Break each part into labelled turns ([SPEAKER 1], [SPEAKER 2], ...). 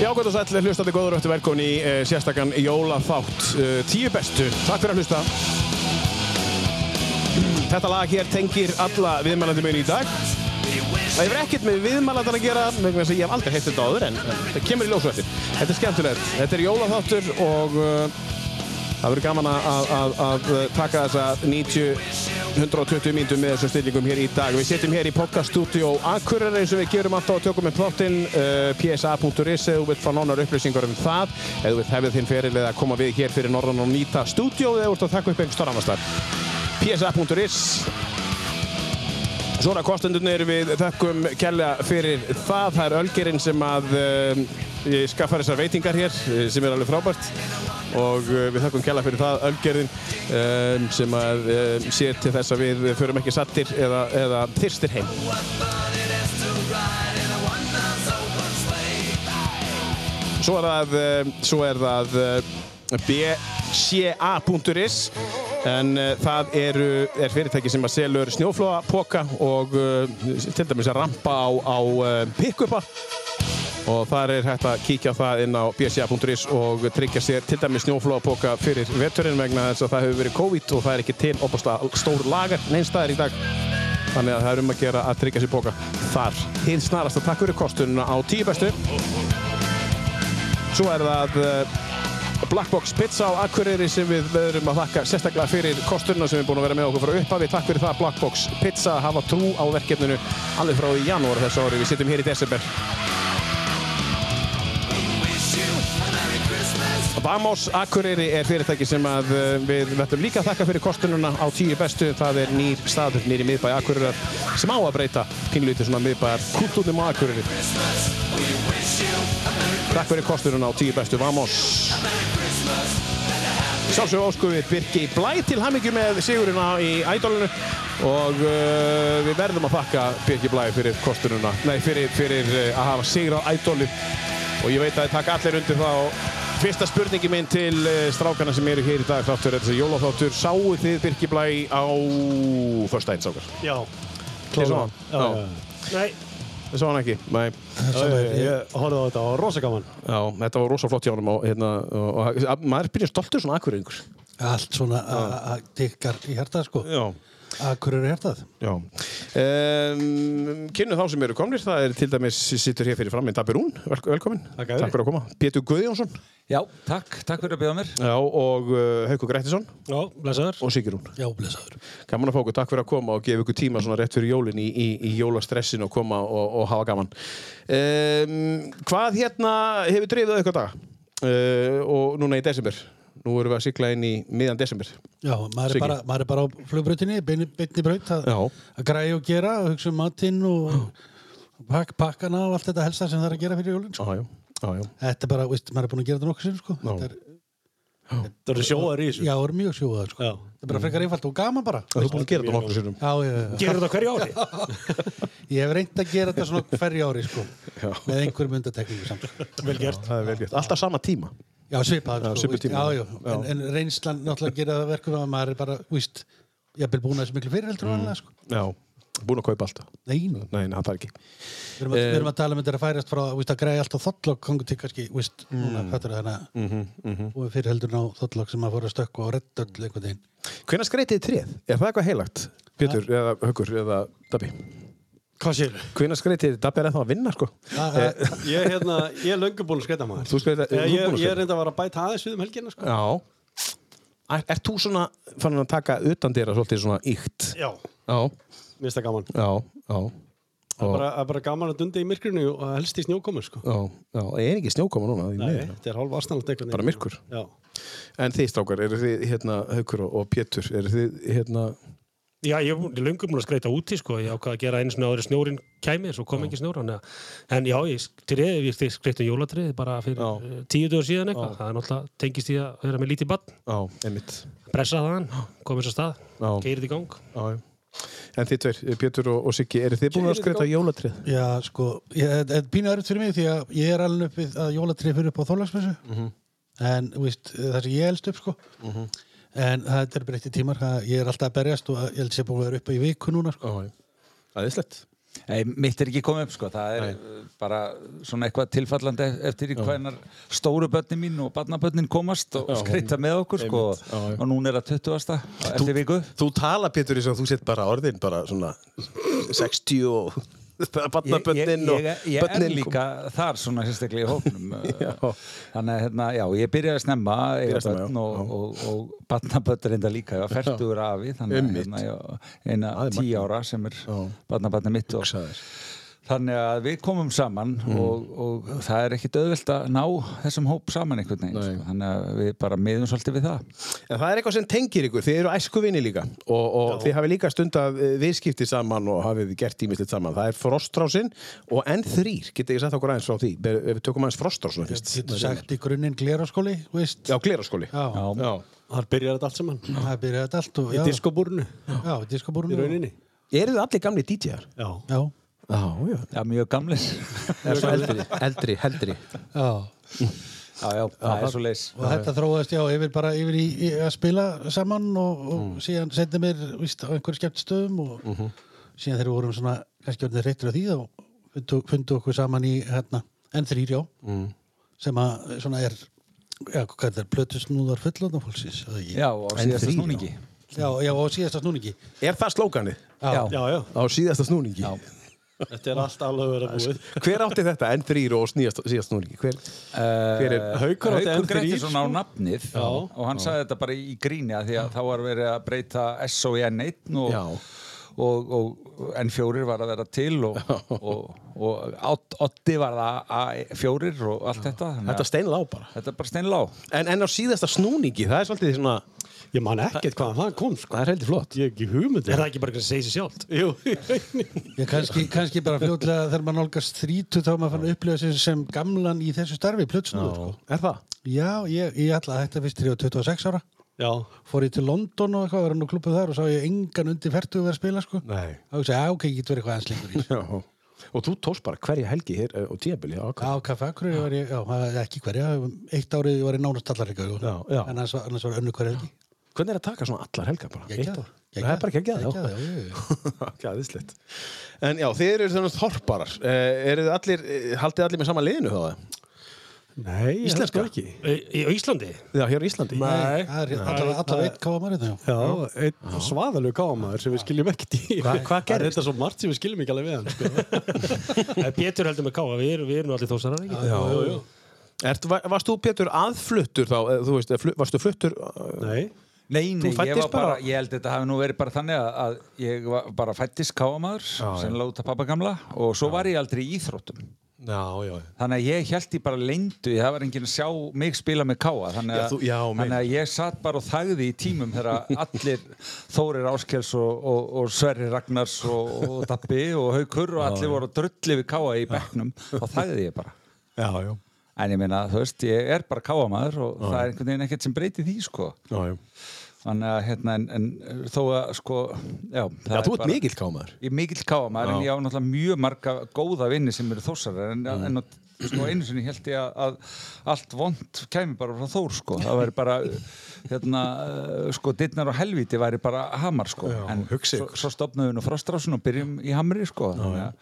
[SPEAKER 1] Já, gott og sæll, hlustandi góður öttu velkomin í uh, sérstakann Jólaþátt uh, Tíu bestu, takk fyrir að hlusta Þetta lag hér tengir alla viðmælandi minn í dag Það hefur ekkert með viðmælandan að gera vegna þess að ég hef aldrei heitt þetta áður en, en það kemur í ljósu eftir Þetta er skemmtilegt, þetta er Jólaþáttur og uh, það verður gaman að, að, að uh, taka þessa 90 120 mínutum með þessum stillingum hér í dag. Við sittum hér í podcaststudió Akureyri eins og við gerum alltaf og tökum með plottinn uh, psa.is eða þú vilt fá nánar upplýsingar um það eða þú vilt hefðið þinn feril eða koma við hér fyrir norðan og nýta stúdió eða þú ert að þakka upp einhver starfannastar. psa.is Svona kostendurnir við þakkum kella fyrir það. Það er Ölgerinn sem að um, ég skaffar þessar veitingar hér eh, sem er alveg frábært og uh, við þakkum kella fyrir það Ölgerinn um, sem að um, sér til þess að við förum ekki sattir eða, eða þyrstir heim. Svo er það, um, svo er það um, bca.is en uh, það eru, er fyrirtæki sem að selur snjóflóapoka og uh, til dæmis að rampa á, á uh, pick-upa og þar er hægt að kíkja á það inn á bsa.is og tryggja sér til dæmis snjóflóapoka fyrir veturinn vegna þess að það hefur verið COVID og það er ekki til opaslega stór lagar neinstæðar í dag þannig að það er um að gera að tryggja sér poka þar hinn snarast að takk fyrir kostununa á tíu bestu Svo er það eh, Black Box Pizza á Akureyri sem við veðurum að þakka sérstaklega fyrir kosturna sem er búin að vera með okkur frá upphafi. Takk fyrir það Black Box Pizza að hafa trú á verkefninu alveg frá í janúar þessu ári. Við sittum hér í desember. Vamos Akureyri er fyrirtæki sem að eh, við vettum líka að þakka fyrir kostununa á tíu bestu. Það er nýr staður nýri miðbæ Akureyrar sem á að breyta pínlítið svona miðbæjar kultúrnum á Akureyri. Takk fyrir kosturinn á tíu bestu Vamos Sjálfsög óskum við Birgi Blæ til hamingju með sigurina í ædolinu og uh, við verðum að þakka Birgi Blæ fyrir kosturina nei, fyrir, fyrir uh, að hafa sigrað ædoli og ég veit að það taka allir undir það og fyrsta spurningi minn til uh, strákana sem eru hér í dag þáttur er þessi jólaþáttur sáu þið Birgi Blæ á första einstakar
[SPEAKER 2] Já,
[SPEAKER 1] Þið sá hann?
[SPEAKER 2] Já, já,
[SPEAKER 1] Já.
[SPEAKER 2] já. Nei,
[SPEAKER 1] Þið sá hann ekki? Nei
[SPEAKER 2] já, já, já. ég horfði á þetta og rosa gaman
[SPEAKER 1] Já, þetta var rosa flott hjá honum og, hérna, og, og, og maður byrjar stoltur svona akkuringur
[SPEAKER 3] allt svona a- a- tikkar í hjartað sko
[SPEAKER 1] Já
[SPEAKER 3] akkur er hjartað
[SPEAKER 1] Já. Um, kynnu þá sem eru komnir, það er til dæmis sittur hér fyrir fram með Dabirún, Vel, velkomin.
[SPEAKER 2] Takk að þér.
[SPEAKER 1] Takk fyrir að koma. Pétur Guðjónsson
[SPEAKER 4] Já, takk, takk fyrir að bjóða mér.
[SPEAKER 1] Já, og uh, Haukur Grettisson
[SPEAKER 2] Já, blessaður
[SPEAKER 1] og Sigurún.
[SPEAKER 3] já, blessaður
[SPEAKER 1] Gaman að fá okkur, takk fyrir að koma og gefa ykkur tíma svona rétt fyrir jólin í, í, í jólastressin og koma og, og hafa gaman. Um, hvað hérna hefur drifðið ykkur daga? Uh, og núna í desember. Nú erum við að sigla inn í miðan desember.
[SPEAKER 3] já, maður
[SPEAKER 1] Siggi.
[SPEAKER 3] er, bara, maður er bara á flugbrutinni beinni braut að,
[SPEAKER 1] Já.
[SPEAKER 3] að græja og gera að hugsa um matinn og pak, pakkana og allt þetta helsta sem það er að gera fyrir jólinn sko.
[SPEAKER 1] Ájá, ájá.
[SPEAKER 3] þetta er bara, veist, maður er búin að gera þetta nokkuð sinn sko.
[SPEAKER 1] Já.
[SPEAKER 3] Þetta er,
[SPEAKER 2] Það eru sjóðar í þessu
[SPEAKER 3] já, er mjög sjóðað sko.
[SPEAKER 2] Já.
[SPEAKER 3] þetta er bara frekar einfalt og gaman bara
[SPEAKER 1] Mm. Þú er búin að gera þetta nokkur sérum.
[SPEAKER 3] já, já, já,
[SPEAKER 2] Gerur þetta á hverju ári?
[SPEAKER 3] ég hef reynd að gera þetta svona hverju ári sko. með einhverjum undatekningu samt sko.
[SPEAKER 2] Vel gert
[SPEAKER 1] Það er vel gett. Alltaf sama tíma.
[SPEAKER 3] Já, svipað,
[SPEAKER 1] Já,
[SPEAKER 3] sko,
[SPEAKER 1] svipuð
[SPEAKER 3] víst,
[SPEAKER 1] tími.
[SPEAKER 3] já, já.
[SPEAKER 1] Já.
[SPEAKER 3] En, en reynslan náttúrulega gera það verkum að maður er bara, víst, ég er búin að þessu miklu fyrir heldur mm. annað, sko.
[SPEAKER 1] Já, búin að kaupa alltaf.
[SPEAKER 3] Nei, nei.
[SPEAKER 1] Nei, nei, hann þarf ekki.
[SPEAKER 3] Við erum, að,
[SPEAKER 2] Eh,
[SPEAKER 3] við erum að tala um þetta er að færast frá, víst, að græja allt á þottlokk, kongu til kannski, víst, núna, hvað er það hana, mm
[SPEAKER 2] Mhm,
[SPEAKER 3] -hmm. og fyrir heldur ná þottlokk sem maður fór að stökku og redda
[SPEAKER 2] Mm.
[SPEAKER 3] öll einhvern veginn.
[SPEAKER 1] Hvenær skreitið þið tréð? Er það eitthvað heilagt? Pétur eða Höggur eða Dabbi?
[SPEAKER 2] Hvað sér?
[SPEAKER 1] Hvenær skreitið þið? Dabbi er ennþá að vinna, sko.
[SPEAKER 2] Eh.
[SPEAKER 3] Það er
[SPEAKER 2] Ég, hérna, ég er löngu búin að skreita maður Eh,
[SPEAKER 1] Þú skreitið...
[SPEAKER 2] Ég, ég, ég er reynda að vara að bæta aðeins við um helgina sko.
[SPEAKER 1] Já. Er, er þú svona fann að taka utan dýra svolítið svona íkt?
[SPEAKER 2] Já,
[SPEAKER 1] Já.
[SPEAKER 2] mér finnst það gaman
[SPEAKER 1] Já, já.
[SPEAKER 2] Það er bara, það er bara gaman að dunda í myrkrinu og helst í snjókomu sko.
[SPEAKER 1] Já, já. Ég er ekki snjókoma núna. því
[SPEAKER 2] Nei,
[SPEAKER 1] miður.
[SPEAKER 2] þetta er hálf aðstæðan eitthvað
[SPEAKER 1] Bara myrkur.
[SPEAKER 2] Já,
[SPEAKER 1] En þið strákar, eru þið hérna Höggur og, og Pétur, eru þið hérna...
[SPEAKER 5] Já, ég er löngum múin að skreita úti, sko, ég ákvað að gera einu svona áður en snjórin kæmi, svo kom ekki snjór, hann að, en já, ég treði, ég skreita jólatriði bara fyrir
[SPEAKER 1] Já.
[SPEAKER 5] já. tíu dögur síðan eitthvað, það er náttúrulega tengist í að vera með lítið bann,
[SPEAKER 1] Já, einmitt.
[SPEAKER 5] pressa þaðan, komið svo stað,
[SPEAKER 1] Já.
[SPEAKER 5] geirið í gang.
[SPEAKER 1] Já, já. En þið tveir, Pétur og, og Siggi, eru þið búin að
[SPEAKER 2] Siggi,
[SPEAKER 1] skreita jólatrið?
[SPEAKER 3] Já, sko, ég- þetta þetta er pínu erfitt fyrir mig því að ég er alveg upp við að jólatrið fyrir upp á þólagsmessu
[SPEAKER 2] Mhm.
[SPEAKER 3] en þú veist, það sem ég elst upp sko en það er breytti tímar það, ég er alltaf að berjast og ég held sér búin að vera upp í viku núna sko.
[SPEAKER 1] Já, já. Það er slett.
[SPEAKER 4] Nei, mitt er ekki komið upp sko, það er uh, bara svona eitthvað tilfallandi eftir í hvernar stóru börnin mín og barnabörnin komast og skreita með okkur sko
[SPEAKER 6] Já, já.
[SPEAKER 4] og núna er það 20. eftir viku.
[SPEAKER 1] Þú tala, Pétur, eins og þú sett bara orðin bara svona 60 og barnabönnin
[SPEAKER 4] ég,
[SPEAKER 1] og
[SPEAKER 4] ég, ég er
[SPEAKER 1] börnin
[SPEAKER 4] líka þar svona sérstaklega í hópnum Eh, þannig að hérna, já, ég byrjaði að snemma að eiga
[SPEAKER 1] Byrjaði snemma,
[SPEAKER 4] börn
[SPEAKER 1] já,
[SPEAKER 4] og, og, og, og barnabörn reynda líka, ég var færtugur afi þannig að
[SPEAKER 1] Einmitt.
[SPEAKER 4] hérna, ég, eina tí ára sem er barnabarni mitt og,
[SPEAKER 1] Hugsaðir.
[SPEAKER 4] þannig að við komum saman og, og það er ekkit auðvelt að ná þessum hóp saman einhvern veginn sko. þannig að við bara miðum svolítið við það
[SPEAKER 6] En það er eitthvað sem tengir ykkur, þið eru æskuvinni líka og, og þið hafið líka stundað eh, viðskipti saman og hafið gert tímislegt saman. Það er Frostrásin og N3, getið ég sagt okkur aðeins frá því, Ber- ef við tökum aðeins Frostrásin fyrst.
[SPEAKER 3] Getur sagt í grunninn gleraskóli, þú veist.
[SPEAKER 6] Já, gleraskóli.
[SPEAKER 3] Já, já.
[SPEAKER 6] Já.
[SPEAKER 2] Þar byrjar þetta allt saman.
[SPEAKER 3] það byrjaði þetta allt og,
[SPEAKER 2] Í
[SPEAKER 3] já,
[SPEAKER 2] diskobúrinu,
[SPEAKER 3] já, í diskobúrinu.
[SPEAKER 2] í rauninni.
[SPEAKER 6] Eru þið allir gamli DJ-ar?
[SPEAKER 2] Já.
[SPEAKER 3] Já,
[SPEAKER 6] Já, já.
[SPEAKER 4] Já, mjög gamlis
[SPEAKER 6] Er svo eldri, eldri, eldri.
[SPEAKER 3] já.
[SPEAKER 4] Já, já, það er svo leis
[SPEAKER 3] Og þetta þróaðist, já, yfir bara yfir í, í að spila saman og, og síðan sendið mér, víst, á einhverju skemmtistöðum og síðan þegar við vorum svona, kannski orðinir reyttur af því, þá fundu, fundu okkur saman í, hérna, N3, já, sem að svona er, já, hvað er það, plötusnúðar fullotna fólksins, eða ekki?
[SPEAKER 4] Já, og síðasta snúningi
[SPEAKER 3] Já, já, og síðasta snúningi.
[SPEAKER 6] Er það slókanið?
[SPEAKER 4] Já,
[SPEAKER 2] Já, já.
[SPEAKER 6] Á síðasta snúningi.
[SPEAKER 2] Þetta er allt alveg verið að búið.
[SPEAKER 6] Hver átti þetta? N3 og sníðasta- síðasta snúningi. Hver, hver er...
[SPEAKER 2] Haukur átti
[SPEAKER 4] Eh, Haukur
[SPEAKER 2] M3.
[SPEAKER 4] Grettisson á nafnið og hann sagði þetta bara í gríni að því að þá var verið að breyta S og N1
[SPEAKER 6] Já.
[SPEAKER 4] og, og, og N4 var að vera til og, og, og, og Otti var að A4 og allt þetta þannig að-
[SPEAKER 6] Þetta steinlá bara.
[SPEAKER 4] þetta er bara steinlá
[SPEAKER 6] En, en á síðasta snúningi, það er svolítið svona...
[SPEAKER 2] Ég man ekkert hvaðan það kom, sko.
[SPEAKER 6] Það er heldur flott.
[SPEAKER 2] Ég hef ekki um hugmyndið.
[SPEAKER 5] Er það ekki bara eitthvað sem segir sér sjálft?
[SPEAKER 2] Jú, í rauninni.
[SPEAKER 3] Ég kannski, kannski bara fljótlega þegar maður nálgast þrítu þá er maður fann að upplifa sig sem gamlan í þessu starfi plötsnúður sko.
[SPEAKER 6] Er það?
[SPEAKER 3] Já, ég, ég ætla að hætta fyrst þegar ég var 26 ára
[SPEAKER 2] Já.
[SPEAKER 3] fór ég til London og eitthvað, var hann á klubbu þar og sá ég engan undir færtu að vera að spila sko.
[SPEAKER 6] Nei.
[SPEAKER 3] þá hugsa ég, já, ok, ég get verið eitthvað anslingur í þessu."
[SPEAKER 6] Já, og þú tóst bara hverja helgi hér eh, og tíabili á
[SPEAKER 3] Á Kaffe Akureyri var ég, já, það er ekki hverja eitt árið var ég nánast allar helgar sko.
[SPEAKER 6] Já, já.
[SPEAKER 3] annars, var- annars var önnu hverja helgi
[SPEAKER 6] Hvernig er að taka svona allar helgar bara? Eitt
[SPEAKER 3] Geggjað,
[SPEAKER 6] ár?
[SPEAKER 3] geggjað.
[SPEAKER 6] Það er bara geggjað,
[SPEAKER 3] Geggjað, já, já,
[SPEAKER 6] já. Gæðislegt. En já, þið eru þannig þorparar. Eh, eru þið allir, eh, haldið allir með sama liðinu þá það?
[SPEAKER 2] Nei, ég held
[SPEAKER 6] Íslenska?
[SPEAKER 2] sko ekki.
[SPEAKER 5] Í á Íslandi?
[SPEAKER 6] Já, hér á Íslandi.
[SPEAKER 3] Nei, það er allar, allar eitt káða maður þetta, já.
[SPEAKER 2] Já, einn svaðalög gámaður sem við skiljum ekkert í.
[SPEAKER 6] Hvað- hvað
[SPEAKER 2] Það er þetta svo margt sem við skiljum ekki alveg við hann, sko.
[SPEAKER 5] Eh, Pétur heldur með káa, við erum, við erum nú allir þósarar, ekki?
[SPEAKER 2] Já, jú, jú.
[SPEAKER 6] Ert, var, varst þú Pétur aðfluttur þá? Eh, Þú veist, eh, flu, varstu fluttur? eh?
[SPEAKER 2] Nei.
[SPEAKER 4] Nei,
[SPEAKER 6] Þú
[SPEAKER 4] nei, ég, var
[SPEAKER 6] fæddist
[SPEAKER 4] bara,
[SPEAKER 6] bara-
[SPEAKER 4] ég held þetta hafi nú verið bara þannig að, að ég var bara fættist káamaður sem láta pappa gamla og svo var ég aldrei í íþróttum
[SPEAKER 6] Já, já.
[SPEAKER 4] þannig að ég held ég bara leyndu það var enginn að sjá mig spila með káa þannig,
[SPEAKER 6] Já,
[SPEAKER 4] að-
[SPEAKER 6] þú- já,
[SPEAKER 4] þannig að ég satt bara og þagði í tímum þegar allir Þórir Áskels og, og, og Sverri Ragnars og, og Dabbi og Haukur og allir voru að drulli við káa í bekknum þá þagði ég bara
[SPEAKER 6] Já, já.
[SPEAKER 4] en ég meina, þú veist, ég er bara káamaður og það er einhvern veginn ekkert sem breyti því sko.
[SPEAKER 6] Já, já.
[SPEAKER 4] þannig að hérna en, en þó að sko já, það
[SPEAKER 6] Já,
[SPEAKER 4] er
[SPEAKER 6] þú ert
[SPEAKER 4] bara-
[SPEAKER 6] mikill kámaður.
[SPEAKER 4] Ég er mikill káamaður en ég á náttúrulega mjög marga góða vinni sem eru þórsarar en,
[SPEAKER 6] Mm.
[SPEAKER 4] en að- sko, einu sinni held ég að, að allt vond kæmi bara frá þór sko. það væri bara hérna, eh, sko, dittnar og helviti væri bara hamar sko. en
[SPEAKER 6] hugsi
[SPEAKER 4] svo, svo stopnaðum við nú frostrasun og byrjum í hamri sko. þannig, að,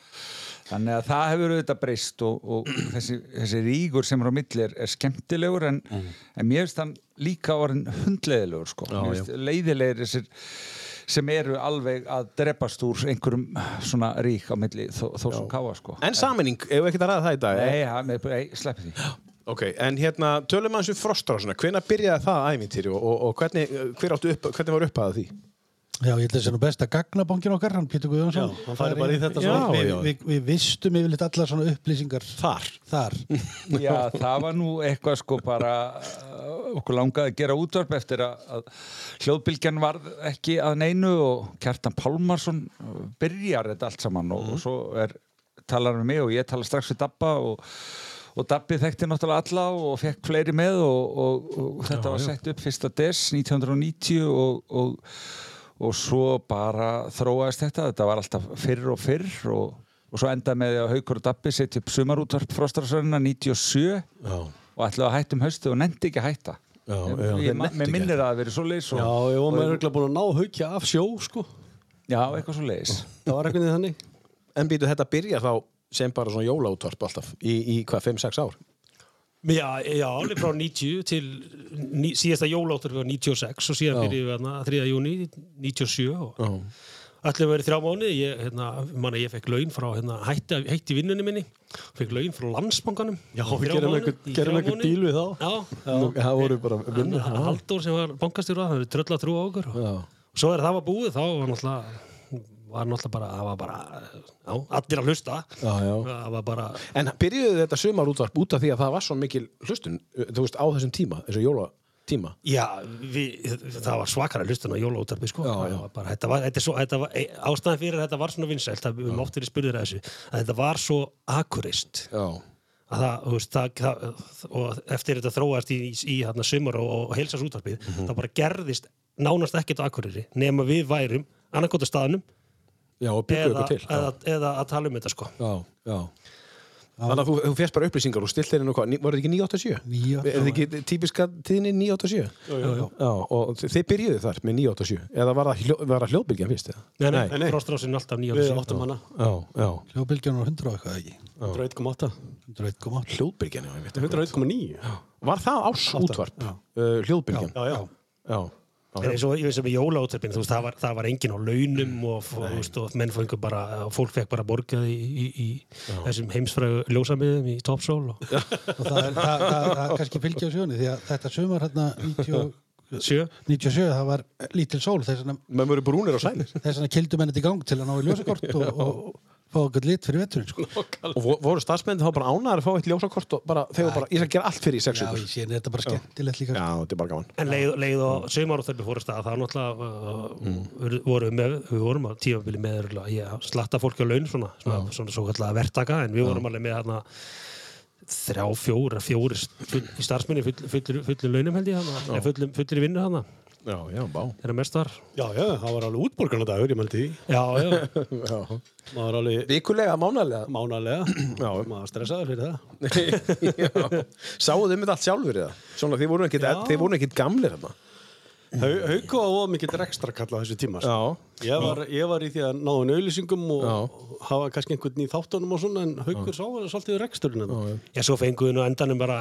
[SPEAKER 4] þannig að það hefur auðvitað breyst og, og þessi, þessi rígur sem er á milli er, er skemmtilegur en, en mér finnst hann líka orðin hundleðilegur sko. Mér finnst leiðilegir þessir sem eru alveg að drepast úr einhverjum svona rík á milli þó, þó sem káa sko
[SPEAKER 6] En saminning, ef við ekkert að ræða það í dag? eh?
[SPEAKER 4] Nei, ja, með, ei, sleppi því
[SPEAKER 6] Ok, en hérna, tölum aðeins um frostráðsuna. Hvenær byrjaði það æmintýri og, og, og hvernig, eh, hver áttu upp, hvernig var upphæðað því?
[SPEAKER 3] Já, ég held að það sé nú best að gagnabongin okkar, hann Pétur Guðjónsson.
[SPEAKER 2] Já, hann færi bara í þetta
[SPEAKER 3] Já,
[SPEAKER 2] svona.
[SPEAKER 3] við,
[SPEAKER 6] já.
[SPEAKER 3] við, við vistum yfirleitt allar svona upplýsingar þar.
[SPEAKER 4] Já, það var nú eitthvað sko bara uh, okkur langaði að gera útvarp eftir að, að hljóðbylgjan var ekki að neinu og Kjartan Pálmarsson uh, byrjar þetta allt saman og, og svo er, talar við mig og ég tala strax við Dabba og, og Dabbi þekkti náttúrulega alla og fekk fleiri með og, og, og þetta var sett upp fyrsta des 1990 og, og, og svo bara þróaðist þetta, þetta var alltaf fyrr og fyrr og, og svo endaði með því að Haukur og Dabbi setja upp sumarútvarp frostarsörnuna 97 já. og ætlaði að hætta um haustu og nefndi ekki að hætta já, já, ég, ma- mér minnir að það hafi verið svo leis og,
[SPEAKER 2] Já, ég var með örgulega búin að ná haukja af sjó, sko.
[SPEAKER 4] já, eitthvað svo leis
[SPEAKER 2] Það var eitthvað þannig.
[SPEAKER 1] en býtu þetta byrja þá sem bara svona jólaútvarp alltaf í, í hvað, 5-6 ár
[SPEAKER 5] Já, já, alveg frá 90 til ní, síðasta jóláttur var 96 og síðan byrjuðum við hérna 3. júni 97 og
[SPEAKER 1] Já.
[SPEAKER 5] allir verið þrjá mánuði, ég, hérna, manna, ég fekk laun frá, hérna, hætti, hætti vinnunni minni fekk laun frá landsbankanum Já,
[SPEAKER 2] við gerðum einhvern- gerðum einhvern díl við þá.
[SPEAKER 5] Já,
[SPEAKER 1] Nú, það voru bara
[SPEAKER 5] hann,
[SPEAKER 1] vinnur
[SPEAKER 5] hann Halldór sem var bankastjóra, það hefur tröll að trúa á okkur og svo er það var búið, þá var náttúrulega var náttúrulega bara, það var bara já, allir að hlusta
[SPEAKER 1] Já, já.
[SPEAKER 5] það var bara
[SPEAKER 1] En byrjuðu þetta sumarútvarp út af því að það var svo mikil hlustun, eh, þú veist, á þessum tíma, þessu jólatíma.
[SPEAKER 5] Já, við, það var svakara hlustun á jólaútarpi sko.
[SPEAKER 1] Já,
[SPEAKER 5] Það
[SPEAKER 1] já.
[SPEAKER 5] var Bara, þetta var, þetta er svo, þetta var, e- ástæðan fyrir að þetta var svona vinsælt að við höfum oft verið spurðir að þessu að þetta var svo akurist
[SPEAKER 1] Já.
[SPEAKER 5] að það, þú veist, það, það og eftir þetta þróast í, í, í hérna, sumar og, og heilsas útarpið,
[SPEAKER 1] Mhm.
[SPEAKER 5] það bara gerðist nánast ekkert á akureyri nema við værum annarkóta staðanum
[SPEAKER 1] Já, og bygguðu
[SPEAKER 5] eða,
[SPEAKER 1] ykkur til.
[SPEAKER 5] eða, eða að tala um þetta sko.
[SPEAKER 1] Já, já. Þannig að þú, þú fjast bara upplýsingar og stiltir henni og hvað, voru þetta ekki 987?
[SPEAKER 3] 987.
[SPEAKER 1] Er þetta ekki típiska tíðinni 987? Já, já, já. Já, og þi- þið byrjuðu þar með 987, eða var það, hljó, var það hljóðbylgjan fyrst? eða?
[SPEAKER 5] Nei, nei, nei. Frostrásin alltaf nýja
[SPEAKER 2] Við áttum hana,
[SPEAKER 1] Já, já.
[SPEAKER 3] Hljóðbylgjan var 100 og eitthvað ekki
[SPEAKER 2] 101,8
[SPEAKER 3] 101,8
[SPEAKER 1] Hljóðbylgjan, já, ég veit.
[SPEAKER 2] 101,9
[SPEAKER 1] Var það ás útvarp, uh, hljóðbylgjan?
[SPEAKER 2] Já, já
[SPEAKER 1] já.
[SPEAKER 5] En eins og ég veist sem í jólaútarpinu, þú veist, það var, það var engin á launum og, f- þú veist, og menn fengur bara, og fólk fekk bara borgað í, í, í þessum heimsfrægu ljósamiðum í Topsól og
[SPEAKER 3] og það er það, það, það kannski fylgja sjögunni því að þetta sumar hérna 90
[SPEAKER 5] sjö.
[SPEAKER 3] 97 það var lítil sól þess vegna-
[SPEAKER 1] Menn voru brúnir og sælir.
[SPEAKER 3] þess vegna kildu menn þetta í gang til að ná í ljósakort og, og fá okkur lit fyrir veturinn sko.
[SPEAKER 1] Og vo- voru starfsmenn þá bara ánæðar að fá eitt ljósakort og bara, þegar bara, ég skal gera allt fyrir í sex
[SPEAKER 3] já,
[SPEAKER 1] vikur.
[SPEAKER 3] ég sé þetta bara skemmtilegt líka
[SPEAKER 1] Já,
[SPEAKER 3] sko.
[SPEAKER 1] þetta er bara gaman.
[SPEAKER 5] En leið, leið og sömarútarpi fóru af stað, það náttúrulega uh, mm. voru með, við vorum á tímabili með örugglega, ég, slatta fólki á laun svona, svona, svona svo kallega verktaka, en við vorum alveg með hérna þrjá, fjóra, fjóri full, í starfsmunni full, full, fullum launum held ég hana, fullum, fullur í vinnu hana,
[SPEAKER 1] Já, já, bá.
[SPEAKER 5] þegar mest var.
[SPEAKER 2] Já, já, það var alveg útborgarnadagur, ég meldi því
[SPEAKER 5] Já, já.
[SPEAKER 2] Maður var alveg
[SPEAKER 1] Vikulega, mánalega.
[SPEAKER 2] mánalega
[SPEAKER 1] Já, um
[SPEAKER 2] Maður stressaði fyrir það
[SPEAKER 1] já. Sáu þau með allt sjálfur eða? Svona, þið voru ekkit, þið voru ekkit gamlir hérna.
[SPEAKER 2] Hau- Hauko á of mikill rekstra kalla þessu tíma sko.
[SPEAKER 1] Já.
[SPEAKER 2] ég var, ég var í því að náðun auðlýsingum og
[SPEAKER 1] Já.
[SPEAKER 2] hafa kannski einhvern í þáttunum og svona en Haukur sá hann svolítið reksturinn hérna. já,
[SPEAKER 5] Já, svo fengum við nú endanum bara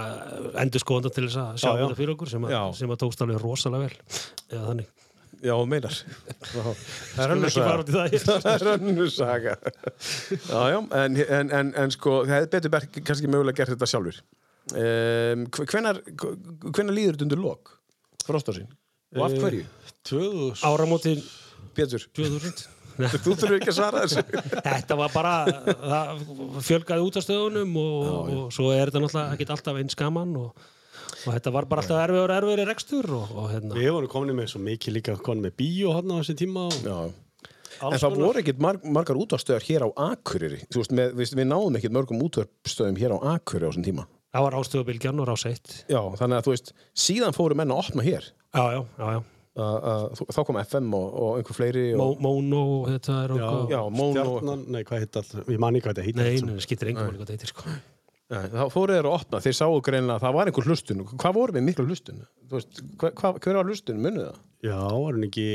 [SPEAKER 5] endur skoðanda til þess að sjá
[SPEAKER 2] Já, já.
[SPEAKER 5] þetta fyrir okkur sem, að,
[SPEAKER 1] Já.
[SPEAKER 5] sem að tókst alveg rosalega vel eða þannig,
[SPEAKER 1] Já, þú meinar. Það er
[SPEAKER 5] skulum
[SPEAKER 1] önnur
[SPEAKER 5] ekki fara út í það hér.
[SPEAKER 1] Það er önnur saga. Já, já, en, en, en, en sko, það hefði betur berg kannski mögulega gert þetta sjálfur. Um, hvenar, hvenar líður þetta undir lok? Frostásin? Og af hverju?
[SPEAKER 2] tvöðu
[SPEAKER 5] Áramótin
[SPEAKER 1] Eh, Pétur,
[SPEAKER 5] 2000
[SPEAKER 1] þú þurfur ekki að svara þessu.
[SPEAKER 5] Þetta var bara það fjölgaði út af stöðunum og, og svo er þetta náttúrulega ekki alltaf eins gaman og, og þetta var bara alltaf erfiður og erfiður rekstur og, og hérna
[SPEAKER 2] Við vorum komin með svo mikið líka komin með bíó hann á þessu tíma og
[SPEAKER 1] Já, En
[SPEAKER 2] alls
[SPEAKER 1] það
[SPEAKER 2] konar.
[SPEAKER 1] voru ekkit marg, margar útvarstöðar hér á Akureyri Þú veist, með, við, við náðum ekkit mörgum útvarstöðum hér á Akureyri á þessum tíma
[SPEAKER 5] það var ástöðubilgjarn og rás eitt
[SPEAKER 1] Já, þannig að þú veist, síðan fóru menn að opna hér
[SPEAKER 5] Já, já, já, já
[SPEAKER 1] uh, uh, þá kom FM og, og einhver fleiri
[SPEAKER 5] Mó,
[SPEAKER 1] og,
[SPEAKER 5] Móno og þetta er okkur
[SPEAKER 1] Já, Móno og-
[SPEAKER 2] Stjarnan, nei hvað heit alltaf, ég man ekki hvað þetta heitir
[SPEAKER 5] Nei,
[SPEAKER 2] allt
[SPEAKER 5] neina, skiptir engum alveg hvað þetta heitir sko
[SPEAKER 1] Nei, Þá fóru þeir að opna, þeir sáu greinlega að það var einhver hlustun Hvað voru við miklu hlustun? Þú veist, hva, hva, hver var hlustun, munið það?
[SPEAKER 2] saman. Já, var hann ekki,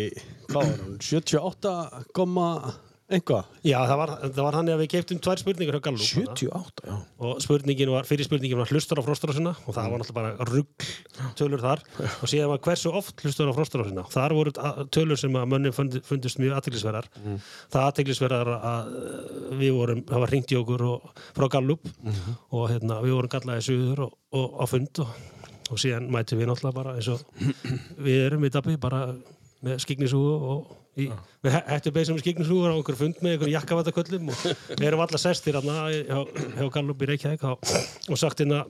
[SPEAKER 2] hvað var hann, 78 koma einhvað
[SPEAKER 5] Já, það var, það var þannig að við keiptum tvær spurningar hjá Gallup hana.
[SPEAKER 1] 78, já
[SPEAKER 5] og spurningin var, fyrir spurningin var hlustar á frostrásina og það var náttúrulega bara rugg tölur þar og síðan var hversu oft hlustar á frostrásina þar voru a- tölur sem að mönnum fundi- fundust mjög aðteglisverðar það aðteglisverðar að uh, við vorum, það var ringt í okkur og, frá Gallup og hérna, við vorum gallaði suður og, og á fund og, og síðan mætum við náttúrulega bara eins og við erum í dabbi bara með skiknisúgu og í, með hættu beisum skiknisúgur á einhver fund með einhver jakkavataköllum og við erum alla sestir hann hjá, hjá Gallup í Reykjavík á, og sagt hérna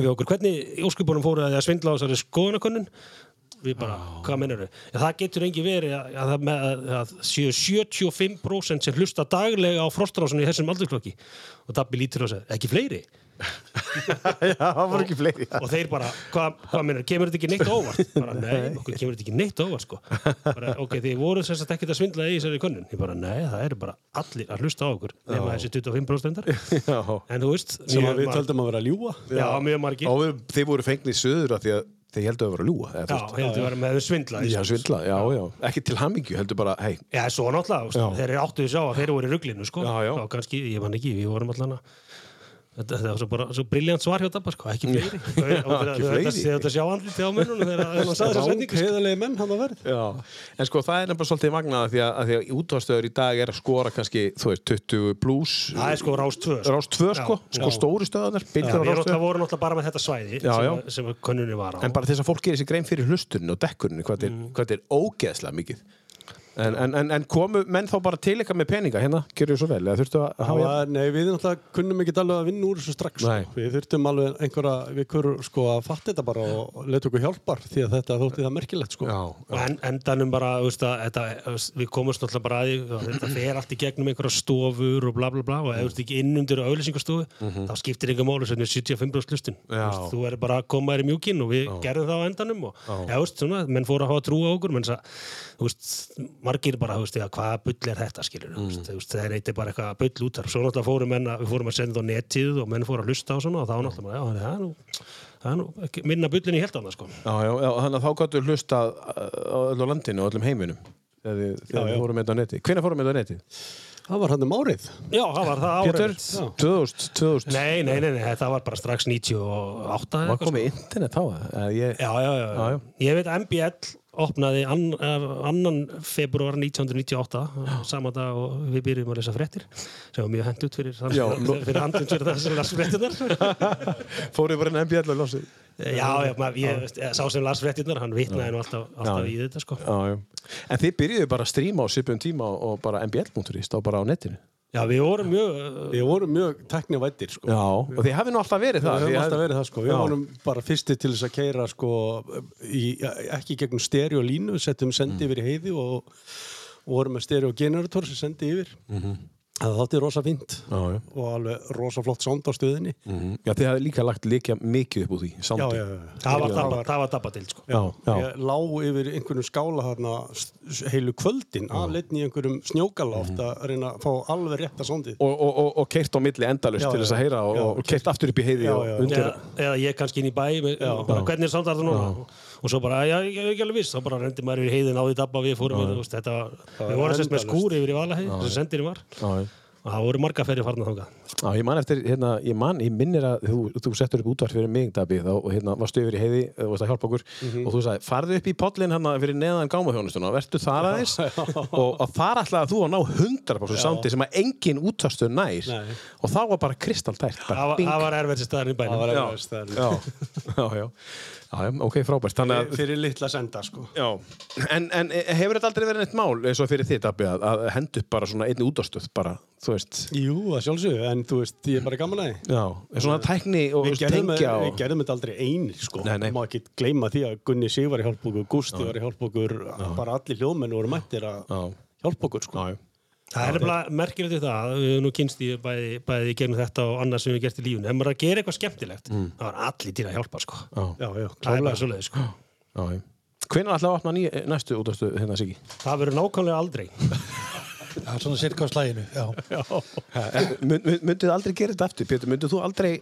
[SPEAKER 5] við okkur, hvernig í óskupunum fóruð að þið að svindla á þessari skoðanakönnun við bara, hvað mennur þau? það getur engi verið að, að, það með- að, að séu 75% sem hlusta daglega á frostrásunni í þessum aldursklokki og Dabbi lítur og segir, ekki fleiri
[SPEAKER 1] Já, það voru ekki fleiri
[SPEAKER 5] og þeir bara, hvað hva minnur, kemur þetta ekki neitt á óvart? bara, nei, okkur kemur þetta ekki neitt á óvart sko. bara, ok, þið voru sem sagt ekkert að svindla í þessari könnun, ég bara, nei, það eru bara allir að hlusta á okkur, nema þessi 25% endar.
[SPEAKER 1] Já
[SPEAKER 5] en þú veist
[SPEAKER 2] sem að við
[SPEAKER 5] mar-
[SPEAKER 2] töldum að vera að ljúa
[SPEAKER 5] já, mjög margir
[SPEAKER 1] Og við, þeir voru fengnið söður að því að þeir heldur að vera að ljúa eða,
[SPEAKER 5] Já,
[SPEAKER 1] þú veist.
[SPEAKER 5] heldur verið með svindla í
[SPEAKER 1] já,
[SPEAKER 5] þessu.
[SPEAKER 1] svindla, já, já, ekki til hamingju heldur bara, hei,
[SPEAKER 5] Já, svo náttúrulega, þú veist,
[SPEAKER 1] Já.
[SPEAKER 5] þeir eru áttuðu sá að þeir voru í ruglinu, sko.
[SPEAKER 1] Já, já.
[SPEAKER 5] kannski, ég man ekki, við vorum allan að... Þetta, þetta var svo bara svo briljant svar hjá Dabba, sko, ekki fleiri. Þau- og
[SPEAKER 1] ekki
[SPEAKER 5] þau-
[SPEAKER 1] fleiri.
[SPEAKER 5] Þau þetta sjá andlið til á mönnunum þegar þegar hann sagði þessa setningu, sko.
[SPEAKER 2] Heiðarlegi menn hann að verð.
[SPEAKER 1] já en sko það er nefnilega svolítið magnað af því að, að því að útvarstöður í dag er að skora kannski, þú veist, 20 plus
[SPEAKER 5] Það er sko rás tvö, sko.
[SPEAKER 1] rás 2 sko,
[SPEAKER 5] Já,
[SPEAKER 1] sko
[SPEAKER 5] já.
[SPEAKER 1] stóru stöðanar
[SPEAKER 5] Já,
[SPEAKER 1] bylgjur á
[SPEAKER 5] við
[SPEAKER 1] rás 2
[SPEAKER 5] náttúrulega vorum náttúrulega bara með þetta svæði
[SPEAKER 1] Já,
[SPEAKER 5] sem,
[SPEAKER 1] já.
[SPEAKER 5] að- sem að könnunni var á.
[SPEAKER 1] en bara til þess að fólk gerir sér grein fyrir hlusturinn og dekkurinn hvað þetta er, hvað þetta er ógeðslega mikið en, en, en, en komu menn þá bara til eitthvað með peninga hérna, gjörðu svo vel eða þurftu að
[SPEAKER 2] Það
[SPEAKER 1] hafa
[SPEAKER 2] var, nei, við náttúrulega kunnum ekki alveg að vinna úr þessu strax. sko.
[SPEAKER 1] Nei.
[SPEAKER 2] Við þurftum alveg einhverja vikur sko að fatta þetta bara og leta okkur hjálpar því að þetta þótti það merkilegt sko.
[SPEAKER 1] já,
[SPEAKER 5] og en, endanum bara, þú veist að þetta, þú veist, við komumst náttúrulega bara að því, að þetta fer allt í gegnum einhverja stofur og bla bla bla og ef þú ert ekki innundir auðlýsingastofu þá skiptir einhver máli sem við 75 hlustun Þú
[SPEAKER 1] Já.
[SPEAKER 5] veist, þú er bara að koma þér í mjúkin og við gerðum það á endanum og ja, þú veist, svona, menn fóru að hafa trú á okkur menn það, þú veist, margir bara þú veist, já, hvaða bull er þetta skilur mm. veist, þú veist, það er eitthvað bara eitthvað bull út þar svo náttúrulega fórum menn að, við fórum að senda á netið og menn fóru að hlusta á svona og þá náttúrulega bara, já, það er nú, það er nú ekki, minna bullin í held sko.
[SPEAKER 1] já, já, já, þannig að þá gætu hlusta á öllu landinu og öllum heiminum þegar þið, þegar þið fórum þetta á neti hvenær fórum þetta á neti?
[SPEAKER 2] Það var hann um árið.
[SPEAKER 5] já, það var það árið
[SPEAKER 1] Pétur?
[SPEAKER 5] mitt.
[SPEAKER 1] 2000, 2000
[SPEAKER 5] Nei, nei, nei, nei, þetta var bara strax 98 eða
[SPEAKER 1] var
[SPEAKER 5] eitthvað, sko.
[SPEAKER 1] komið internet á það ég,
[SPEAKER 5] Já, já, já,
[SPEAKER 1] Já, já.
[SPEAKER 5] já. Ég veit MBL opnaði ann, eh, annan februar 1998 sama dag og við byrjum að lesa fréttir sem var mjög hendt út fyrir, þann,
[SPEAKER 1] Já, nú-
[SPEAKER 5] fyrir andlum fyrir það sem las fréttirnar
[SPEAKER 1] fóruð bara enn MBL og losið
[SPEAKER 5] Já, já, maður, ég, veist, eh, sá sem las fréttirnar hann vitnaði nú alltaf, alltaf í þetta sko.
[SPEAKER 1] já, já. en þið byrjuðu bara að stríma á sipum tíma og- og bara mbl.ist á bara á netinu
[SPEAKER 5] Já, við vorum mjög eh,
[SPEAKER 2] Við vorum mjög teknivættir sko.
[SPEAKER 1] já, og þið hafið nú alltaf verið það
[SPEAKER 2] Við
[SPEAKER 1] þið
[SPEAKER 2] höfum alltaf
[SPEAKER 1] hafið-
[SPEAKER 2] verið það sko, við
[SPEAKER 1] Já.
[SPEAKER 2] vorum bara fyrsti til þess að keira sko, í, ekki gegnum stereo línu, settum
[SPEAKER 1] Mm.
[SPEAKER 2] sendi yfir í heiði og, og vorum með stereo generator sem sendi yfir.
[SPEAKER 1] Mhm.
[SPEAKER 2] Það þátti rosa fínt
[SPEAKER 1] Já, já.
[SPEAKER 2] og alveg rosa flott sound á stöðinni.
[SPEAKER 1] Já, þið hafið líka lagt líka mikið upp úr því
[SPEAKER 2] Já,
[SPEAKER 1] samtíð.
[SPEAKER 2] já, já.
[SPEAKER 5] það var, það var, það var dabba til sko.
[SPEAKER 2] Já,
[SPEAKER 1] já.
[SPEAKER 2] Ég lá yfir einhvernum skála þarna s- s- heilu kvöldin afleitni í einhverjum snjókala oft að reyna að fá alveg rétta soundið.
[SPEAKER 1] Og, og, og, og keirt á milli endalust
[SPEAKER 2] Já,
[SPEAKER 1] til þess að
[SPEAKER 2] já.
[SPEAKER 1] heyra og,
[SPEAKER 2] Já.
[SPEAKER 1] og keirt aftur upp í heiði
[SPEAKER 2] Já,
[SPEAKER 1] og
[SPEAKER 2] já.
[SPEAKER 1] undir.
[SPEAKER 5] eða, eða ég kannski inn í bæ með, bara, hvernig er samdarðan núna og svo bara, já, ég ég er ekki alveg viss þá bara rendi maður yfir heiðin á því dabba við fórum yfir, þú veist, þetta var, við vorum sérst með
[SPEAKER 2] endalaust.
[SPEAKER 5] skúr yfir í valaheið, sem sendirinn var
[SPEAKER 1] Já, já.
[SPEAKER 5] og það voru marga ferri farna þangað
[SPEAKER 1] Já, ég man eftir, hérna, ég man, ég minnir að þú, þú settur upp útvarf fyrir mig, Dabi, þá, og hérna, varstu yfir í heiði, þú varst að hjálpa okkur, og þú sagði, farðu upp í podlinn hérna fyrir neðan gámaþjónustuna, vertu þar aðeins, og, og þar ætlaði þú að ná 100% samtíð sem að engin útvarstu nær,
[SPEAKER 2] Nei.
[SPEAKER 1] og þá var bara kristaltært,
[SPEAKER 5] það
[SPEAKER 1] bara
[SPEAKER 5] var-
[SPEAKER 1] bing.
[SPEAKER 5] það var erfiðst staðan í bænum
[SPEAKER 2] var
[SPEAKER 1] Já.
[SPEAKER 2] erfiðast, það er-
[SPEAKER 1] Já, já, já, já, já, ok, frábært, þannig að
[SPEAKER 2] Fyrir litla senda sko.
[SPEAKER 1] Já, en, en e, hefur þetta aldrei verið neitt mál eins og fyrir þitt abbi að, að henda upp bara svona einni útastöð bara, þú veist
[SPEAKER 2] Jú, það sjálfsögur, en þú veist, ég er bara gaman að því.
[SPEAKER 1] Já, en svona tækni og
[SPEAKER 2] við gerðum,
[SPEAKER 1] tengja
[SPEAKER 2] við
[SPEAKER 1] og
[SPEAKER 2] gerðum þetta aldrei einir sko.
[SPEAKER 1] Nei, nei.
[SPEAKER 2] má ekki gleyma því að Gunni Sig var í hjálp okkur Gústi var í hjálp okkur bara allir hljóðmenn voru mættir að
[SPEAKER 1] Já,
[SPEAKER 2] hjálpa okkur sko.
[SPEAKER 1] já, já,
[SPEAKER 5] það er nefnilega merkilegt við það við höfum nú kynst í bæði, bæði gerum þetta og annað sem við höfum gert í lífun ef maður er að gera eitthvað skemmtilegt
[SPEAKER 1] Mm.
[SPEAKER 5] það var allir til að hjálpa sko.
[SPEAKER 2] já, já,
[SPEAKER 5] það er
[SPEAKER 2] klálega
[SPEAKER 5] bara svoleiði sko.
[SPEAKER 1] já, já. Hvenær ætlaði að opna ný, næstu útastöð hérna Siggi?
[SPEAKER 5] það verður nákvæmlega aldrei
[SPEAKER 3] Já, svona sirka á slæginu, já.
[SPEAKER 1] Mund, mund- myndið þið aldrei gera þetta aftur, Pétur, myndið þú aldrei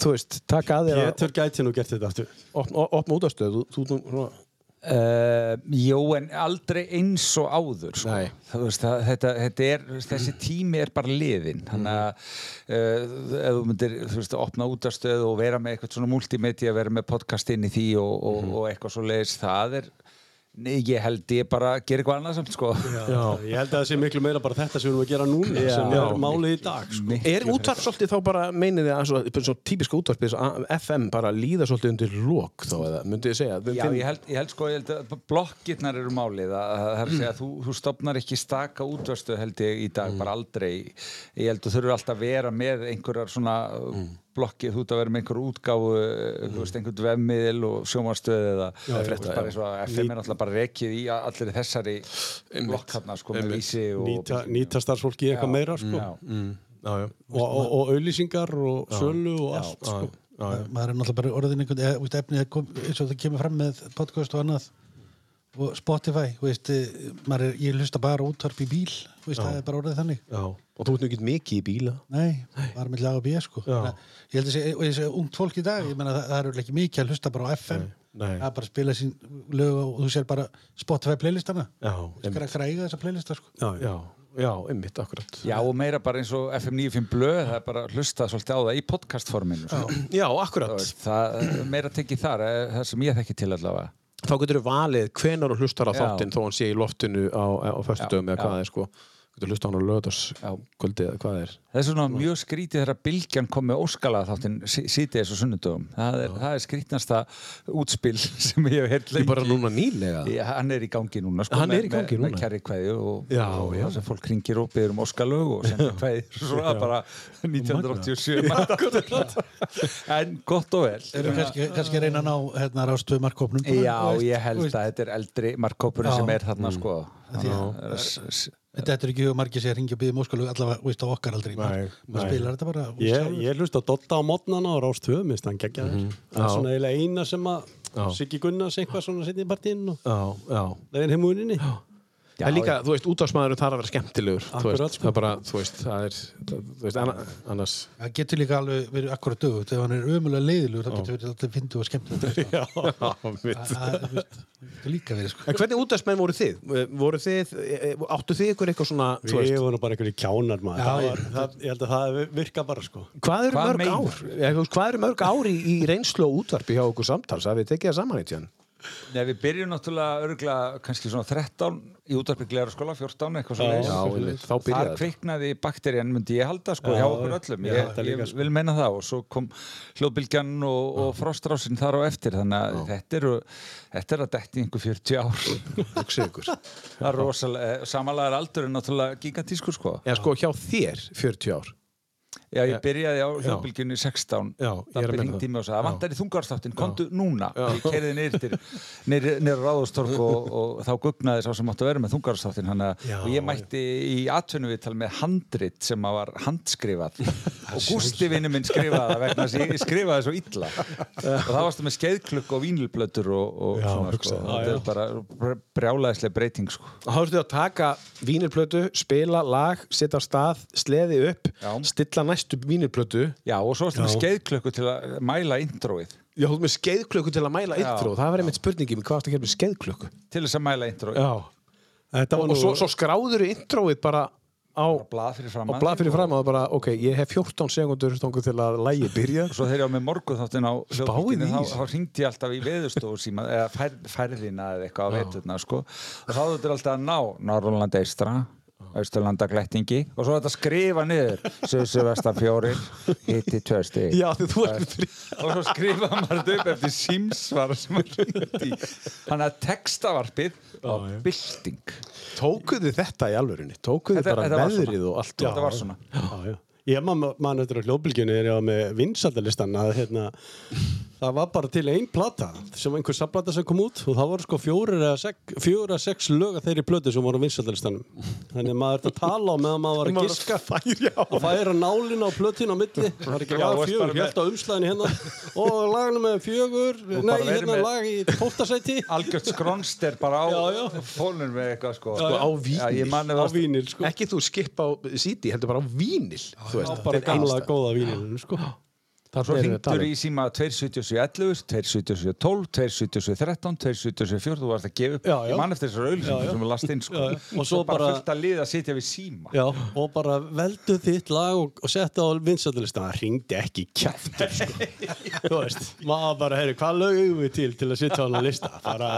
[SPEAKER 1] þú veist, taka að þér að
[SPEAKER 2] Pétur gæti nú gert þetta aftur
[SPEAKER 1] opna, opna útastöð þú, þú, þú, svona,
[SPEAKER 4] Uh, jó, en aldrei eins og áður sko.
[SPEAKER 1] Nei.
[SPEAKER 4] Þú veist, það, þetta, þetta er, þú veist, þessi tími er bara liðin þannig að uh, ef þú myndir þú veist, opna útastöð og vera með eitthvað svona multimedia, vera með podcast inn í því og, og, og eitthvað svo leiðis það er, nei, ég held ég bara gera eitthvað annað samt sko.
[SPEAKER 2] ég held að það sé miklu meira bara þetta sem við erum að gera núna sem
[SPEAKER 4] Já.
[SPEAKER 2] er málið í dag sko.
[SPEAKER 4] Miklu
[SPEAKER 1] Er útvarp svolítið þá bara, meinið þið að svo, svo típiska útvarpið, svo FM bara líða svolítið undir lok þá, eða, myndið þið segja
[SPEAKER 4] Já,
[SPEAKER 1] Finn-
[SPEAKER 4] ég held, ég held sko, ég held að blokkirnar eru málið að, að, að, að, að þú, þú stopnar ekki staka útvastu held ég í dag, bara aldrei ég held að þurfa alltaf að vera með einhverjar svona mm. blokkið þú ert að vera með einhverju útgáfu þú veist, einhvern vefmiðil og sjómanstöð eða frétta, bara eins og að FM er alltaf bara rekið í allir þessari blokkarnar sko, með vísi og
[SPEAKER 2] nýta, nýta starfsfólki í eitthvað meira sko.
[SPEAKER 4] Já.
[SPEAKER 1] já, já.
[SPEAKER 2] og, og, og auðlýsingar og sölu og allt sko.
[SPEAKER 3] Maður er náttúrulega bara orðin einhvern, eða, veist, efnið er kom, eins og það kemur fram með podcast og annað og Spotify, þú veist, eh, maður er, ég hlusta bara á útvarp í bíl, þú veist, það er bara orðið þannig.
[SPEAKER 1] Já, og þú ert nú ekki mikið í bíla
[SPEAKER 3] Nei, bara með lag og bíð sko. Þannig að Ég held að segja, og ég segja ungt fólk í dag, ég menna það, það eru ekki mikið að hlusta bara á FM.
[SPEAKER 1] Nei.
[SPEAKER 3] það er bara að spila sín lög og þú sér bara Spotify playlistana
[SPEAKER 1] Já,
[SPEAKER 3] það er að græga þessa playlista sko.
[SPEAKER 2] já, já.
[SPEAKER 1] já, já, einmitt, akkurat.
[SPEAKER 4] Já, og meira bara eins og FM 95 blöð, það er bara að hlusta svolítið á það í podcastforminu. sko.
[SPEAKER 1] Já,
[SPEAKER 4] Þú
[SPEAKER 1] akkurat.
[SPEAKER 4] veist, Það meira tekið þar, eh, það sem ég þekki til allavega.
[SPEAKER 1] Þá getur þú valið hvenar og hlustar á
[SPEAKER 4] Já.
[SPEAKER 1] þáttinn þó hann sé í loftinu á, á föstudöfum eða
[SPEAKER 4] já.
[SPEAKER 1] hvað það er sko. Getur hlusta á hann á löðarskvöldi eða hvað það er.
[SPEAKER 4] Það er svona mjög skrítið þegar bylgjan kom með óskala þáttin sítiðis og sunnundum. Það er, það er skrítnasta útspil sem ég hef heyrt
[SPEAKER 1] Ég
[SPEAKER 4] lengi.
[SPEAKER 1] bara núna nýlega.
[SPEAKER 4] Já, hann er í gangi núna sko,
[SPEAKER 1] Hann er í gangi
[SPEAKER 4] með,
[SPEAKER 1] núna.
[SPEAKER 4] með kæri kveðju og,
[SPEAKER 1] Já,
[SPEAKER 4] og
[SPEAKER 1] já.
[SPEAKER 4] það sem fólk ringir og byrður um óskalög og sendir kveðjur og svona bara 1987 en gott og vel
[SPEAKER 3] erum kannski, kannski að reyna að ná hérna rástöðu markkopnum
[SPEAKER 4] já ég held að þetta er eldri markkópurinn sem er þarna
[SPEAKER 1] Mm.
[SPEAKER 4] sko eh,
[SPEAKER 3] því að- þetta er ekki hugum margir sér hringi og byggði móskalög allavega veist, á okkar aldrei maður maður spilar þetta bara og
[SPEAKER 2] Ég,
[SPEAKER 3] sjálfur.
[SPEAKER 2] ég hlusta á Dotta á mótnana og Rást 2, minnst hann geggja þér. Það er svona eiginlega eina sem að Siggi Gunnars eitthvað svona setni í partíinn og
[SPEAKER 1] Já, já.
[SPEAKER 2] það er heimuninni.
[SPEAKER 4] Já,
[SPEAKER 1] en líka, þú veist, útvarsmaðurinn þarf að vera skemmtilegur. þú
[SPEAKER 2] Akkurat,
[SPEAKER 1] veist,
[SPEAKER 2] sko.
[SPEAKER 1] Það er bara, þú veist, það er, þú veist, anna- annars.
[SPEAKER 3] það getur líka alveg verið akkurat dögut ef hann er ömulega leiðilugur þá getur verið alltaf fyndu og skemmt
[SPEAKER 1] Já, mitt.
[SPEAKER 3] það þú veist, það getur líka verið sko.
[SPEAKER 1] En hvernig útvarsmenn voru þið? Voru þið, eh, áttu þið ykkur eitthvað svona, þú
[SPEAKER 2] Við
[SPEAKER 1] veist,
[SPEAKER 2] vorum bara einhverju kjánar maður.
[SPEAKER 3] Já,
[SPEAKER 2] það
[SPEAKER 3] ég-
[SPEAKER 2] var, það, ég held að það virka bara sko.
[SPEAKER 1] hvað eru
[SPEAKER 4] Hvað
[SPEAKER 1] mörg
[SPEAKER 4] meinar?
[SPEAKER 1] ár? Ég, þú veist, Hvað eru mörg ár í, í reynslu og útvarpi hjá okkur samtals? Það við tekið það saman eitt, Ján.
[SPEAKER 4] Nei, við byrjum náttúrulega örgla kannski svona 13 í útarpi gleraskóla, 14 eitthvað svona
[SPEAKER 1] Já, einmitt, þá
[SPEAKER 4] Þar
[SPEAKER 1] byrjaði þetta.
[SPEAKER 4] kviknaði bakterían myndi ég halda sko hjá okkur öllum,
[SPEAKER 2] ég
[SPEAKER 4] ég,
[SPEAKER 2] held það
[SPEAKER 4] ég
[SPEAKER 2] líka, sko.
[SPEAKER 4] vil meina það og svo kom hljóðbylgjan og, og frostrásin þar á eftir þannig að þetta eru þetta er að detti einhver 40 ár
[SPEAKER 1] Hugsið ykkur.
[SPEAKER 4] það er rosalega, samanlegar aldur er náttúrulega gigantískur sko
[SPEAKER 1] Já, sko, hjá þér 40 ár.
[SPEAKER 4] Já, ég byrjaði á hljóðbylgjunni 16
[SPEAKER 1] Já, ég
[SPEAKER 4] það
[SPEAKER 1] er að meina
[SPEAKER 4] byrjum
[SPEAKER 1] það.
[SPEAKER 4] tími og sagði, það vantar í þungarstáttin, komdu núna og ég kerði neyrir neyrir ráðustorg og, og þá gugnaði sá sem áttu að vera með þungarstáttin hana, og ég mætti í atvinnuviðtal með handrit sem að var handskrifað og Gústi vinnu minn skrifaði það vegna þess að ég skrifaði svo illa og það varstu með skeiðklukk og vínilblötur og, og svona sko, þetta er bara brjálæðislega breyting sko.
[SPEAKER 1] Þá ertu að taka vínirplötu, spila lag, setja á stað, sleði upp,
[SPEAKER 4] Já.
[SPEAKER 1] stilla næstu vínirplötu.
[SPEAKER 4] Já, og svo varstu með skeiðklukku til að mæla introið
[SPEAKER 1] Já, þú ert með skeiðklöku til að mæla intro. Það var einmitt spurningin, hvað varstu að gera með skeiðklöku?
[SPEAKER 4] til þess að mæla introið
[SPEAKER 1] Já.
[SPEAKER 2] Þetta var
[SPEAKER 1] Og
[SPEAKER 2] nú...
[SPEAKER 1] svo, svo skráður introið bara á, á
[SPEAKER 4] blað fyrir fram
[SPEAKER 1] blað fyrir fram og bara, ok, ég hef 14 sekundur stóngu til að lægi byrja.
[SPEAKER 4] Svo þegar ég var með morgun þáttin á
[SPEAKER 1] Spáið í
[SPEAKER 4] hljóðbylginni, þá,
[SPEAKER 1] þessu.
[SPEAKER 4] þá ringdi ég alltaf í veðurstofu síma, eða fær, færðina eða eitthvað á veturna, sko. Og þá þetta er alltaf að ná Norrlanda eistra, Austurlanda glættingi og svo þetta skrifa niður Söðsö vestan fjórin, hitti tjösti
[SPEAKER 1] Já, því þú ert með fyrir.
[SPEAKER 4] og svo skrifa maður þetta upp eftir símsvar sem maður ringdi þannig að textavarpið og bylting
[SPEAKER 1] Tókuðu þetta í alvörunni? Tókuðu
[SPEAKER 4] Þetta-
[SPEAKER 1] bara
[SPEAKER 4] þetta var
[SPEAKER 1] veðrið
[SPEAKER 4] svona.
[SPEAKER 1] og allt?
[SPEAKER 4] þetta var svona
[SPEAKER 2] Já, já. Ég man, man eftir að hljóðbylgjunni er ég á með vinsaldalistan að hérna, það var bara til ein plata sem einhver samplata sem kom út og það voru sko fjórir eða sex, fjórir eða sex lög að þeirri plötu sem voru á vinsaldalistanum. Þannig að maður ert að tala á meðan maður var að giska
[SPEAKER 1] færi á.
[SPEAKER 2] og færa nálin á plötin á milli það er ekki
[SPEAKER 4] Já,
[SPEAKER 2] lag
[SPEAKER 4] þú veist bara
[SPEAKER 2] fjögur,
[SPEAKER 4] með-
[SPEAKER 2] ég held á umslæðinu hérna og laginu með fjögur nei,
[SPEAKER 4] bara verið
[SPEAKER 2] hérna
[SPEAKER 4] með-
[SPEAKER 2] lag í tóltasæti
[SPEAKER 4] algjört skronster bara á
[SPEAKER 2] Já, já.
[SPEAKER 4] fónur með eitthvað sko,
[SPEAKER 2] Já, já.
[SPEAKER 1] Á
[SPEAKER 4] Já,
[SPEAKER 1] vínil.
[SPEAKER 4] ég man
[SPEAKER 2] á
[SPEAKER 4] eða
[SPEAKER 2] vínil sko
[SPEAKER 1] Ekki þú skip á CD, heldur bara á vínil. Þú
[SPEAKER 2] á
[SPEAKER 1] veist, þetta
[SPEAKER 2] bara
[SPEAKER 1] er
[SPEAKER 2] gamla
[SPEAKER 1] einstakt.
[SPEAKER 2] góða vínilinu sko
[SPEAKER 1] Þarna
[SPEAKER 4] Svo
[SPEAKER 1] erum við að tala
[SPEAKER 4] ringdur
[SPEAKER 1] um-
[SPEAKER 4] í síma 27711, 27712, 27713, 27714, þú varst að gefa upp,
[SPEAKER 2] Já, já.
[SPEAKER 4] ég man eftir þessar auðlýsingum sem er last inn, sko.
[SPEAKER 2] Já, já. Og svo
[SPEAKER 4] bara
[SPEAKER 2] bara-
[SPEAKER 4] fullt að liða að sitja við síma.
[SPEAKER 2] Já, og bara veldu þitt lag og, og setja á vinsaldalistan það ringdi ekki kjæftur sko. þú veist, maður bara, heyri, hvað lögum við til til að setja á hann að lista bara,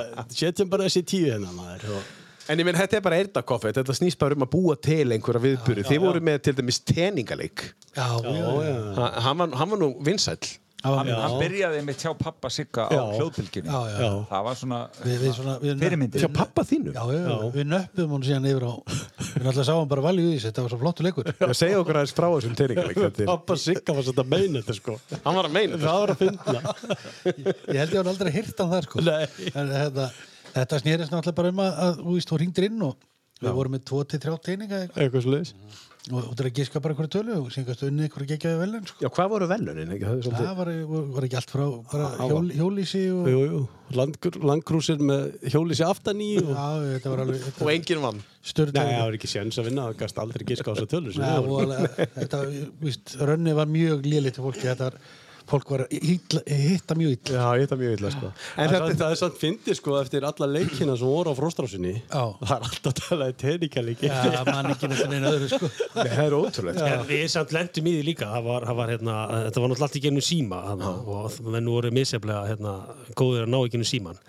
[SPEAKER 2] setjum bara þessi tíu hérna maður og,
[SPEAKER 1] En ég minn, þetta er bara eirdakoffið, þetta snýst bara um að búa til einhverja viðbyrju. Þið voru með til dæmis teningaleik.
[SPEAKER 3] já, já, já,
[SPEAKER 1] Ha- Hann var, hann var nú vinsæll.
[SPEAKER 3] já,
[SPEAKER 4] Hann, hann byrjaði með tjá pappa Sigga á
[SPEAKER 2] Já.
[SPEAKER 4] hljóðbylginni.
[SPEAKER 3] já, já.
[SPEAKER 4] Það var svona
[SPEAKER 3] Við, við svona, við nöpp-
[SPEAKER 4] fyrirmyndir.
[SPEAKER 1] Hjá pappa þínu.
[SPEAKER 3] já, já, við nöppum hún síðan yfir á við náttúrulega sáum bara valju í þessu, þetta var svo flottu leikur
[SPEAKER 1] Já, segja okkur aðeins frá þessum teningaleik. þetta er-
[SPEAKER 2] pappa Sigga var svolítið að meina þetta sko
[SPEAKER 1] Hann var að meina þetta.
[SPEAKER 2] það var að finna
[SPEAKER 3] ég held ég hann aldrei hirt hann það sko
[SPEAKER 2] Nei.
[SPEAKER 3] en þetta, þetta snýrist náttúrulega bara um að, að þú veist, þú ringdir inn og við vorum með 2-3 teininga og
[SPEAKER 2] eitthvað sliðis
[SPEAKER 3] þú þurfir að giska bara hverju tölu og síðan gæstu unni hverju gegjaði vel en sko
[SPEAKER 1] Já, hvað voru velunin? Ekki, það er svolítið...
[SPEAKER 3] það var, var ekki allt frá bara hjól, hjólísi og já,
[SPEAKER 2] Jú, jú, Landgr, landgrúsir með hjólísi aftan í og...
[SPEAKER 3] þetta var alveg þetta
[SPEAKER 1] Og
[SPEAKER 3] var
[SPEAKER 1] enginn vann.
[SPEAKER 2] Nei, það
[SPEAKER 3] störtlega
[SPEAKER 2] var ekki séns að vinna, það gæst aldrei giska á þessa tölur sko. sem
[SPEAKER 3] Já,
[SPEAKER 2] við vorum.
[SPEAKER 3] og alveg, þetta, víst, Rönni var mjög lélitt til fólki þetta var fólk var illa, hitta mjög illa
[SPEAKER 1] Já, ég þetta mjög illa, sko.
[SPEAKER 2] En þetta, það er samt fyndið sko eftir alla leikina sem voru á fróstrásinni
[SPEAKER 3] Já.
[SPEAKER 2] Það er alltaf talaði teníkaleiki
[SPEAKER 3] Já, mann ekki þetta neina öðru sko
[SPEAKER 1] Það er ótrúlegt.
[SPEAKER 5] En við samt lendum í því líka, það var, það var, hérna, þetta var náttúrulega allt í genum síma hana, og menn voru misjaflega hérna, góðir að ná í genum síman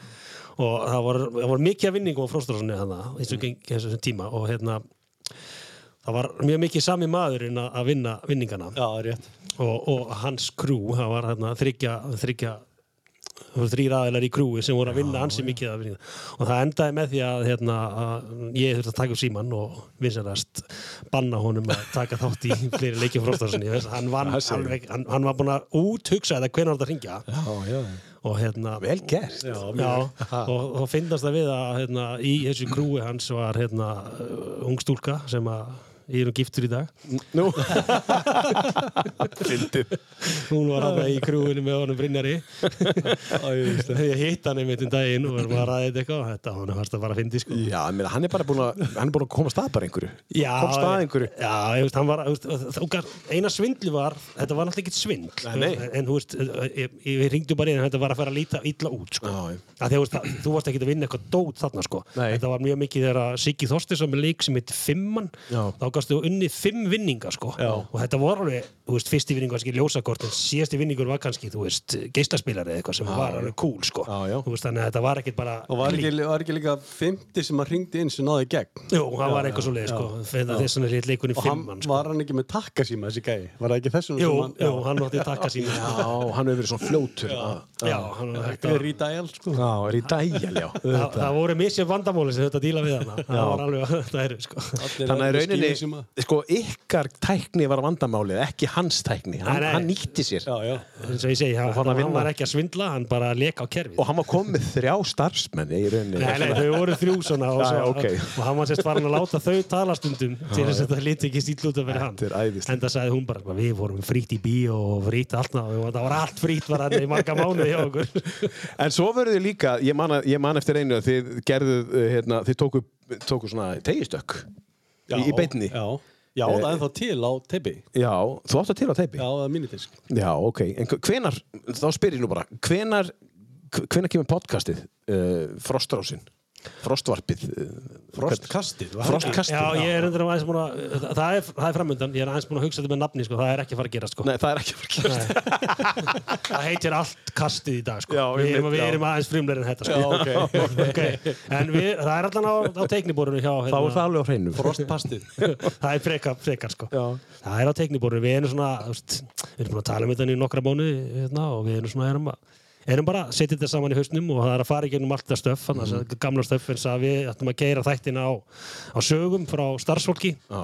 [SPEAKER 5] og það var, það var mikið að vinningum á fróstrásunni hana, eins og geng, eins og þessum tíma og hérna, það var mjög mikið sami maðurinn að- að vinna vinningana
[SPEAKER 2] Já, rétt
[SPEAKER 5] og, og hans krú, það var hérna, þryggja, þryggja það voru þrýr aðeinar í krúi sem voru að vinna ansi mikið að vinna. og það endaði með því að, hérna, að ég þurfti að taka upp síman og vinsanast banna honum að taka þátt í fleiri leikjum fróstarsinni hann, vann alveg, hann, hann var búin að úthugsa þetta hvernig var þetta að ringja
[SPEAKER 1] Já, já.
[SPEAKER 5] og hérna
[SPEAKER 1] Vel gert.
[SPEAKER 5] Já, og, og finnast það við að hérna, í þessu krúi hans var hérna, uh, ung stúlka sem að ég erum giftur í dag
[SPEAKER 1] Nú. Fyndið.
[SPEAKER 5] hún var hann í krúinu með honum Brynjari ég hitt hann einmitt um daginn og var að ræða þetta eitthvað og þetta honum varst að bara fyndi sko
[SPEAKER 1] Já, ég meina, hann er bara búin að, hann er búin að koma stað bara einhverju.
[SPEAKER 5] Já,
[SPEAKER 1] Komst að einhverju.
[SPEAKER 5] já, ég veist, hann var, þú veist, þú veist, eina svindlu var, þetta var náttúrulega ekkert svindl,
[SPEAKER 1] Nei, nei.
[SPEAKER 5] en þú veist, eh, ég, ég ringdu bara í en þetta var að fara að líta illa út, sko.
[SPEAKER 1] Já, já.
[SPEAKER 5] Að því, þú, veist, að, þú varst ekki að vinna eitthvað dót þarna, sko.
[SPEAKER 1] Nei.
[SPEAKER 5] Þetta var mjög mikið þegar að Siggi Þorsti sem er leik sem heit Fimman,
[SPEAKER 1] Já.
[SPEAKER 5] þá gafst þú unni fimm vinninga, sko. Já. Og þetta var alveg, þú veist, fyrsti vinningu var kannski ljósakort, en síðasti vinningur var kannski, þú veist, geislaspilari eða eitthvað sem var alveg cool, sko.
[SPEAKER 1] Já, já.
[SPEAKER 5] Þú veist, þannig að þetta var ekkert bara
[SPEAKER 2] Og var ekki, var ekki líka 50 sem að ringdi inn sem náði í gegn
[SPEAKER 5] Jú, það var eitthvað svo leið, sko. Þess vegna er hitt leikunni
[SPEAKER 2] Og hann,
[SPEAKER 5] Fimman, sko.
[SPEAKER 2] var hann ekki með takka síma þessi gæi Var það ekki þessum
[SPEAKER 5] Jú,
[SPEAKER 2] sem hann
[SPEAKER 5] jú, hann átti að taka sína
[SPEAKER 1] Já,
[SPEAKER 5] sko.
[SPEAKER 1] hann hefur verið svona fljótur. Já,
[SPEAKER 5] Já, hann átti
[SPEAKER 2] Það er
[SPEAKER 5] þetta
[SPEAKER 2] í dæl sko
[SPEAKER 1] já er í dægjal, já.
[SPEAKER 5] Það, það voru misjum vandamóli sem þetta díla við hana Það var alveg að þetta eru sko
[SPEAKER 1] Þannig að í rauninni, sko, ykkar tækni var vandamálið, ekki hans tækni. Hann,
[SPEAKER 5] Nei, nei.
[SPEAKER 1] hann nýtti sér.
[SPEAKER 2] Já, já
[SPEAKER 5] eins og ég segi, hann,
[SPEAKER 1] fór hann að
[SPEAKER 5] hann
[SPEAKER 1] vinna.
[SPEAKER 5] var ekki að svindla hann bara leka á kerfið
[SPEAKER 1] Og hann var komið þrjá starfsmenni í rauninni.
[SPEAKER 5] Nei, nei, þau voru þrjú svona og,
[SPEAKER 1] Já,
[SPEAKER 5] svo,
[SPEAKER 1] ok.
[SPEAKER 5] og hann var sérst farin að láta þau tala stundum til þess að þetta liti ekki stíl út að vera hann
[SPEAKER 1] Þetta er æðislegt.
[SPEAKER 5] en það sagði hún bara, við vorum frýtt í bíó og frýtt allt náðu og það var allt frýtt var hann í marga mánuði hjá okkur
[SPEAKER 1] En svo verður þið líka, ég man, að- ég man eftir einu að þið gerðuð, uh, hérna, þið tóku, tóku svona tegistökk í, í beinni. Eh, Já.
[SPEAKER 2] Já, já það er þá til á teipi
[SPEAKER 1] þú átt að til á teipi?
[SPEAKER 2] Já, það er mínitisk
[SPEAKER 1] Já, ok. En hv- hvenar, þá spyr ég nú bara, hvenar, hv- hvenar kemur podcastið, uh, Frostrásin, Frostvarpið? Uh,
[SPEAKER 2] Frostkastið var það ekki?
[SPEAKER 1] Frostkastið?
[SPEAKER 5] Já, ég er endur aðeins búin að það er, það er framöndan, ég er aðeins búin að hugsa þetta með nafni sko, það er ekki að fara að gera sko
[SPEAKER 1] Nei, það er ekki Frostkastið.
[SPEAKER 5] það heitir allt kastið í dag sko.
[SPEAKER 1] Já,
[SPEAKER 5] við, erum,
[SPEAKER 1] einmitt,
[SPEAKER 5] við
[SPEAKER 1] já.
[SPEAKER 5] erum aðeins frumleir en þetta sko. já, okay. en við, það er allan á, á teikniborinu hjá
[SPEAKER 1] Þá
[SPEAKER 5] hérna,
[SPEAKER 1] er það alveg á hreinu.
[SPEAKER 2] Frostpastið
[SPEAKER 5] það er frekar, frekar sko. það er á teikniborinu, við erum svona þú veist, við erum búin að tala um þetta í nokkra bónu hérna, og við erum svona erum að erum bara að setja þetta saman í hausnum og það er að fara í gegnum allt það stöf, þannig að gamla stöf eins að við ættum að geira þættina á, á sögum frá starfsfólki
[SPEAKER 1] Já.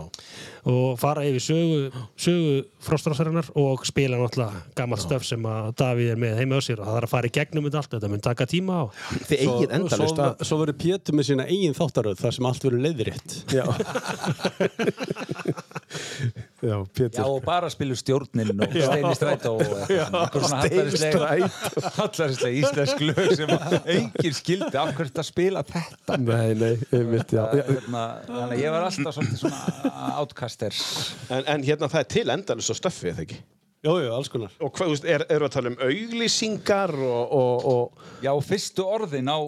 [SPEAKER 5] og fara yfir sögu, sögu frostrasarinnar og spila náttúrulega gammalt stöf sem að Davíð er með heima á sér og það er að fara í gegnum þetta allt, þetta mun taka tíma og
[SPEAKER 1] Þið eigið endalust
[SPEAKER 2] Svo,
[SPEAKER 1] að...
[SPEAKER 2] svo verður Pétur með sína eigin þáttaröð þar sem allt verður leiðrétt
[SPEAKER 1] Já, já
[SPEAKER 4] Já,
[SPEAKER 1] Pétur.
[SPEAKER 4] og bara spilur stjórnin og Steini Strætó og eitthvað svona hallarislega hallarislega íslensk lög sem engin skildi af hverju þetta spila þetta
[SPEAKER 1] Nei, nei, einmitt, já.
[SPEAKER 4] Það er hérna, þannig að ég var alltaf svolítið svona outcaster
[SPEAKER 1] En, en hérna það er til endalust á stöffi, eða ekki?
[SPEAKER 2] Jú, jú, alls konar
[SPEAKER 1] Og hvað, þú veist, er, erum við að tala um auglýsingar og, og, og
[SPEAKER 4] Já, og fyrstu orðin á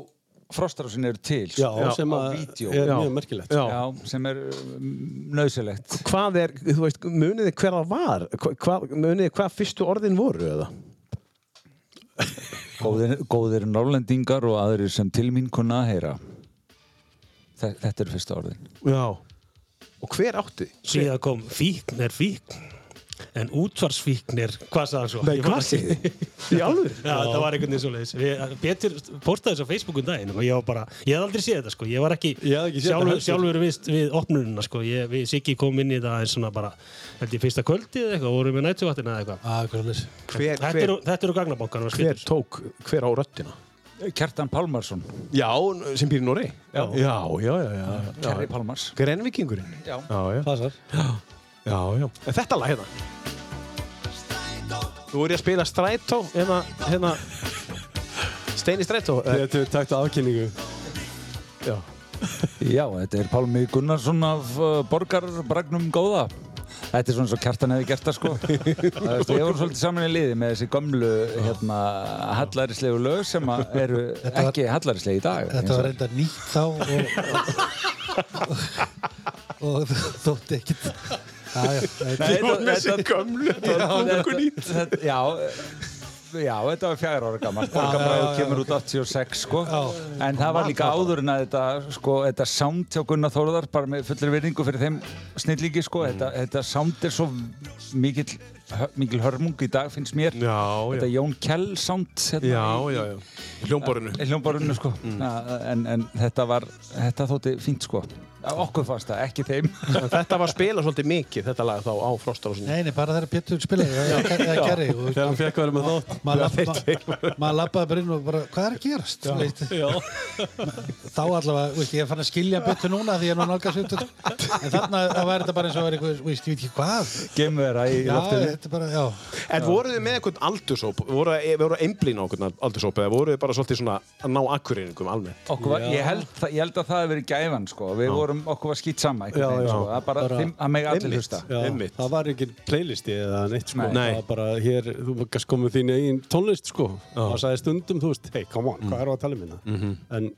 [SPEAKER 4] Frostarásin eru til sko,
[SPEAKER 2] Já, sem
[SPEAKER 4] á
[SPEAKER 2] að
[SPEAKER 4] vídeo
[SPEAKER 2] er
[SPEAKER 4] já.
[SPEAKER 2] mjög merkilegt
[SPEAKER 4] sem er mm, nöðsilegt
[SPEAKER 1] hvað er, þú veist, muniði hver það var? Hva, hva- muniði hvað fyrstu orðin voru eða?
[SPEAKER 4] góðir, góðir norlendingar og aðrir sem til mín kunna að heyra Þe- Þetta eru fyrstu orðin
[SPEAKER 1] Já. Og hver átti?
[SPEAKER 5] síðan kom fíkn er fíkn en útvarsfíkn er hvað sagði hann svo? Ég man ekki.
[SPEAKER 1] Í alveg?
[SPEAKER 5] Já, það var einhvern veginn svo leiðis Pétur postaði þessu á Facebookun daginn og ég var bara, ég hafði aldrei séð þetta sko, ég var ekki
[SPEAKER 2] Ég hafði ekki séð þetta
[SPEAKER 5] sjálfur,
[SPEAKER 2] heldur.
[SPEAKER 5] sjálfur við, við opnununa sko, ég, við Siggi kom inn í þetta aðeins svona bara, held ég fyrsta kvöldið eða eitthvað, vorum við nættuvattina eða eitthvað
[SPEAKER 3] ah, hvað er þess
[SPEAKER 1] Hver,
[SPEAKER 5] Þetta
[SPEAKER 1] hver,
[SPEAKER 5] eru- Þetta eru gagnabankan
[SPEAKER 1] hver tók, hver á röttina?
[SPEAKER 4] Kjartan Pálmarsson,
[SPEAKER 1] Já, sem býr í Norri. Já, já, já, já. já.
[SPEAKER 4] Kerry Pálmars
[SPEAKER 1] Hver enn vikingurinn?
[SPEAKER 4] Já.
[SPEAKER 1] já.
[SPEAKER 2] Passar
[SPEAKER 1] Já, já. En þetta lag hérna. Þú voru að spila Strætó, hérna, hérna, Steini Strætó. eh,
[SPEAKER 2] Pétur, takk til afkynningu
[SPEAKER 4] Já, þetta er Pálmi Gunnarsson af uh, Borgarbragnum góða þetta er svona svo kjartan hefði gert það sko Það veist, Ég voru svolítið saman í liði með þessi gömlu hérna, hallaríslegu lög sem að eru
[SPEAKER 3] var-
[SPEAKER 4] ekki hallaríslegu í dag
[SPEAKER 3] Þetta var reynda nýtt þá og, og, og þótti ekkit Já, já, þetta-
[SPEAKER 4] Nei,
[SPEAKER 7] með sér gömlu
[SPEAKER 4] nýtt Já, eh, já, þetta var fjár ára gammal Borgarbræður kemur út 86 sko En það var líka áður en að þetta sko, þetta sound hjá Gunnar Þórðar bara með fullir virðingu fyrir þeim snillingi sko, þetta, þetta sound er svo mikill, hö- mikil hörmung í dag finnst mér
[SPEAKER 7] Já, já,
[SPEAKER 4] Þetta Jón Kjell sound hérna,
[SPEAKER 7] já, já, já. Hljómborinu
[SPEAKER 4] í hljómborunni sko Na, en, en þetta var, þetta þótti fínt sko Okkur fannst það, ekki þeim
[SPEAKER 1] En þetta var spilað svolítið mikið, þetta lag þá á Frostarásinni.
[SPEAKER 3] Nei, nei, bara þegar Pétur spilaði eða eða Kerry og
[SPEAKER 2] Þegar hann fekk að vera með þátt.
[SPEAKER 3] maður labba- maður labbaði bara inn og bara, hvað er að gerast? Já, já. Þá allavega, veist, ég er fann að skilja betur núna því ég er nú nálgast út en þarna þá var þetta bara eins og var eitthvað, veist, ég veit ekki hvað
[SPEAKER 4] Gemur þeirra í
[SPEAKER 3] Já,
[SPEAKER 4] loftinu
[SPEAKER 3] þetta er bara, já
[SPEAKER 1] En voruð þið með einhvern aldurshóp? Voruð þið voru einblín á einhvern aldurshóp eða voruð þið bara svolítið svona að ná akkureyningum almennt?
[SPEAKER 4] Okkur Var, ég, held, það- ég held að það hef verið gæfan sko. við vorum, okkur var skýt sama já, veginn, sko. það er bara,
[SPEAKER 2] Bara-
[SPEAKER 4] þeim, það megi allir
[SPEAKER 1] Einmitt.
[SPEAKER 4] hlusta
[SPEAKER 2] Já,
[SPEAKER 1] Einmitt.
[SPEAKER 2] það var engin playlisti eða neitt sko.
[SPEAKER 4] Nei.
[SPEAKER 1] Nei.
[SPEAKER 2] Það var bara hér, þú gæst komið þín eigin tónlist sko. Það sagði stundum, þú veist, hey, come on, hvað er að tala um hérna? En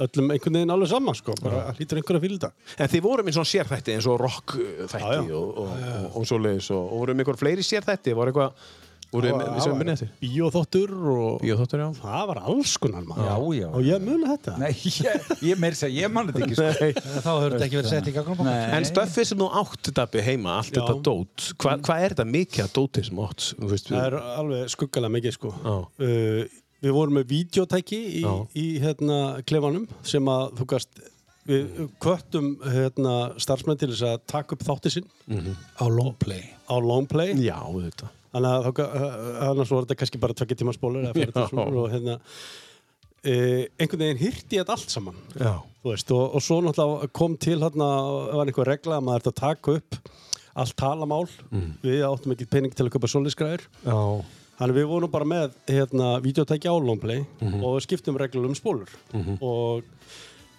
[SPEAKER 2] öllum einhvern veginn alveg sama sko, bara hlýtur einhver að fylgja.
[SPEAKER 1] En þið voruð með svona sérþætti eins og rockþætti
[SPEAKER 2] Já, já.
[SPEAKER 1] og, og, og, og svoleiðis og, og voruð með einhver fleiri sérþætti? Voruð eitthvað, voruð þið með sem minnið eftir?
[SPEAKER 2] Sko, Bíóþóttur og...
[SPEAKER 1] Bíóþáttur, já.
[SPEAKER 2] Það var alls konar maður.
[SPEAKER 4] Já, já.
[SPEAKER 2] Og ég muni þetta.
[SPEAKER 4] Nei, ég, ég meir þess að ég man þetta ekki sko.
[SPEAKER 3] Þá höfður þetta ekki verið sett í gangnum
[SPEAKER 1] En stöffið sem þú átt dabbi heima, allt þetta dót, hvað hva er þetta mikið að dóti sem þú átt? Þú veist,
[SPEAKER 2] Mm. Það er alveg skuggalega mikið sko.
[SPEAKER 1] Já.
[SPEAKER 2] Uh, við vorum með videotæki í,
[SPEAKER 1] Já.
[SPEAKER 2] í hérna klefanum sem að þú gast við kvöttum hérna starfsmenn til þess að taka upp þátti sinn
[SPEAKER 1] Mhm.
[SPEAKER 3] Á longplay
[SPEAKER 2] á longplay
[SPEAKER 1] já, þetta.
[SPEAKER 2] þannig að þá ga- uh, annars voru þetta kannski bara tökja tíma spólur eða fyrir
[SPEAKER 1] Já.
[SPEAKER 2] þessu og hérna uh, einhvern veginn hirti þetta allt saman
[SPEAKER 1] Já.
[SPEAKER 2] þú veist, og, og svo náttúrulega kom til hérna, var einhver regla að maður þetta taka upp allt talamál við áttum ekki pening til að köpa solisgræður
[SPEAKER 1] Mm. Já.
[SPEAKER 2] Þannig við vorum bara með hérna, videotæki á longplay
[SPEAKER 1] Mhm.
[SPEAKER 2] og við skiptum reglum um spólur og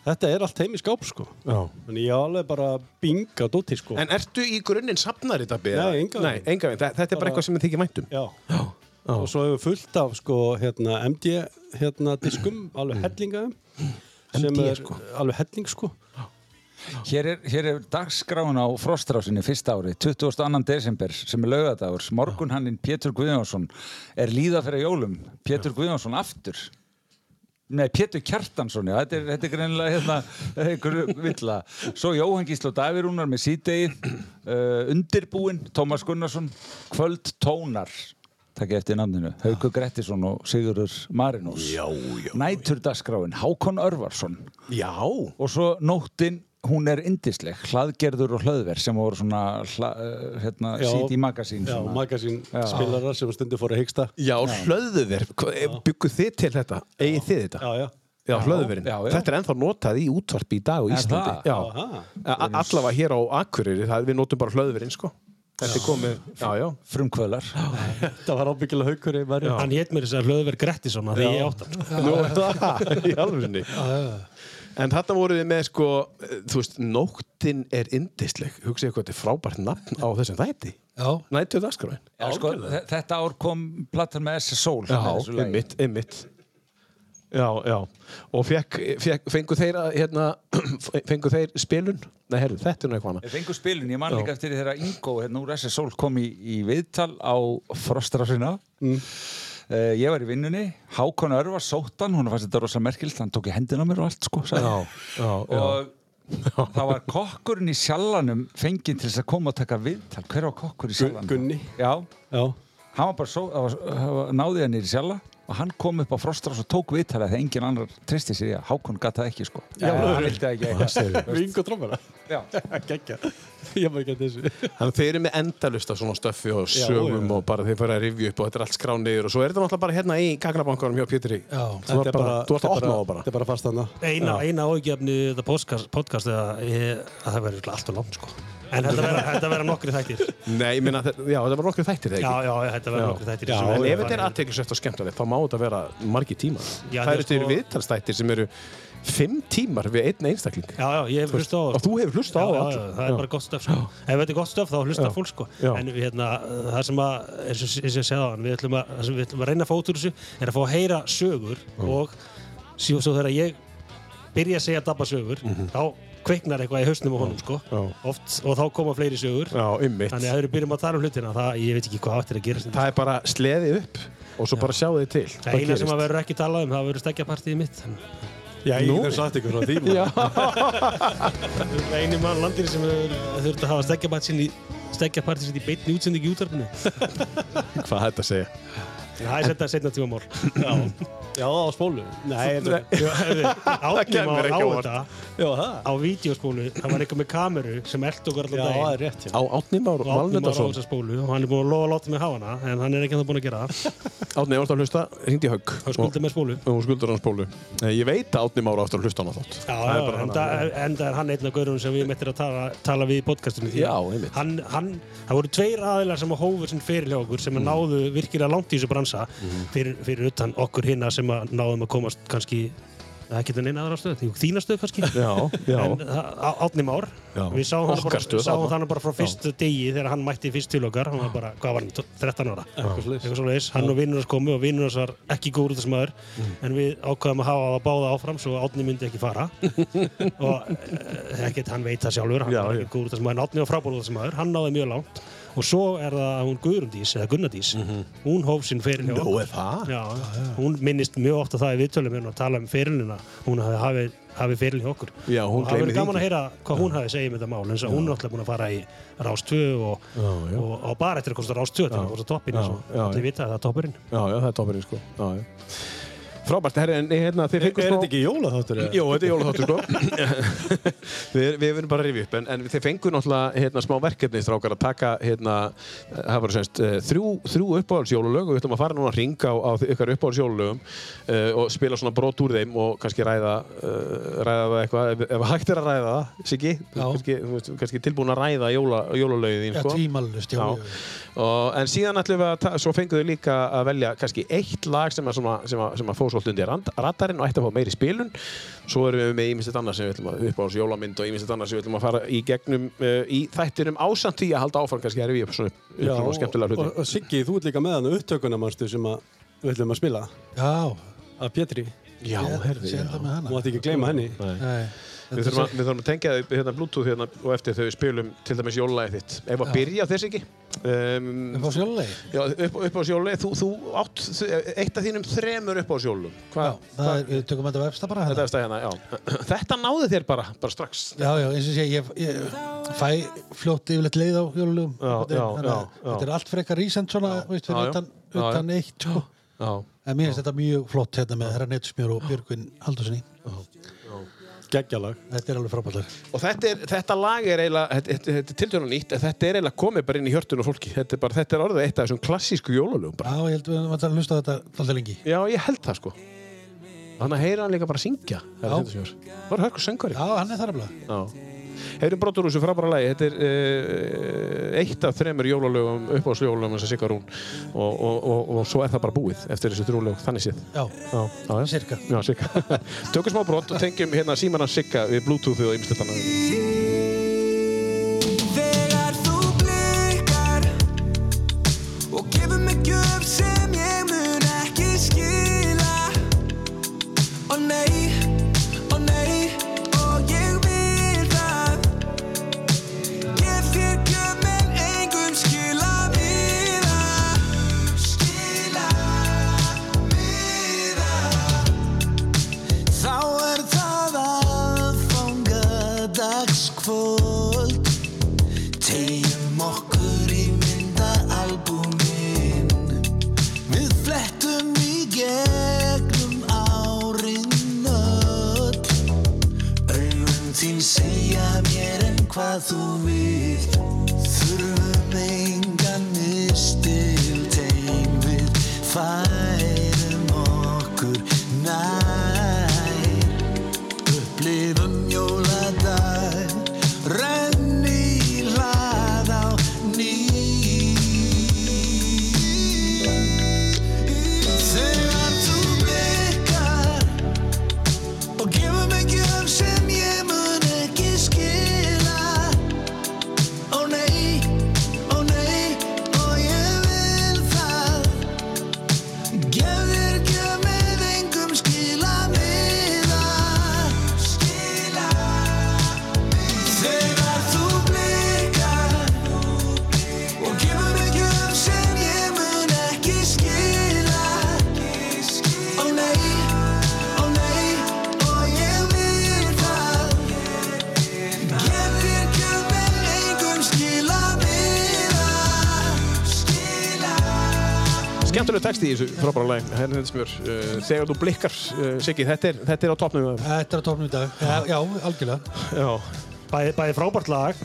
[SPEAKER 2] þetta er allt heim í skáp sko.
[SPEAKER 1] Já.
[SPEAKER 2] Þannig ég á alveg bara binga dóti sko.
[SPEAKER 1] En ertu í grunninn safnari dabbi?
[SPEAKER 2] Nei, engan
[SPEAKER 1] Nei,
[SPEAKER 2] veginn.
[SPEAKER 1] enga veginn. Þa- Þetta er bara eitthvað sem þið þykir um. væntum.
[SPEAKER 2] Já. Og svo hefur fullt af sko, hérna, MD hérna, diskum, alveg hellingaðum sem
[SPEAKER 1] MD,
[SPEAKER 2] er
[SPEAKER 1] sko.
[SPEAKER 2] alveg helling sko.
[SPEAKER 4] hér, er, hér er dagskráin á Frostrásinni fyrsta ári, 22. desember sem er laugadagur, morgunhanninn Pétur Guðjónsson er líða fyrir jólum Pétur Guðjónsson aftur Nei, Pétur Kjartansson, já, þetta er, þetta er greinilega hérna, einhver villa. Svo Jóhann Gísl og Davirúnar með sídegi, uh, undirbúinn, Tómas Gunnarsson, kvöld tónar, takk ég eftir nafninu, Haukur Grettisson og Sigurður Marinós. Já, já. Næturdaskráin, Hákon Örvarsson.
[SPEAKER 1] Já.
[SPEAKER 4] Og svo nóttin, hún er indisleg, hlaðgerður og hlaðver sem voru svona, hla, uh, hérna,
[SPEAKER 2] Já.
[SPEAKER 4] CD Magazine.
[SPEAKER 2] Já,
[SPEAKER 4] svona.
[SPEAKER 2] magasín spilarar sem stundu fór að hyggsta.
[SPEAKER 1] Já, hlöðu þér. Byggu þið til þetta? Egið þið þetta?
[SPEAKER 2] Já, já.
[SPEAKER 1] Já, hlöðuverinn.
[SPEAKER 4] já, já.
[SPEAKER 1] Þetta er ennþá notað í útvarpi í dag á
[SPEAKER 4] Er
[SPEAKER 1] Íslandi.
[SPEAKER 4] það?
[SPEAKER 1] Já,
[SPEAKER 2] Aha.
[SPEAKER 1] A- allavega hér á Akureyri, það, við notum bara hlöðuverinn, sko. Þetta er komið, já, já.
[SPEAKER 4] Frumkvölar.
[SPEAKER 2] Þetta var ábyggilega haukur í verju.
[SPEAKER 5] Hann hétt mér þess að hlöðverð Grettisson að því ég átt hann.
[SPEAKER 1] Nú, það, í alvegni. En þarna voruð við með, sko, eh, þú veist, nóttin er indisleg. Hugsaðu hvað þetta er frábært nafn á þessum þætti.
[SPEAKER 3] Já,
[SPEAKER 1] Nættuð askræðin.
[SPEAKER 4] Já, sko, þe- þetta ár kom plattan með SS Soul.
[SPEAKER 1] Já,
[SPEAKER 4] með þessu lagi.
[SPEAKER 1] einmitt, einmitt. Já, já. Og fekk, fekk, fengu þeir að, hérna, fengu þeir spilun? Nei, herru, þetta er nú eitthvað annað.
[SPEAKER 4] Við fengum spilun, ég man líka eftir þegar Ingo hérna úr SS Soul kom í, í viðtal á Frostrásina. Mm. ég var í vinnunni, Hákon Örvar sóttan, hún fannst þetta rosa merkilt, hann tók í hendina á mér og allt, sko. sagði hann.
[SPEAKER 1] já,
[SPEAKER 4] og það var kokkurinn í sjallanum fenginn til þess að koma og taka viðtal. Hver var kokkur í sjallanum?
[SPEAKER 2] Gunni.
[SPEAKER 4] Já,
[SPEAKER 2] Já.
[SPEAKER 4] hann var bara svo, það var, það var, náði hann í sjalla og hann kom upp á Frostrás og tók viðtalið þegar engin annar tristi sér í að Hákon gata ekki, sko. Já, hann vildi það ekki.
[SPEAKER 2] Vingo trommara.
[SPEAKER 4] Já.
[SPEAKER 2] Gekja. Ég maður ekki að þessu.
[SPEAKER 1] Þannig að þeir eru með endalust af svona stöffi og
[SPEAKER 2] Já,
[SPEAKER 1] sögum
[SPEAKER 2] já.
[SPEAKER 1] og bara þeir fara að rifja upp og þetta er allt skrá niður og svo er þetta náttúrulega bara hérna í gagnabankanum hjá Pétri.
[SPEAKER 3] Já,
[SPEAKER 1] þú ert bara, þú ert að opna á bara.
[SPEAKER 2] Þetta er bara fast hana.
[SPEAKER 5] Eina, eina áhugjefni þetta podcast, podcast eða, ég, að það verður allt og langt sko. En þetta verða- þetta verða nokkri þættir.
[SPEAKER 1] Nei, ég meina, þetta- já, þetta var nokkuð þættir þegar
[SPEAKER 5] Já,
[SPEAKER 1] ekki.
[SPEAKER 5] já, já, þetta verða nokkri þættir. í
[SPEAKER 2] Já,
[SPEAKER 5] þessu.
[SPEAKER 1] en ef þetta er aðteklisvægt og skemmtilegt, þá má þetta vera margi tíma.
[SPEAKER 5] Já,
[SPEAKER 1] það
[SPEAKER 5] því
[SPEAKER 1] eru
[SPEAKER 5] að
[SPEAKER 1] þeir
[SPEAKER 5] sko-
[SPEAKER 1] viðtalstættir sem eru Fimm tímar við einn einstakling
[SPEAKER 5] Já, já, ég hef hlustað á það.
[SPEAKER 1] og þú hefur hlustað á
[SPEAKER 5] Já,
[SPEAKER 1] það
[SPEAKER 5] já,
[SPEAKER 1] allar.
[SPEAKER 5] já, það er bara gott stöf sko. ef þetta er gott stöf þá hlustar fólk sko.
[SPEAKER 1] Já.
[SPEAKER 5] en við, hérna, það sem að eins og, eins og ég segði á hann, við ætlum að, það sem við ætlum að reyna að fá út úr þessu er að fá að heyra sögur og síðan svo þegar ég byrja að segja dabba sögur
[SPEAKER 1] Mhm.
[SPEAKER 5] þá kveiknar eitthvað í hausnum á honum sko. oft, og þá koma fleiri sögur
[SPEAKER 1] Já, ymmit
[SPEAKER 5] þannig að þegar við byrjum að tala um hlutina það, ég veit ekki hvað áttir að gera
[SPEAKER 1] Það er bara sleðið upp og svo bara sjáðu þið til
[SPEAKER 5] það eina sem að verður ekki talað um það verður stekkjapartíð mitt
[SPEAKER 2] Já, ég
[SPEAKER 1] Nú.
[SPEAKER 2] hef sagt ykkur frá því maður.
[SPEAKER 5] Það er eini mann landir sem hefur þurft að hafa stekkjapartíð sinni stekkjapartíð sinni í beinni útsendingi í útarpinu
[SPEAKER 1] Hvað þetta segja
[SPEAKER 5] Það er setna, setna tíma mál
[SPEAKER 2] Já, á spólu. Nei, þetta er...
[SPEAKER 5] Átnum
[SPEAKER 1] kemur
[SPEAKER 5] á, á
[SPEAKER 1] ekki óvart.
[SPEAKER 5] þetta
[SPEAKER 2] Já, það.
[SPEAKER 5] á vídeospólu það var eitthvað með kameru sem eld okkur
[SPEAKER 2] Já, það
[SPEAKER 5] allan
[SPEAKER 2] er
[SPEAKER 5] daginn
[SPEAKER 2] rétt, já.
[SPEAKER 1] Á Átni Már
[SPEAKER 5] og Átni var á
[SPEAKER 1] Valmundarsson
[SPEAKER 5] þessa spólu og hann er búin að lofa að láta mig hafa hana en hann er ekki ennþá búin að gera það
[SPEAKER 1] Átni Már átti að hlusta, ringdi í högg
[SPEAKER 5] hann skuldi með spólu
[SPEAKER 1] og skuldur hans bólu Ég veit að Átni Már átti að hlusta hann á þátt
[SPEAKER 5] Já, já, enda, enda er hann einn af gaurunum sem við mettir að tala, tala við í podcastunum
[SPEAKER 1] Já, einmitt.
[SPEAKER 5] hann, hann, Það voru tveir aðilar sem að hófu sinn fyrir hjá okkur sem að náðu virkilega langt í þessu bransa fyrir, fyrir utan okkur hinna sem að náðum að komast kannski ekki til neina aðra stöð, jú, þína stöð kannski
[SPEAKER 1] Já, já
[SPEAKER 5] en það- Á- Átni Már
[SPEAKER 1] Já.
[SPEAKER 5] við sáum hann bara,
[SPEAKER 1] Okkar stöð,
[SPEAKER 5] sáum
[SPEAKER 1] þarna.
[SPEAKER 5] hann bara frá fyrstu degi þegar hann mætti fyrst til okkar hann var bara, hvað var hann, tó- 13 ára eitthvað svoleiðis, hann og vinnur hans komu og vinnur hans var ekki góður út af smaður
[SPEAKER 1] Mm.
[SPEAKER 5] en við ákvaðum að hafa það báða áfram svo Átni myndi ekki fara og eh, ekkert hann veit það sjálfur hann
[SPEAKER 1] Já,
[SPEAKER 5] var
[SPEAKER 1] já.
[SPEAKER 5] ekki góður út af smaður, en Átni var frából út af smaður hann náði mjög langt og svo er það að hún Guðrundís, eða Gunnadís
[SPEAKER 1] Mhm.
[SPEAKER 5] hún hóf sinn fyrir hjá
[SPEAKER 1] Nú er það
[SPEAKER 5] Já, hún minnist mjög ofta það í viðtölum hérna að tala um fyrirlina hún hafi, hafi, hafi fyrirlin hjá okkur
[SPEAKER 1] Já, hún
[SPEAKER 5] og það
[SPEAKER 1] gleymir
[SPEAKER 5] verið
[SPEAKER 1] því
[SPEAKER 5] gaman að
[SPEAKER 1] ekki.
[SPEAKER 5] heyra hvað hún hafi segið með þetta mál eins og hún er alltaf búin að fara í Rás 2 og,
[SPEAKER 1] já.
[SPEAKER 5] og, og bara eftir að komst að Rás 2 til að komst að toppin eins og
[SPEAKER 1] já,
[SPEAKER 5] allir vita að það er toppurinn
[SPEAKER 1] Já, já, það er toppurinn sko Já, já Frábært, herri, en hérna, þið
[SPEAKER 2] Er
[SPEAKER 1] fengust
[SPEAKER 2] þetta ekki jólaþáttur? eða?
[SPEAKER 1] Jó, þetta er jólaþáttur sko Við, við verðum bara að rifja upp en, en þið fengur náttúrulega hérna, smá verkefni strákar að taka hérna, eh, það var semst eh, þrjú, þrjú uppáhaldsjólalög og við ætlum að fara núna að ringa á, á þi- ykkar uppáhaldsjólalögum uh, og spila svona brot úr þeim og kannski ræða uh, ræða það eitthvað, ef, ef hægt er að ræða það Siggi, Þú ert kannski, þú veist, kannski tilbúin að ræða jóla, jólalögið þín
[SPEAKER 3] Já,
[SPEAKER 1] sko.
[SPEAKER 3] tvímælust, já,
[SPEAKER 1] Já.
[SPEAKER 3] já, já.
[SPEAKER 1] Og, en síðan ætlum við að, ta- svo fengum við líka að velja kannski eitt lag sem að, sem að, sem að, sem að fór svolítið undir rand- radarinn og ætti að fá meiri spilun. Svo erum við með ímislegt annað sem við ætlum að upp á þessu jólamynd og ímislegt annað sem við ætlum að fara í gegnum uh, í þættinum ásamt því að halda áfram kannski að rifja upp svona, upp
[SPEAKER 2] Já,
[SPEAKER 1] svona skemmtilega
[SPEAKER 2] og-
[SPEAKER 1] hluti.
[SPEAKER 2] Og Siggi, þú ert líka með hann upptökuna, mannstu, sem að við ætlum að spila.
[SPEAKER 3] já,
[SPEAKER 2] Að Pétri.
[SPEAKER 1] Já, herði,
[SPEAKER 3] sér það með
[SPEAKER 2] Þú
[SPEAKER 3] hana
[SPEAKER 2] ætti ekki að gleyma henni.
[SPEAKER 3] Nei,
[SPEAKER 1] Við þurfum, að, við þurfum að tengja þau hérna Bluetooth hérna og eftir þegar við spilum til dæmis jólalæðið þitt. Ef að byrja á þess ekki. Um,
[SPEAKER 3] upp á sjálflegi
[SPEAKER 1] já, upp, upp á sjólu, þú, þú átt þ- eitt af þínum þremur upp á sjólu.
[SPEAKER 3] Já, það er, við tökum þetta á efsta bara
[SPEAKER 1] Þetta
[SPEAKER 3] hérna.
[SPEAKER 1] er stæð hérna, já. Þetta náði þér bara, bara strax.
[SPEAKER 3] Já, já, eins og sé, ég, ég fæ fljótt yfirleitt leið á jólulugum.
[SPEAKER 1] Já, já, já, já.
[SPEAKER 3] Þetta er allt frekar ísend svona,
[SPEAKER 1] já,
[SPEAKER 3] veist, fyrir
[SPEAKER 1] já.
[SPEAKER 3] utan,
[SPEAKER 1] Já, já.
[SPEAKER 3] utan eitt, sko.
[SPEAKER 1] Já.
[SPEAKER 3] En mér finnst þetta mjög flott hérna með herra Netusmjör og Björgvin Haldurssoni.
[SPEAKER 2] Geggjalag.
[SPEAKER 3] Þetta er alveg frábært.
[SPEAKER 1] Og þetta, er, þetta lag er eiginlega, þetta, þetta, þetta er tiltöna nýtt, en þetta er eiginlega komið bara inn í hjörtun og fólki. Þetta er, bara, þetta er orðið eitt af þessum klassísku jólalögum bara.
[SPEAKER 3] Já, ég held við vantar að hlusta á þetta alltaf lengi.
[SPEAKER 1] Já, ég held það sko. Þannig að heyra hann líka bara syngja.
[SPEAKER 3] Já.
[SPEAKER 1] Já. Var hörkur söngari.
[SPEAKER 3] Já, hann er þar alveg.
[SPEAKER 1] Já. Heyrum brotur úr þessu frábæra lagi. Þetta er uh, eitt af þremur jólalögum, uppáðsjólalögum sem Sigga Rún. Og, og, og, og svo er það bara búið eftir þessu þrjúlög, þannig séð.
[SPEAKER 3] Já,
[SPEAKER 1] Já, já, já.
[SPEAKER 3] Cirka.
[SPEAKER 1] Já, cirka. Tökum smá brot og tengjum hérna símanan Sigga við Bluetooth og ymslutanna.
[SPEAKER 8] Þegar þú blikar og gefur mig gjöf sem ég mun ekki skila Ó nei, ó nei, og ég vil það Gef þér gjöf menn engum skila miða Skila miða Þá er það aðfangadagskvöld Tegjum okkur í myndaalbumin Við flettum í gegnum árin öll Augun þín segja mér en hvað þú vilt Þurfum engan mistil tegn við Færum okkur nær upplifum jóladag renni hlað á ný þegar þú blikkar og gefur mig
[SPEAKER 1] Skemmtileg texti í þessu frábæra lag Hérna þetta smjör uh, Þegar þú blikkar, uh, Siggi, þetta er, þetta er á topnum uh,
[SPEAKER 3] Þetta er að topnum í dag. Já, já algjörlega.
[SPEAKER 1] Já,
[SPEAKER 5] Bæði, bæði frábært lag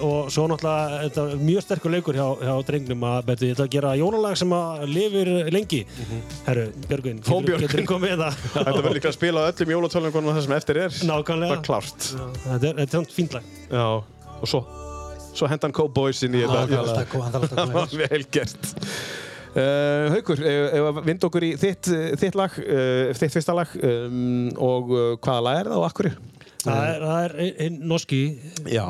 [SPEAKER 5] og svo náttúrulega þetta er mjög sterkur leikur hjá, hjá drengnum að betur ég ætla að gera jónalag sem að lifir lengi Herru, Björgvin,
[SPEAKER 1] Mhm. Fá Björgvin.
[SPEAKER 5] getur þú komið með það?
[SPEAKER 1] þetta verður líka að spila á öllum jólatölunum það sem eftir er
[SPEAKER 5] Nákvæmlega.
[SPEAKER 1] Bara klárt
[SPEAKER 5] Já, Þetta er, þetta er samt fínt lag
[SPEAKER 1] Já, og svo Svo hendan Cowboys inn í
[SPEAKER 3] Hann þarf
[SPEAKER 1] þetta
[SPEAKER 3] alltaf að koma- hann þarf alltaf að
[SPEAKER 1] Það
[SPEAKER 3] koma.
[SPEAKER 1] var vel gert Uh, Haukur, ef ef að vinda okkur í þitt, eh, þitt lag, uh, þitt fyrsta lag um, og uh, hvaða lag er það og akkur?
[SPEAKER 5] Það er, það er hinn norski,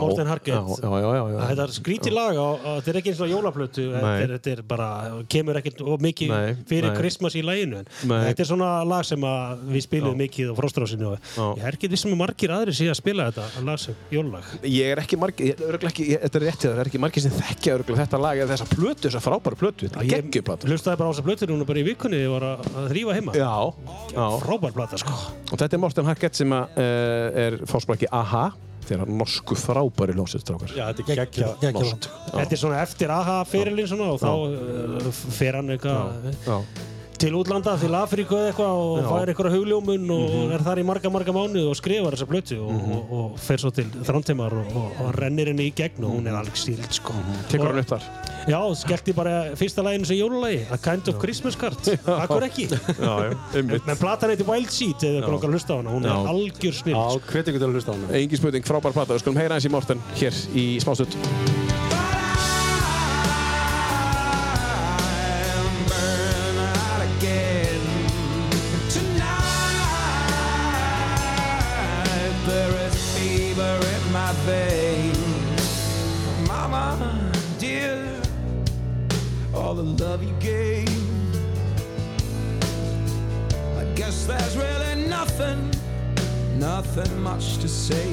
[SPEAKER 5] Morten Harkett
[SPEAKER 1] Já, já, já, já.
[SPEAKER 5] Þetta er skrítið lag og þetta er ekki eins og jólaplötu þetta
[SPEAKER 1] Nei.
[SPEAKER 5] er, þetta er bara, kemur ekkert of mikið
[SPEAKER 1] Nei,
[SPEAKER 5] fyrir
[SPEAKER 1] nei.
[SPEAKER 5] Christmas í laginu en
[SPEAKER 1] Nei.
[SPEAKER 5] þetta er svona lag sem að við spilum mikið á fróstrásinu og
[SPEAKER 1] Já.
[SPEAKER 5] ég er ekki vissum að margir aðri sé að spila þetta lag sem jólalag
[SPEAKER 1] Ég er ekki margir, ég, örugglega ekki, ég, þetta er rétt hjá þér, það er ekki margir sem þekkja örugglega þetta lag eða þessa plötu, þessa frábæra plötu, þetta er geggjuplata.
[SPEAKER 5] hlustaði bara á þessa plötu núna bara í vikunni ég var að, að þrýfa heima
[SPEAKER 1] Já, já.
[SPEAKER 5] frábær plata sko
[SPEAKER 1] Og þetta er Morten Harkett sem að, uh, er fórsprakki AHA, þeirra norsku frábæri ljónsveitstrákar.
[SPEAKER 2] Já, þetta er geggjað.
[SPEAKER 3] Gekkjala.
[SPEAKER 5] þetta er svona eftir aha fyrirlin svona og þá uh, fer hann eitthvað
[SPEAKER 1] Já,
[SPEAKER 5] til útlanda, til Afríku eða eitthvað og fær eitthvað hugljómun og
[SPEAKER 1] Mhm.
[SPEAKER 5] er þar í marga, marga mánuð og skrifar þessa plötu og, og, og fer svo til þrántimar og, og, og rennir henni í gegn og hún er alveg síld sko.
[SPEAKER 1] Mhm. tekur hann
[SPEAKER 5] Og-
[SPEAKER 1] upp þar.
[SPEAKER 5] Já, skellti bara fyrsta læginu sem jólalagi A Kind of Christmas Card, akkur ekki
[SPEAKER 1] Já, já,
[SPEAKER 5] En-
[SPEAKER 1] einmitt.
[SPEAKER 5] menn platan heiti Wild Seed eða okkur okkar hlusta á hana, hún er
[SPEAKER 1] Já.
[SPEAKER 5] algjör snill
[SPEAKER 2] Já, hvetið getur að hlusta á hana.
[SPEAKER 1] Engin spurning, frábær plata. Við skulum heyra hans í Morten hér í smástund.
[SPEAKER 8] There's really nothing, nothing much to say.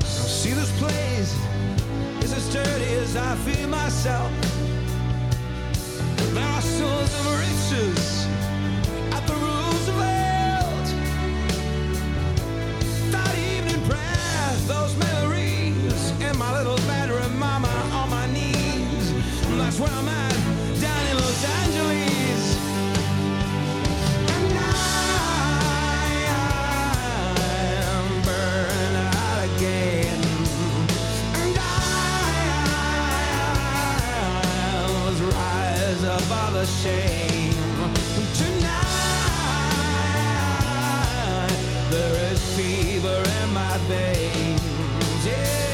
[SPEAKER 8] I see this place is as dirty as I feel myself. There are sons of riches at the Roosevelt. That evening prayer, those memories in my little bedroom, mama on my knees. And that's where I'm at, down in Los Angeles. And I am burned out again. And I was rise above the shame. Tonight there is fever in my veins. Yeah.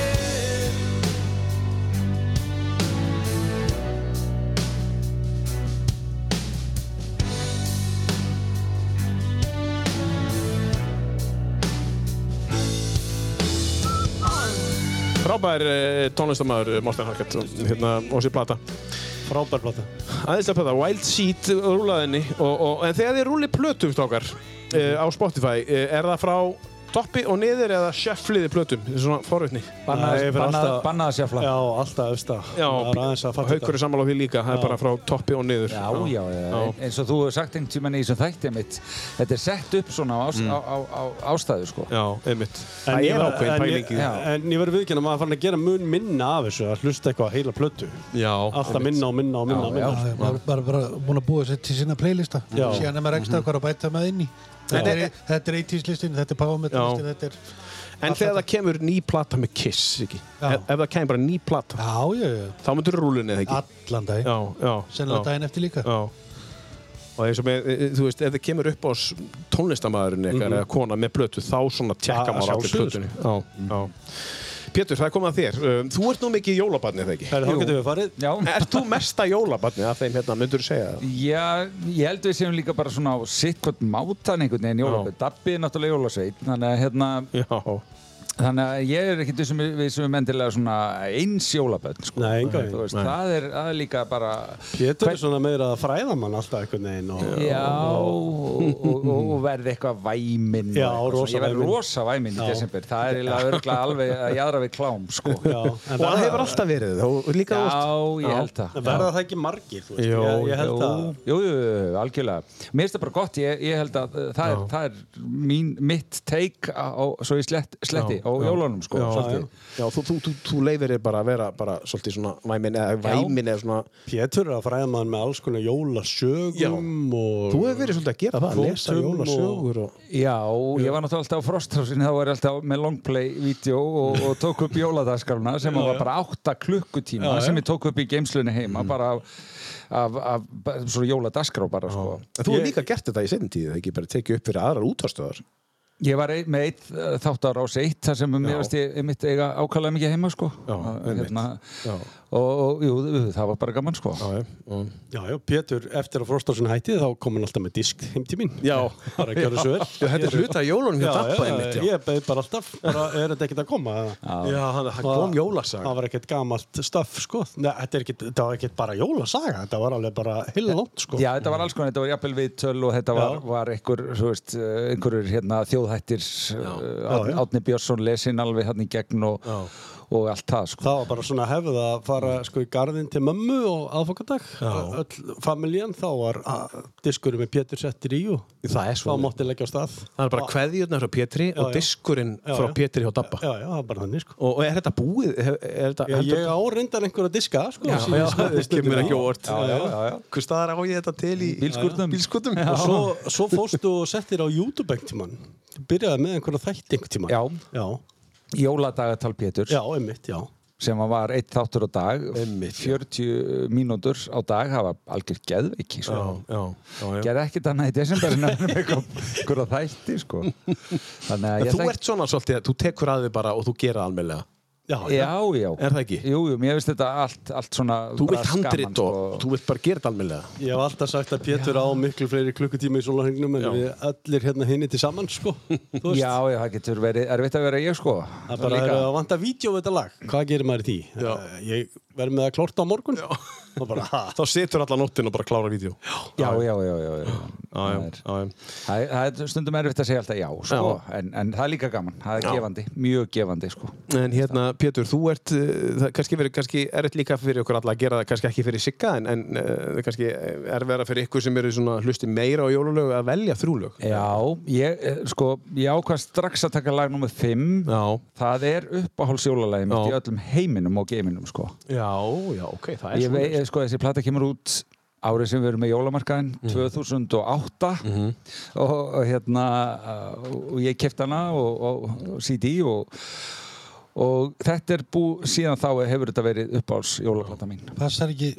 [SPEAKER 1] Frábær uh, tónlistamæður Morten Harkett og, hérna, og sér plata.
[SPEAKER 2] Frábær plata.
[SPEAKER 1] aðeinslega plata, Wild Seed rúlaðinni og, og en þegar þið rúlið plötum stókar uh, á Spotify, uh, er það frá toppi og niður eða sjöfliði plötum, þetta er svona forvitni
[SPEAKER 2] Nei, fyrir alltaf-
[SPEAKER 4] Bannaða sérfla
[SPEAKER 2] Já, alltaf efsta.
[SPEAKER 1] Já,
[SPEAKER 2] það er aðeins að fatta
[SPEAKER 1] haukur er sammála á því líka, það er bara frá toppi og niður
[SPEAKER 4] Já, já, já.
[SPEAKER 1] Já.
[SPEAKER 4] eins og þú hefur sagt einn tíman í þessum þætti mitt þetta er sett upp svona á,
[SPEAKER 2] Mm.
[SPEAKER 4] ást, á, á, á ástæðu sko
[SPEAKER 1] Já, einmitt
[SPEAKER 2] En
[SPEAKER 1] Það
[SPEAKER 2] ég
[SPEAKER 1] er
[SPEAKER 2] var-
[SPEAKER 1] ákveðin
[SPEAKER 2] en ég-
[SPEAKER 1] pælingi
[SPEAKER 4] Já.
[SPEAKER 2] En ég verður viðkynna að maður er farin að gera mun minna af þessu, að hlusta eitthvað á heila plötu.
[SPEAKER 1] Já,
[SPEAKER 2] Alltaf minna og minna og minna og
[SPEAKER 4] Já,
[SPEAKER 2] minna.
[SPEAKER 4] já.
[SPEAKER 3] Já, maður bara, bara búin að búa sér til sína playlista
[SPEAKER 2] Já.
[SPEAKER 3] síðan er maður ekstra hvað að bæta með inn í þetta er, þetta er 80s listin, þetta er Power Metal
[SPEAKER 1] Já.
[SPEAKER 3] listin þetta er,
[SPEAKER 1] En þegar það kemur ný plata með Kiss, ekki?
[SPEAKER 3] Já.
[SPEAKER 1] Ef, ef það kemur bara ný plata,
[SPEAKER 3] já, já, já,
[SPEAKER 1] þá myndur rúlinni eða ekki?
[SPEAKER 3] allan dag
[SPEAKER 1] Já, já
[SPEAKER 3] sennilega
[SPEAKER 1] já.
[SPEAKER 3] daginn eftir líka
[SPEAKER 1] Já. Og eins og með, e, þú veist, ef þið kemur upp á tónlistamæðurinn eitthvað eða kona með blötu, þá svona tjekka
[SPEAKER 2] Að-
[SPEAKER 1] maður
[SPEAKER 2] að
[SPEAKER 1] allir
[SPEAKER 2] sjálfsögðu,
[SPEAKER 1] blötunni. Já, já. Pétur, það er komið að þér. Um, Þú ert nú mikið jólabarnið, eða ekki?
[SPEAKER 2] Herri, þá getum við farið.
[SPEAKER 4] Já,
[SPEAKER 1] Ert þú mesta jólabarnið af þeim hérna, myndur þú segja það?
[SPEAKER 4] já ég held við séum líka bara svona á sitt hvort mátan einhvern veginn jólasveit Dabbi er náttúrulega jólasveit þannig að hérna
[SPEAKER 1] Já.
[SPEAKER 4] Þannig að ég er ekkert þessum við sem er mendilega svona eins jólabönn sko.
[SPEAKER 2] Nei, engan veginn.
[SPEAKER 4] Þú veist, Það er, það er líka bara
[SPEAKER 2] Pétur er svona meira að fræða mann alltaf einhvern veginn og
[SPEAKER 4] Já, og, og, og verði eitthvað væminn
[SPEAKER 2] Já,
[SPEAKER 4] og eitthvað svona.
[SPEAKER 2] rosa
[SPEAKER 4] Ég verði
[SPEAKER 2] væminn.
[SPEAKER 4] rosa væminn í desember Það er eiginlega örgulega alveg að jaðra við klám sko.
[SPEAKER 2] Já, en
[SPEAKER 1] Og það
[SPEAKER 2] verða-
[SPEAKER 1] hefur alltaf verið, og líka þú veist.
[SPEAKER 4] Já, ég held það
[SPEAKER 2] en verða það ekki margir, þú veist?
[SPEAKER 1] Jó,
[SPEAKER 2] ég, ég held að...
[SPEAKER 4] Jú, jú, jú, algjörlega. Mér finnst það bara gott, ég, ég held að uh, það er, það er mín, mitt take á, á- svo ég slett, sletti á á jólunum sko, svolítið.
[SPEAKER 1] Já, þú, þú, þú, þú leifir þér bara að vera bara svolítið svona væmin eða væmin eða svona
[SPEAKER 2] Pétur er að fræða mann með alls konar jólasögum
[SPEAKER 1] Já.
[SPEAKER 2] og...
[SPEAKER 1] Þú hefur verið svolítið að gera það, að lesa
[SPEAKER 2] Fótum
[SPEAKER 1] jólasögur og...
[SPEAKER 4] Já, ég var náttúrulega alltaf á Frostrásin þá var ég alltaf með longplay-vídeó og, og tók upp jóladagskaruna sem var bara 8 klukkutíma sem ég tók upp í geimslunni
[SPEAKER 2] Mm.
[SPEAKER 4] heima bara af, af, af, af svona jóladagskrá bara sko.
[SPEAKER 1] En Þú hefur líka gert þetta í setjum tíð, ekki bara tekið upp fyrir aðrar útastöðar
[SPEAKER 4] Ég var ein, með eitt eh, þátt á rás eitt þar sem mér varst ég mitt eiga ákvæðlega mikið heima sko. Já, hérna, og, og jú, það var bara gaman sko. Já,
[SPEAKER 2] Já, já, Pétur, eftir að Frostásun hætti þá kom hann alltaf með disk heim til mín
[SPEAKER 1] Já.
[SPEAKER 2] bara að gjöra svo vel
[SPEAKER 1] Já, þetta er hluta af jólunum hjá Dabba einmitt, já.
[SPEAKER 2] Ég beði bara alltaf, bara er þetta ekkert að koma eða?
[SPEAKER 1] Já, hann hann
[SPEAKER 2] Og
[SPEAKER 1] kom jólasaga.
[SPEAKER 2] Það var ekkert gamalt stöff, sko Nei, þetta er ekkert, þetta var ekkert bara jólasaga þetta var alveg bara heila langt, sko
[SPEAKER 4] Já, þetta var alls konar, þetta var jafnvel viðtöl og þetta var, var einhver, svo veist, eh, einhverjur hérna, þjóðhættir,
[SPEAKER 2] já.
[SPEAKER 4] Átni Björnsson lesin alveg hann í gegn og, og allt það, sko.
[SPEAKER 2] Það var bara svona hefð að fara sko í garðin til mömmu og aðfokadag öll familjan, þá var a- diskurinn með Pétur settir í og
[SPEAKER 1] Það er
[SPEAKER 2] þá
[SPEAKER 1] svona
[SPEAKER 2] mátti leggja á stað
[SPEAKER 1] Það er bara kveðjurnar frá Pétri og
[SPEAKER 2] já.
[SPEAKER 1] diskurinn
[SPEAKER 2] Já,
[SPEAKER 1] frá
[SPEAKER 2] já.
[SPEAKER 1] Pétri hjá Dabba
[SPEAKER 2] Já, já, það var bara þannig, sko
[SPEAKER 1] Og, og er þetta búið? Er, er þetta,
[SPEAKER 2] Já, ég á reyndar einhverja diska, sko
[SPEAKER 1] Já,
[SPEAKER 2] sem ég
[SPEAKER 1] já,
[SPEAKER 2] setti
[SPEAKER 1] það
[SPEAKER 2] stundum
[SPEAKER 1] kemur
[SPEAKER 2] í.
[SPEAKER 1] ekki á óvart.
[SPEAKER 2] Já, já, já.
[SPEAKER 1] Hvers staðar á ég þetta til í
[SPEAKER 4] Bílskúrnum.
[SPEAKER 1] bílskúrnum?
[SPEAKER 2] Og svo, svo fórstu og settir á YouTube einhvern tímann. Þú byrjaði með einhverja þætti einhvern tímann.
[SPEAKER 4] Já.
[SPEAKER 2] Já,
[SPEAKER 4] Jóladagatal Péturs,
[SPEAKER 2] já, einmitt, já.
[SPEAKER 4] sem var eitt þáttur á dag,
[SPEAKER 1] Einmitt, já.
[SPEAKER 4] 40 mínútur á dag, það var algjör geðviki, sko.
[SPEAKER 1] já, já, já.
[SPEAKER 4] Gerði ekkert annað í desember en að vera með einhverja þætti, sko. Þannig að
[SPEAKER 1] En
[SPEAKER 4] ég
[SPEAKER 1] þú ert svona svolítið að þú tekur að þig bara og þú gera almennlega.
[SPEAKER 2] Já,
[SPEAKER 4] Já, já.
[SPEAKER 1] Er það ekki?
[SPEAKER 4] Jú, jú, mér finnst þetta allt, allt svona
[SPEAKER 1] Þú
[SPEAKER 4] bara
[SPEAKER 1] vilt
[SPEAKER 4] skaman,
[SPEAKER 1] handrit og
[SPEAKER 4] sko.
[SPEAKER 1] þú vilt bara gera þetta almennlega.
[SPEAKER 2] Ég hef alltaf sagt að Pétur á miklu fleiri klukkutíma í sólarhengnum en
[SPEAKER 1] Já.
[SPEAKER 2] við allir hérna hinni til saman, sko. Þú veist,
[SPEAKER 4] Já, já, það getur verið erfitt að vera ég sko
[SPEAKER 2] það bara er
[SPEAKER 4] Líka.
[SPEAKER 2] að vanta vídeo við þetta lag. Hvað gerir maður í því?
[SPEAKER 1] Já.
[SPEAKER 2] Eh, Ég verð með að klorta á morgun. Já. Og bara, ha,
[SPEAKER 1] Þá situr alla nóttin og bara klára vídeo.
[SPEAKER 4] Já, já, já, já, já.
[SPEAKER 1] já,
[SPEAKER 4] Það, er,
[SPEAKER 1] já, já.
[SPEAKER 4] það, er- það er stundum erfitt að segja alltaf já, sko, en, en það er líka gaman, það er gefandi, mjög gefandi, sko.
[SPEAKER 1] En hérna, Pétur, þú ert, uh, það kannski verið, kannski er þetta líka fyrir okkur alla að gera það, kannski ekki fyrir sigga, en, en uh, kannski er vera fyrir ykkur sem eru svona hlusti meira á jólulög að velja þrjúlög.
[SPEAKER 4] Já, ég, eh, sko, ég ákvað strax að taka lag nummið 5,
[SPEAKER 1] Já,
[SPEAKER 4] það er uppáhálsjólalæði
[SPEAKER 1] Já.
[SPEAKER 4] mitt í öllum heiminum og geiminum, sko.
[SPEAKER 1] já, já, ok, það
[SPEAKER 4] Ég vei, eh, sko, þessi plata kemur út árið sem við erum með jólamarkaðin 2008 og, og hérna uh, og ég kefti hana og, og, og CD og, og þetta er bú síðan þá hefur þetta verið uppáls jólaplata mín
[SPEAKER 3] Passar ekki,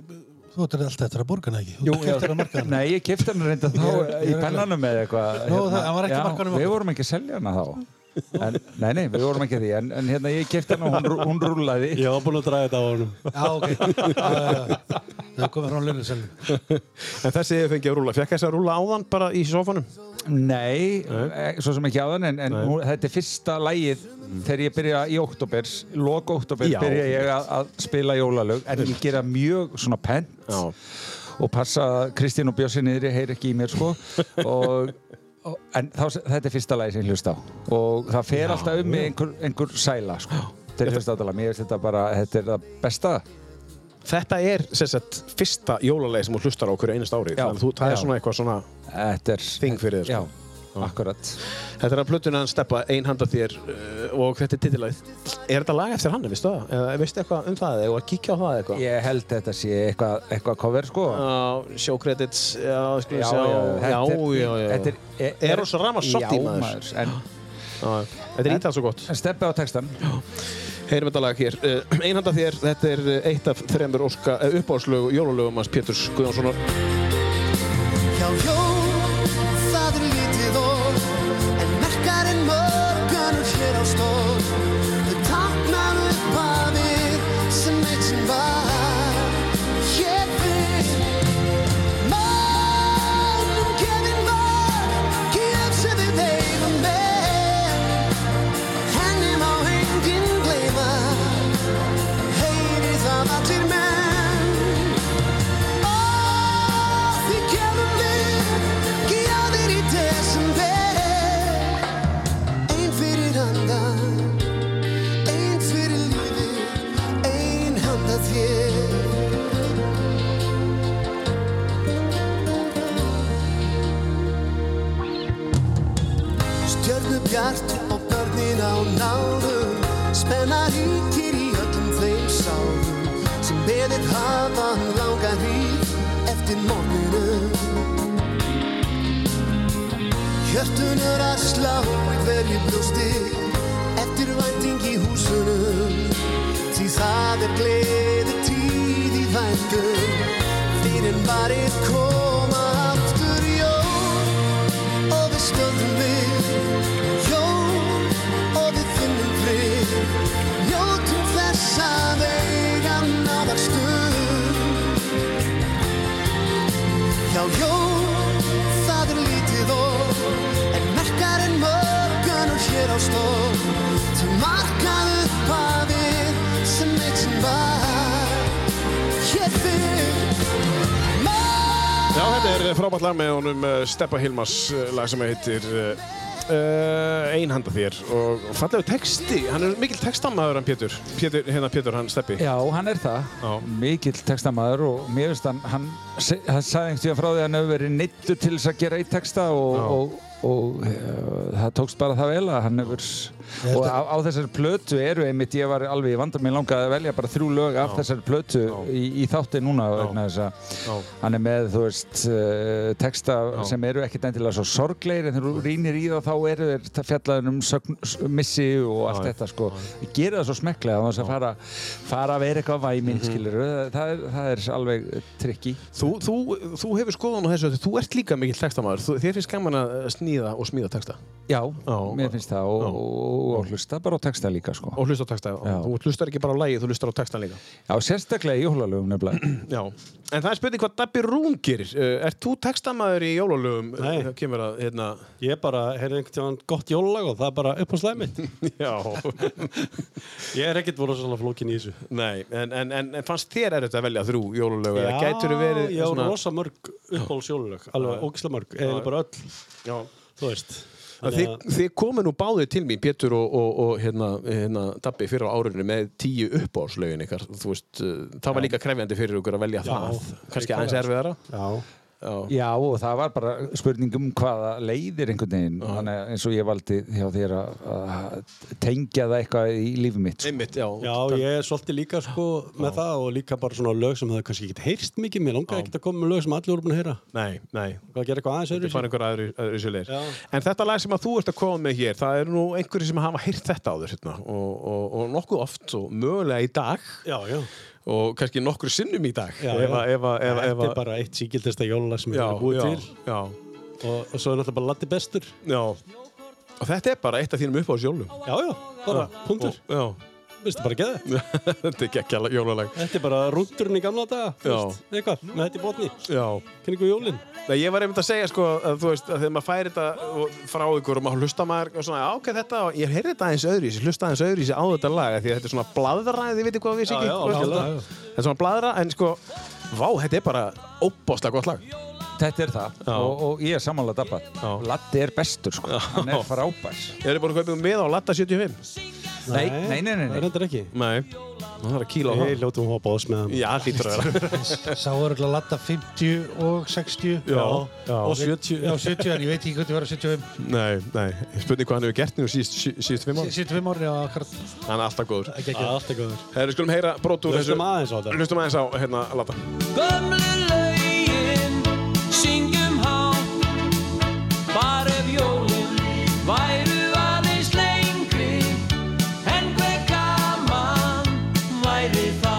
[SPEAKER 3] þú ættir alltaf eftir að borga hana ekki Þú
[SPEAKER 4] Jú,
[SPEAKER 3] ættir eftir að marka hana
[SPEAKER 4] Nei, ég kefti hana reynda þá
[SPEAKER 3] Ég-
[SPEAKER 4] í
[SPEAKER 3] ég-
[SPEAKER 4] pennanum eða eitthvað Hérna,
[SPEAKER 3] Nú, það- hann var ekki á markaðnum
[SPEAKER 4] Við
[SPEAKER 3] okkar.
[SPEAKER 4] vorum ekki að selja hana þá en, Nei, nei, við vorum ekki að því en, en hérna ég kefti hana og hún, rú- hún rúlaði
[SPEAKER 2] ég var búin að draga þetta á honum.
[SPEAKER 3] Já, ok Já, já, já. Það er komið frá launaselnum
[SPEAKER 1] En þessi hefur fengið að rúla, fekk þessi að rúla áðan bara í sofanum?
[SPEAKER 4] Nei, eh, svo sem ekki áðan en, en hún, þetta er fyrsta lægið þegar ég byrja í oktober lok oktober
[SPEAKER 1] Mm. Já,
[SPEAKER 4] byrja ég að, að spila jólalög en ég gera mjög svona pent
[SPEAKER 1] Já.
[SPEAKER 4] og passa að Kristín og Bjössi niðri heyr ekki í mér sko og, og, en þá, þetta er fyrsta lægið sem ég hlusta á og það fer alltaf um mig einhver, einhver sæla sko til hlustatala, mér finnst þetta bara þetta er það besta
[SPEAKER 1] Þetta er sem sagt fyrsta jólalegi sem þú hlustar á okkur einast árið
[SPEAKER 4] Já.
[SPEAKER 1] Þannig að þú, það er
[SPEAKER 4] Já.
[SPEAKER 1] svona eitthvað svona
[SPEAKER 4] þetta er
[SPEAKER 1] Þing fyrir þér, sko.
[SPEAKER 4] Já, akkurat
[SPEAKER 1] Þetta er að plötuna hann steppa einhanda þér uh, og þetta er titillagið Er þetta lag eftir hann, veistu það? Eða veistu eitthvað um það eða að kíkja á það eitthvað?
[SPEAKER 4] Ég held þetta sé eitthvað, eitthvað cover sko
[SPEAKER 1] Já, show credits, já, skulum
[SPEAKER 4] Já,
[SPEAKER 1] sjá
[SPEAKER 4] já,
[SPEAKER 1] já,
[SPEAKER 4] þetta
[SPEAKER 1] já, e- já.
[SPEAKER 4] þetta er- er-
[SPEAKER 1] Eros Ramazzotti,
[SPEAKER 4] Já,
[SPEAKER 1] maður.
[SPEAKER 4] maður, en,
[SPEAKER 1] Já, Þetta er ítað svo gott
[SPEAKER 4] en steppi á textan
[SPEAKER 1] Heyrum þetta lag hér uh, Einhanda þér, þetta er uh, eitt af þremur óska, uh, uppáðslög jólalögum hans Péturs Guðjónssonar
[SPEAKER 9] Hjá jól, það er lítið orð, en merkar en mörgunur hér á stór. Þau taknar upp að við sem eitt sem var hér við. Mannum gefin var, gjöf sem við eigum með. Henni má enginn gleyma, heyri það allir menn. Ó,
[SPEAKER 8] Spenna ríkir í öllum þeim sálum sem beðið hafa langa hríð eftir morgunum Hjörtun er að slá í hverju brjósti eftir vænting í húsunum því það er gleði tíð í væntum fyrir varið koma aftur jól og við stöðum við jól og við finnum frið njótum þess að eiga náðar stund Já, jól, það er lítið orð En merkar en mörgun og hér á stór Sem markað upp að við sem eitt sem var Hér fyrr Mörg
[SPEAKER 1] Já, þetta er frábært lag með honum eh, Steppa Hilmas eh, lag sem heitir uh, Einhanda þér og fallegu texti, hann er mikil textamæður hann Pétur, Pétur hérna Pétur hann Steppi
[SPEAKER 4] Já, hann er það.
[SPEAKER 1] Já.
[SPEAKER 4] Mikill textamaður og mér finnst hann, hann, se- hann sagði einhvern veginn frá því að hann hefur verið neittu til þess að gera eitt texta og, og, og e, það tókst bara það vel að hann hefur, og á, á þessari plötu eru einmitt, ég var alveg í vandar, mér langaði að velja bara þrjú lög af þessari plötu í, í þátti núna vegna þess að hann er með, þú veist, uh, texta sem eru ekkert endilega svo sorgleir en þegar þú rýnir í það þá eru þeir fjallaður um sögn, s- missi og allt þetta sko. Ég gera það svo smekklega þannig að fara, fara að vera eitthvað
[SPEAKER 1] Mhm.
[SPEAKER 4] væmin, mm það, það, er- það er alveg eh, trikki.
[SPEAKER 1] þú, þú, þú hefur skoðan á þessu að þú ert líka mikill textamæður, þú, þér finnst gaman að eh, sníða og smíða texta
[SPEAKER 4] Já,
[SPEAKER 1] Já.
[SPEAKER 4] mér finnst það og, og, og hlusta bara á texta líka sko.
[SPEAKER 1] og hlusta á texta,
[SPEAKER 4] Já.
[SPEAKER 1] þú hlustar ekki bara á lagið, þú hlustar á textan líka
[SPEAKER 4] Já, sérstaklega í jólalögum nefnilega.
[SPEAKER 1] Já, en það er spurning hvað Dabbi Rún gerir, uh, ert þú textamæður í jólalögum?
[SPEAKER 2] Nei.
[SPEAKER 1] Eh, kemur að, hérna,
[SPEAKER 2] Ég bara, heyrði einhvern tíðan gott jólalag og það er bara upp á slæmið.
[SPEAKER 1] já
[SPEAKER 2] Ég er ekkert voru svona flókin í þessu.
[SPEAKER 1] Nei, en, en, en, en fannst þér erfitt að velja þrjú jólalög eða
[SPEAKER 2] Já,
[SPEAKER 1] gætur verið
[SPEAKER 2] ég á rosa mörg uppáhaldsjóluleg, alveg ógislega mörg, eða bara öll,
[SPEAKER 1] Já.
[SPEAKER 2] þú veist.
[SPEAKER 1] Að
[SPEAKER 2] Þannig
[SPEAKER 1] Þið, þið komið nú báðið til mín, Pétur og, og, og hérna, hérna, Dabbi, fyrir á árinu með tíu uppáðslaugin ykkar, þú veist, uh, það var líka krefjandi fyrir ykkur að velja það, kannski aðeins erfiðara.
[SPEAKER 2] að- Já,
[SPEAKER 1] Já,
[SPEAKER 4] Já, og það var bara spurning um hvaða leiðir einhvern veginn, þannig að eins og ég valdi hjá þér að, að tengja það eitthvað í lífið mitt. sko.
[SPEAKER 1] einmitt, já.
[SPEAKER 2] Já, ég er svolítið líka sko með það og líka bara svona lög sem það er kannski ekkert heyrst mikið, mér langaði ekkert að koma með lög sem allir voru búin að heyra.
[SPEAKER 1] Nei, nei,
[SPEAKER 2] Hvað gera eitthvað aðeins
[SPEAKER 1] þetta
[SPEAKER 2] öðru
[SPEAKER 1] fann einhver aðri, aðri sér leir.
[SPEAKER 2] Já.
[SPEAKER 1] En þetta lag sem að þú ert að koma með hér, það eru nú einhverjir sem hafa heyrt þetta áður, hérna, og, og, og nokkuð oft og mögulega í dag
[SPEAKER 2] Já, já.
[SPEAKER 1] og kannski nokkur sinnum í dag.
[SPEAKER 2] Já,
[SPEAKER 1] ef,
[SPEAKER 2] já.
[SPEAKER 1] að- Ef, að- ef, að- ef,
[SPEAKER 2] Þetta er
[SPEAKER 1] að-
[SPEAKER 2] bara eitt síkildasta jólulag sem ég
[SPEAKER 1] já,
[SPEAKER 2] er búið
[SPEAKER 1] já,
[SPEAKER 2] til
[SPEAKER 1] Já,
[SPEAKER 2] og, og svo er náttúrulega bara Latti Bestur.
[SPEAKER 1] já. Og þetta er bara eitt af þínum uppáðsjólum.
[SPEAKER 2] Já, já, bara punktur.
[SPEAKER 1] Já,
[SPEAKER 2] Vistu bara geða.
[SPEAKER 1] þetta er gekkja jólalag.
[SPEAKER 2] Þetta er bara rúndurinn í gamla daga, þú
[SPEAKER 1] Já.
[SPEAKER 2] veist, eitthvað, með þetta í botni,
[SPEAKER 1] Já.
[SPEAKER 2] kynningu jólinn.
[SPEAKER 1] Nei, ég var einmitt að segja sko að þú veist að þegar maður færi þetta og- frá ykkur og maður hlusta maður og svona ákveð þetta og ég heyrði þetta aðeins öðru í sig, hlusta aðeins öðru í sig á þetta lag af því að þetta er svona bladra, þið veitir hvað við sér
[SPEAKER 2] Já, já, algjörlega, já.
[SPEAKER 1] Þetta er svona bladra en sko, vá, þetta er bara óbáslega gott lag.
[SPEAKER 4] Þetta er það og, og ég er samanlega dabba. Latti er bestur sko, hann er frábær.
[SPEAKER 1] Ég er búin að kaupa með á Latta 75.
[SPEAKER 4] Nei, nei, nei, nei,
[SPEAKER 2] Það er
[SPEAKER 4] nei.
[SPEAKER 2] endur ekki.
[SPEAKER 1] Nei, það er að kíla á
[SPEAKER 2] Við
[SPEAKER 1] það.
[SPEAKER 2] hljótum að hoppa ás með hann.
[SPEAKER 1] Já, hlýtur að vera.
[SPEAKER 3] Sá er öll að latta 50 og 60
[SPEAKER 1] Já, já.
[SPEAKER 2] Og
[SPEAKER 3] Já,
[SPEAKER 2] 70.
[SPEAKER 3] 70 en ég veit ekki hvað það var á 75
[SPEAKER 1] Nei, nei, ég spurning hvað hann hefur gert nú síðust, síðust fimm ára.
[SPEAKER 3] 75 ári á akkurat
[SPEAKER 1] Hann er alltaf góður.
[SPEAKER 3] ekki ekki
[SPEAKER 2] Allt er góður.
[SPEAKER 1] Herru, við skulum heyra brot úr þessu.
[SPEAKER 2] Hlustum aðeins á þetta.
[SPEAKER 1] Hlustum aðeins á, hérna, Latta.
[SPEAKER 5] Gömlu lögin syngjum há Bara ef jólin væru aðeins lengri En hver gaman væri þá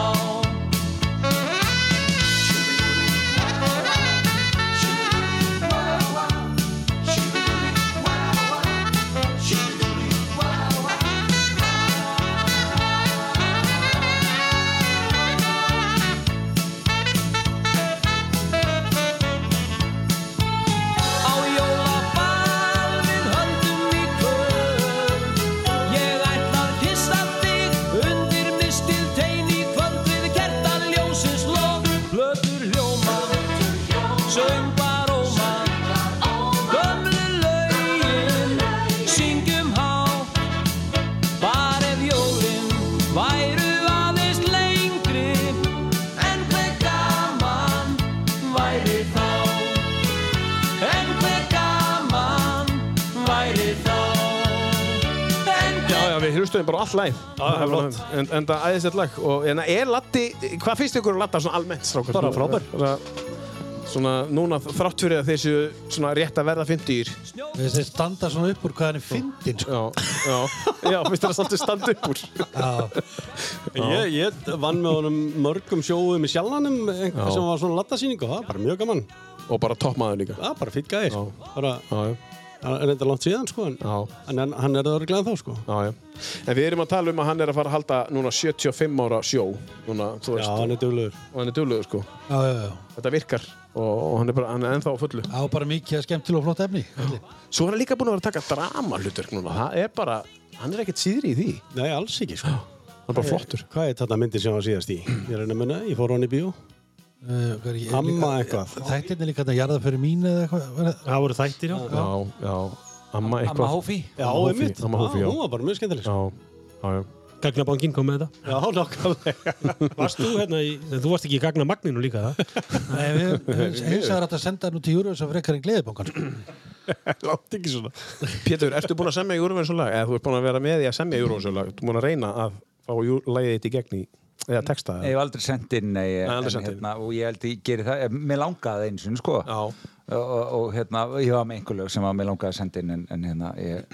[SPEAKER 1] þeim bara all læg
[SPEAKER 10] það er flott.
[SPEAKER 1] en, en það æðist þetta lag og en er Latti, hvað finnst ykkur að Latta svona almennt strákar?
[SPEAKER 2] Bara frábær.
[SPEAKER 1] Bara- Svona núna þrátt fyrir að þeir séu svona rétt að verða 50 ír
[SPEAKER 3] Þeir standa svona upp úr hvað hann er fyndin sko.
[SPEAKER 1] Já, já, já, finnst þér að svolítið standa upp úr
[SPEAKER 2] Ég, ég vann með honum mörgum sjóum í sjálfanum einhver sem var svona lattasýning og það var bara mjög gaman.
[SPEAKER 1] Og bara toppmaður líka
[SPEAKER 2] Það var bara fýtt gæðir. Bara,
[SPEAKER 1] Já, já,
[SPEAKER 2] hann er þetta langt síðan sko, en
[SPEAKER 1] já
[SPEAKER 2] en hann, hann er það örglega þá sko.
[SPEAKER 1] Já, já. En við erum að tala um að hann er að fara að halda núna 75 ára sjó. Núna, þú
[SPEAKER 2] Já,
[SPEAKER 1] veist,
[SPEAKER 2] hann er duglegur.
[SPEAKER 1] og hann er duglegur, sko.
[SPEAKER 3] Já, já, já.
[SPEAKER 1] Þetta virkar og, og hann, er bara, hann er ennþá á fullu.
[SPEAKER 3] Það var bara mikið skemmtilega og flott efni. Kalli.
[SPEAKER 1] Svo er hann líka búinn að vera að taka dramalutverk núna. Það er bara, hann er ekkert síðri í því.
[SPEAKER 2] Nei, alls ekki sko.
[SPEAKER 1] Hann er bara flottur.
[SPEAKER 2] Hvað er þetta myndir sem hann var síðast í? Ég er að nefna, ég fór á hann í bíó.
[SPEAKER 3] Uh, hvað er ég-
[SPEAKER 2] Amma eitthvað.
[SPEAKER 3] Þættirni líka þetta jarða fyrir mín eða eitthvað. var það-
[SPEAKER 5] Það voru þættir, já.
[SPEAKER 1] Já, já. Amma
[SPEAKER 4] Amma
[SPEAKER 1] eitthvað.
[SPEAKER 4] Hófi
[SPEAKER 2] Já,
[SPEAKER 1] Amma Hófi,
[SPEAKER 2] einmitt. Já,
[SPEAKER 1] Amma Hófi, já.
[SPEAKER 2] Hún var bara mjög skemmtileg. sko.
[SPEAKER 1] Já, já, já.
[SPEAKER 5] Gagnabankinn kom með þetta.
[SPEAKER 2] Já, nokkulega.
[SPEAKER 5] Varst þú hérna í, þú varst ekki í gagna magninu líka, það?
[SPEAKER 3] Nei, við höfum eins að þetta senda nú til Júruvísa frekar en gleðibankan. Sko.
[SPEAKER 1] Látt ekki svona. Pétur, ertu búinn að semja Júruvinsjólag? Eða þú ert búinn að vera með í að semja Júruvinsjólag? Þú ert búinn að reyna að fá jú- lagið þitt í gegn í, eða texta?
[SPEAKER 4] Ég hef aldrei sendt inn nei,
[SPEAKER 1] aldrei
[SPEAKER 4] en
[SPEAKER 1] sent inn.
[SPEAKER 4] hérna, og ég held ég geri það, eh, mér langaði einu sinni sko
[SPEAKER 1] Já.
[SPEAKER 4] og, og hérna, ég var með einhver lög sem að mér langaði að senda inn en, en hérna, ég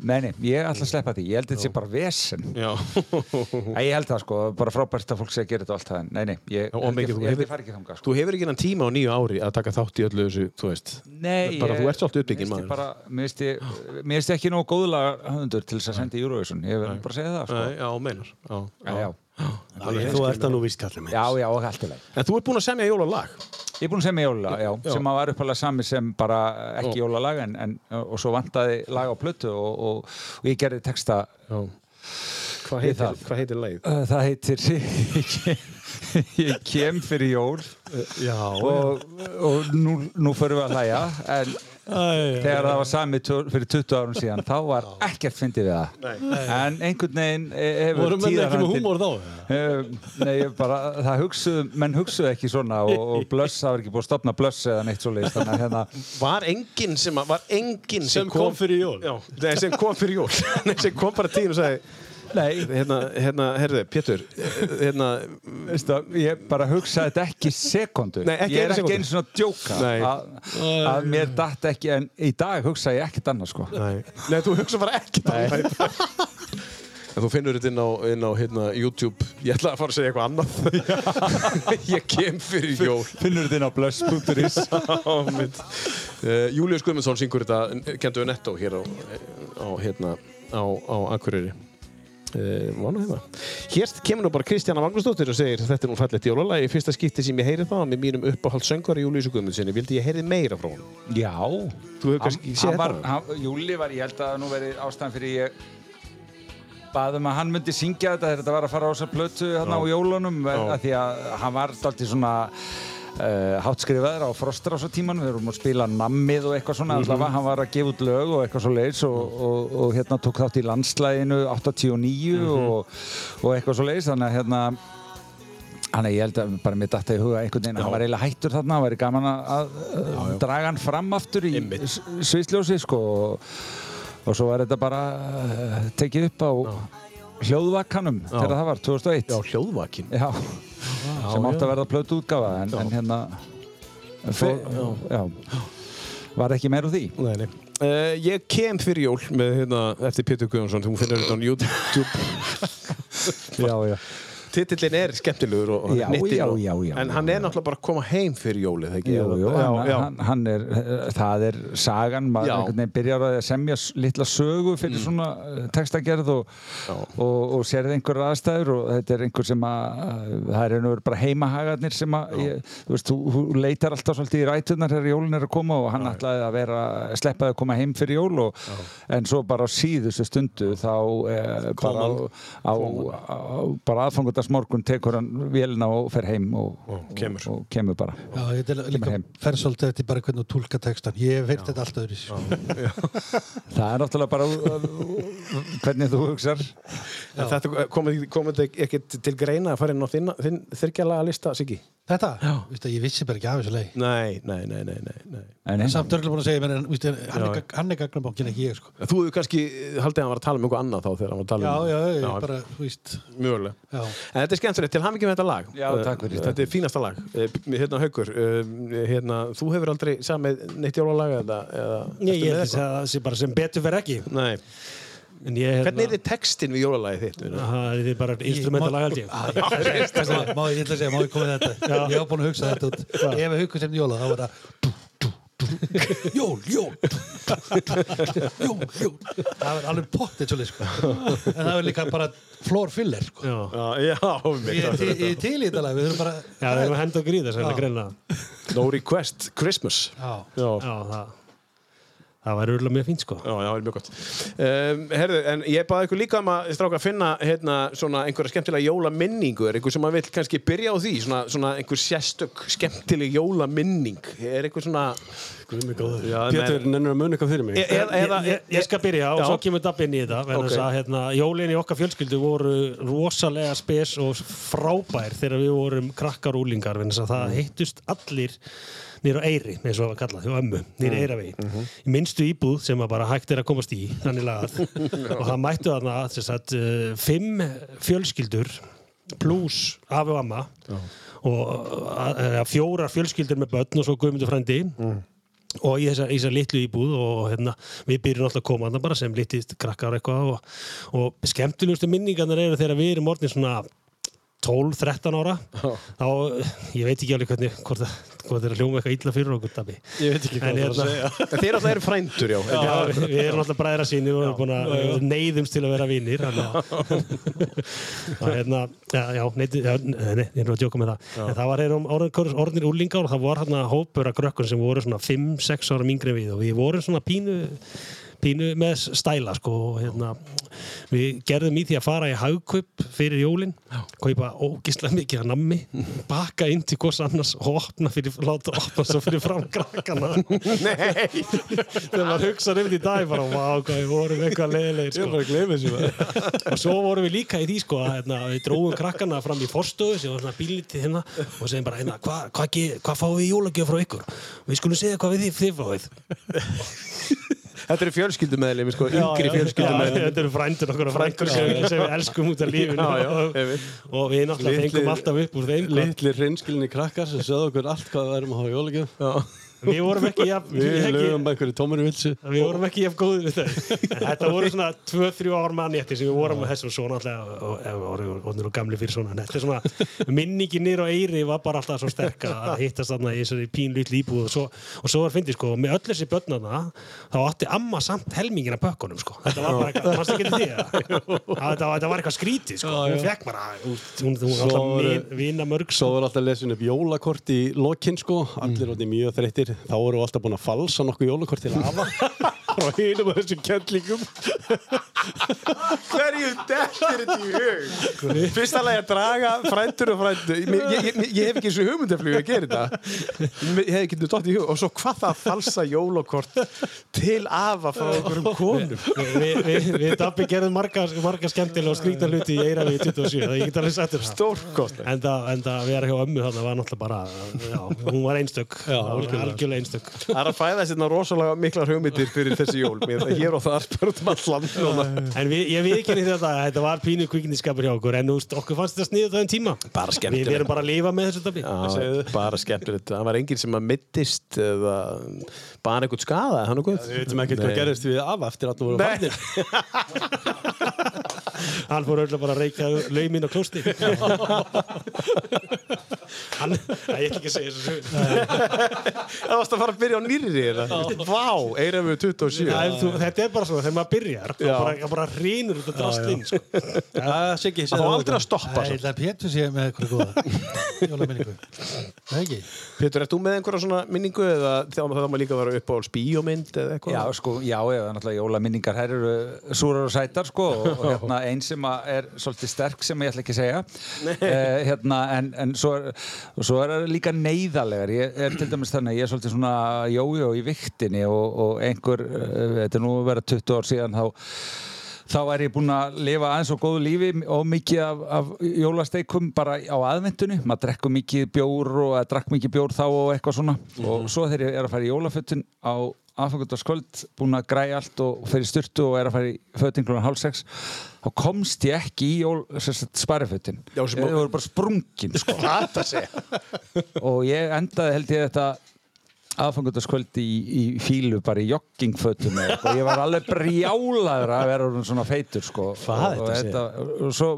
[SPEAKER 4] Nei, nei, ég ætla að sleppa því, ég held þetta sé bara vesen
[SPEAKER 1] Já.
[SPEAKER 4] Æ, Ég held það sko, bara frábært að fólk sé að gera þetta og allt það en Nei, nei, ég,
[SPEAKER 1] og
[SPEAKER 4] held
[SPEAKER 1] mikið
[SPEAKER 4] ég,
[SPEAKER 1] þú
[SPEAKER 4] ég, held
[SPEAKER 1] hefur-
[SPEAKER 4] ég fari ekki þangað sko
[SPEAKER 1] Þú hefur ekki enn tíma á nýju ári að taka þátt í öllu þessu, þú veist.
[SPEAKER 4] Nei,
[SPEAKER 1] bara,
[SPEAKER 4] ég-
[SPEAKER 1] þú ert svolítið uppbygginn,
[SPEAKER 4] mér finnst ég
[SPEAKER 1] maður.
[SPEAKER 4] bara, Mér finnst ég- mér finnst ég ekki nógu góðlega höfundur til þess að senda í Eurovision Ég verður bara að segja það sko
[SPEAKER 1] Nei, já, meinar. Já.
[SPEAKER 4] Já, já,
[SPEAKER 2] Þú ert það nú víst kallið mig.
[SPEAKER 4] já, já, og allt í lagi
[SPEAKER 1] En þú ert búinn að semja jólalag.
[SPEAKER 4] Ég er búinn að segja með jóla, já, sem að var uppalega sami sem bara ekki
[SPEAKER 1] Já.
[SPEAKER 4] jólalag en, en, og svo vantaði lag á plötu og, og, og ég gerði texta
[SPEAKER 1] Já. Hvað
[SPEAKER 4] Við það.
[SPEAKER 1] heitir, hvað heitir lagið?
[SPEAKER 4] Uh, það heitir ég kem- ég kem fyrir jól
[SPEAKER 2] Já.
[SPEAKER 4] og, og nú, nú förum við að hlæja en þegar það var sami tör, fyrir 20 árum síðan þá var ekkert fyndið við það en einhvern veginn eh, hefur
[SPEAKER 2] Voru menn ekki með
[SPEAKER 4] tíðarhandin-
[SPEAKER 2] húmór þá?
[SPEAKER 4] Eh, Nei, ég bara, það hugsuðu, menn hugsuðu ekki svona og, og blöss, það var ekki búið að stopna blöss eða neitt svo þannig að hérna,
[SPEAKER 1] Var enginn sem, að, var enginn sem,
[SPEAKER 2] Sem kom fyrir jól.
[SPEAKER 1] Já, nei, sem kom fyrir jól. Nei, sem kom bara tíðin og sagði,
[SPEAKER 4] nei,
[SPEAKER 1] hérna, hérna, herðu, Pétur, hérna,
[SPEAKER 4] Veistu, að ég bara hugsaði þetta ekki sekundu
[SPEAKER 1] Nei, ekki
[SPEAKER 4] ég er
[SPEAKER 1] einu sekúndu.
[SPEAKER 4] ekki einu svona að djóka
[SPEAKER 1] Nei.
[SPEAKER 4] að- að mér datt ekki en í dag hugsaði ég ekkert annað sko
[SPEAKER 1] nei, nei þú hugsa bara ekki það. En þú finnur þetta inn á, inn á hérna, YouTube. Ég ætla að fara að segja eitthvað annað. ég kem fyrir jól.
[SPEAKER 4] finnur þetta inn á blöss.is
[SPEAKER 1] uh, Július Guðmundsson syngur þetta kentu við netto hér á, á hérna á, á Akureyri uh, vana hérna hér kemur nú bara Kristjana Magnúsdóttir og segir þetta er nú fallegt jólalag í fyrsta skipti sem ég heyri það með mínum uppáhalds söngvari Július Guðmundssoni vildi ég heyri meira frá honum
[SPEAKER 4] já
[SPEAKER 1] Þú hefur kannski séð
[SPEAKER 4] hann var,
[SPEAKER 1] þetta?
[SPEAKER 4] hann, Júli var, ég held að nú verið ástæðan fyrir ég baðum að hann myndi syngja þetta þegar þetta var að fara á þessa plötu hérna á jólunum að því að hann var dálítið svona uh, hátskrifaður á frostar á svo tíman við vorum að spila nammið og eitthvað
[SPEAKER 1] Mhm.
[SPEAKER 4] svona allavega hann var að gefa út lög og eitthvað svo leiðis og, og, og hérna tók þátt í landslæginu 89
[SPEAKER 1] Mhm.
[SPEAKER 4] og, og eitthvað svo leiðis þannig að hérna Þannig að Ah, ég held að bara mér datta í huga einhvern veginn, hann var eiginlega hættur þarna, hann væri gaman að, að að draga hann fram aftur í svisljósi sko og, og svo var þetta bara uh, tekið upp á hljóðvakkanum þegar það var 2001 Já,
[SPEAKER 1] hljóðvakin
[SPEAKER 4] sem átti að verða plötu útgafa en, en hérna fór, já. var ekki meir úr því
[SPEAKER 1] Nei, nei. Uh, ég kem fyrir jól með hérna eftir Pétur Guðjónsson þú finnur þetta á YouTube
[SPEAKER 4] Já, já,
[SPEAKER 1] titillin er skemmtilegur og
[SPEAKER 4] Já,
[SPEAKER 1] nitinn
[SPEAKER 4] já,
[SPEAKER 1] og-
[SPEAKER 4] já, já,
[SPEAKER 1] en
[SPEAKER 4] já,
[SPEAKER 1] hann
[SPEAKER 4] já.
[SPEAKER 1] er náttúrulega bara að koma heim fyrir jólið ekki?
[SPEAKER 4] jú, jú,
[SPEAKER 1] já,
[SPEAKER 4] hann,
[SPEAKER 1] já.
[SPEAKER 4] Hann, hann er, eh, það er sagan, maður
[SPEAKER 1] Já. Mm.
[SPEAKER 4] einhvern veginn byrjar að semja s- litla sögu fyrir svona eh, textagerð og, og, og sérði einhverjar aðstæður og þetta er einhver sem að, eh, það er einhver bara heimahagarnir sem að, ég, þú veist, þú, þú leitar alltaf svolítið í rætunar þegar jólin er að koma og hann ætlaði að vera, sleppaði að koma heim fyrir jól og, en svo bara á síðustu stundu þá eh, bara á, á, á, á bara aðfangundarsmorgun tekur hann vélina og fer heim og, og,
[SPEAKER 1] kemur.
[SPEAKER 4] og kemur bara.
[SPEAKER 3] Já, ég tel að líka
[SPEAKER 4] heim.
[SPEAKER 3] fer svolítið eftir bara hvernig þú tólka textan. Ég hef heyrt þetta alltaf öðru. Sko.
[SPEAKER 4] Það er náttúrulega bara uh, hvernig þú hugsar
[SPEAKER 1] eh, En þetta komið, komið ekkert til greina að fara inn á þinn, þinn þyrkjalaga lista, Siggi?
[SPEAKER 3] Þetta? Já. Vistu, ég vissi bara ekki af þessu leið.
[SPEAKER 1] Nei, nei, nei, nei, nei, nei.
[SPEAKER 4] En eins
[SPEAKER 3] Samt örgulega búin að segja mér, en vistu, hann, er, gag- hann er gagnabókin ekki ég, sko.
[SPEAKER 1] Þú hefur kannski haldið að hann var að tala um einhver annað þá þegar hann var að
[SPEAKER 3] Já,
[SPEAKER 1] tala um
[SPEAKER 3] já, ég bara, þú veist,
[SPEAKER 1] Mjögulega.
[SPEAKER 3] já.
[SPEAKER 1] En þetta er skemmtilegt, til hamingjum með þetta lag.
[SPEAKER 4] Já,
[SPEAKER 1] Eh,
[SPEAKER 4] takk fyrir.
[SPEAKER 1] Þetta er fínasta lag. Eh, Hérna, Haukur, eh, hérna, þú hefur aldrei samið neitt jólalag eða... eða
[SPEAKER 5] Nei,
[SPEAKER 1] ertu
[SPEAKER 5] ég
[SPEAKER 1] með
[SPEAKER 5] held
[SPEAKER 1] eitthvað?
[SPEAKER 5] að það sé bara sem betur verð ekki.
[SPEAKER 1] Nei.
[SPEAKER 5] En ég hérna-
[SPEAKER 1] Hvernig er þið textin við jólalagið þitt? Una?
[SPEAKER 5] Það er bara instrumentalag held ég.
[SPEAKER 3] Á, ég ætla að segja- þess vegna- Má ég ætla að segja, má ég koma með þetta? Ég var búin að hugsa þetta út. Ef við hugum sem jóla, þá var það dú, dú, dú. Jól, jól, jól, jól. Það var alveg pottið svolítið, sko. En það var líka bara floor filler, sko.
[SPEAKER 5] Já,
[SPEAKER 1] Já, já,
[SPEAKER 3] Ég
[SPEAKER 1] mitt.
[SPEAKER 3] er til- ég er til í þetta lag, við þurfum bara...
[SPEAKER 5] Já, það er að henda og gríða sem
[SPEAKER 3] Já.
[SPEAKER 5] það greinlega.
[SPEAKER 1] No request, Christmas.
[SPEAKER 3] Já.
[SPEAKER 1] Já.
[SPEAKER 5] Já, það, það væri örgulega mjög fínt sko.
[SPEAKER 1] Já, já, það er mjög gott. Um, herðu, en ég baði ykkur líka um að stráka að finna hérna, svona einhverja skemmtilega jólaminningu. Er einhver sem að vill kannski byrja á því? Svona, svona einhver sérstök skemmtileg jólaminning. Er einhver svona... Já,
[SPEAKER 2] Pétur, nennir að muni eitthvað fyrir mig?
[SPEAKER 1] E- eða, eða,
[SPEAKER 5] ég, ég- ég skal byrja og
[SPEAKER 1] Já.
[SPEAKER 5] svo kemur Dabbi inn í þetta vegna
[SPEAKER 1] Ok.
[SPEAKER 5] þess að hérna, jólin í okkar fjölskyldu voru rosalega spes og frábær þegar við vorum krakkar og úlingar vegna þess að það hittust allir nýr á Eyri, eins og það var kallað, hjá ömmu nýr mm. Eyravegi, í minnstu íbúð sem að bara hægt er að komast í, þannig lagað og það mættu þarna sem sagt, eh, fimm fjölskyldur pluss afi og amma og að- eða fjórar fjölskyldur með börn og svo guðmundur frændi og í þessa, í þessa litlu íbúð og hérna, við byrjum alltaf að koma þarna bara sem litið krakkar eitthvað og, og skemmtilegustu minningarnar eru þegar við erum orðin svona 12-13 ára þá, ég veit ekki alveg hvernig hvort það, hvort það er að hljóma eitthvað illa fyrir okkur Dabbi.
[SPEAKER 2] Ég veit ekki
[SPEAKER 5] en
[SPEAKER 2] hvað það er að
[SPEAKER 5] hérna,
[SPEAKER 2] segja.
[SPEAKER 1] En þeir alltaf eru frændur, já.
[SPEAKER 5] já, við, við erum alltaf bræðra sínir og erum búin að við neyðumst til að vera vinnir og hérna já, já, neyti, já nei, nei, ég er nú að djóka með það en það var um erum orðin, orðin úlingar og það var hérna hópur af grökkun sem voru svona 5-6 ára mingri við og við vorum svona pínu pínu með stæla sko og hérna, við gerðum í því að fara í hagkaup fyrir jólin kaupa ógislega mikið að nammi baka inn til hvers annars og opna fyrir, láta opna svo fyrir fram krakkana
[SPEAKER 1] Nei,
[SPEAKER 5] þegar maður hugsaði um því í dag bara, vá, hvað við vorum eitthvað leiðilegir sko.
[SPEAKER 2] Bara gleymi þessu maður.
[SPEAKER 5] og svo vorum við líka í því sko, að hérna, við dróðum krakkana fram í forstöðu sem var svona bílítið hérna og segjum bara, hérna, hvað hva, hva, hva fáum við í jólagjöf frá ykkur? Við skulum segja hvað við þið, þið fáið
[SPEAKER 1] þetta eru fjölskyldumeðlum, sko, yngri
[SPEAKER 5] Já,
[SPEAKER 1] fjölskyldumeðlum.
[SPEAKER 5] Þetta eru frændur okkur og frændur sem, sem við elskum út af lífinu
[SPEAKER 1] Já, já,
[SPEAKER 5] og, og við náttúrulega
[SPEAKER 2] Litlir-
[SPEAKER 5] fengum alltaf upp úr þeim sko. hvað-
[SPEAKER 2] Litlir hreinskilinni krakkar sem sögðu okkur allt hvað við erum að hafa jólagjöf.
[SPEAKER 5] Við vorum ekki jafn
[SPEAKER 2] Við
[SPEAKER 5] ekki-
[SPEAKER 2] lögum bara einhverju tómur vilsi.
[SPEAKER 5] Við vorum ekki jafn góðir við þau. En Þetta voru svona 2-3 ár mannétti sem við vorum með þessum svona alltaf og og- og vorum orðnir og gamli fyrir svona. En Þetta er svona, minningin nýr á Eyri var bara alltaf svo sterk að hittast þarna í þessari pínlutli íbúð og svo, og svo var fyndið sko, með öll þessi börnana þá átti amma samt helmingin af pökkunum sko. Þetta var bara, eitthvað- mannstu ekki til því að þetta, þetta var eitthvað skrítið sko. Hún fekk bara, hún, hún, hún var
[SPEAKER 2] Svo
[SPEAKER 5] alltaf sko.
[SPEAKER 2] voru-
[SPEAKER 5] min- vina mörg
[SPEAKER 2] Svo var alltaf lesin upp jólakort í lokinn sko,
[SPEAKER 1] Mm.
[SPEAKER 2] allir orðin mjög þreyttir. Þá voru alltaf búin að falsa nokkuð jólakort til afa. Frá hinum og þessum kjöntlingum.
[SPEAKER 1] Hverju dettir þetta í hug? Fyrsta lagi að draga frændur og frændur. Ég, ég, ég, ég hef ekki eins og hugmyndaflug að gera þetta. Ég hef ekki dott í hug. Og svo hvað það að falsa jólokort til afa frá einhverjum konum.
[SPEAKER 5] Við vi, vi, vi, Dabbi gerðum marga, marga skemmtilega og skrýta hluti í Eiravi í 27 það ég get alveg sagt þér um það
[SPEAKER 1] Stórkost.
[SPEAKER 5] En það, en það vera hjá ömmu þarna var náttúrulega bara, já, hún var einstök, já, algjörlega. algjörlega einstök.
[SPEAKER 1] Það er að fæða sérna rosalega miklar hugmyndir fyrir þessi jól. Mér, hér og þar bara út um allan. núna.
[SPEAKER 5] En við, ég viðkynni þetta, að þetta var pínu kvikindisskapur hjá okkur, en úst, okkur fannst þetta sniðið það um tíma.
[SPEAKER 1] Bara skemmtilegt.
[SPEAKER 5] Við erum bara að lifa með þessu dabbi.
[SPEAKER 1] Já, bara skemmtilegt. Það var enginn sem að mittist eða bara einhvern skada. Hann og guð.
[SPEAKER 2] Við veitum ekkert hvað gerðist við afa eftir að það voru
[SPEAKER 1] Nei.
[SPEAKER 2] farnir.
[SPEAKER 5] Hann fór öll að bara reykja laumin og klósti. Hann, Nei, ég ætla ekki að segja þessu sögur.
[SPEAKER 1] Það varst að fara að byrja á nýrri þetta. Vá, eyrað 27.
[SPEAKER 5] Nei, þú- Þetta er bara svona, þegar maður byrjar, þá
[SPEAKER 1] Já.
[SPEAKER 5] bara, þá bara rínur þetta drastlinn, sko.
[SPEAKER 2] Það sé
[SPEAKER 1] Það
[SPEAKER 2] ekki, segðu
[SPEAKER 1] var
[SPEAKER 2] það.
[SPEAKER 1] aldrei að stoppa
[SPEAKER 3] Ég
[SPEAKER 1] svo.
[SPEAKER 3] ætla að Pétur sé með eitthvað góða. Jólaminningu. Það ekki?
[SPEAKER 1] Pétur, ert þú með einhverja svona minningu eða þá þá má líka vera upp á spíómynd eða eitthvað?
[SPEAKER 4] Já, sko, já, eða náttúrulega jólaminningar, þær eru súrar og sætar, sko, og, og hérna ein sem að er svolítið sterk sem ég ætla ekki að segja, eh, hérna, en, en svo, er, og svo er það líka neyðarlegar, ég er til dæmis þannig, að ég er svolítið svona jójó í viktinni og, og einhver, eh, þetta er nú að vera 20 ár síðan, þá þá er ég búinn að lifa aðeins og góðu lífi og mikið af, af jólasteikum bara á aðvendunni, maður drekku mikið bjór og að drakk mikið bjór þá og eitthvað svona
[SPEAKER 1] Mhm.
[SPEAKER 4] og svo þegar ég er að fara í jólafötun á aðfangundarskvöld, búinn að græja allt og fer í styrtu og er að fara í fötin klúna hálf sex, þá komst ég ekki í jól, sparifötin
[SPEAKER 1] Já,
[SPEAKER 4] þau
[SPEAKER 1] sem-
[SPEAKER 4] voru bara sprungin sko. og ég endaði held ég þetta aðfangundaskvöldi í, í fílu bara í joggingfötum eða eitthvað. og ég var alveg brjálaður að vera orðinn svona feitur sko.
[SPEAKER 2] Hvað
[SPEAKER 4] og, og,
[SPEAKER 2] þetta
[SPEAKER 4] þetta, og svo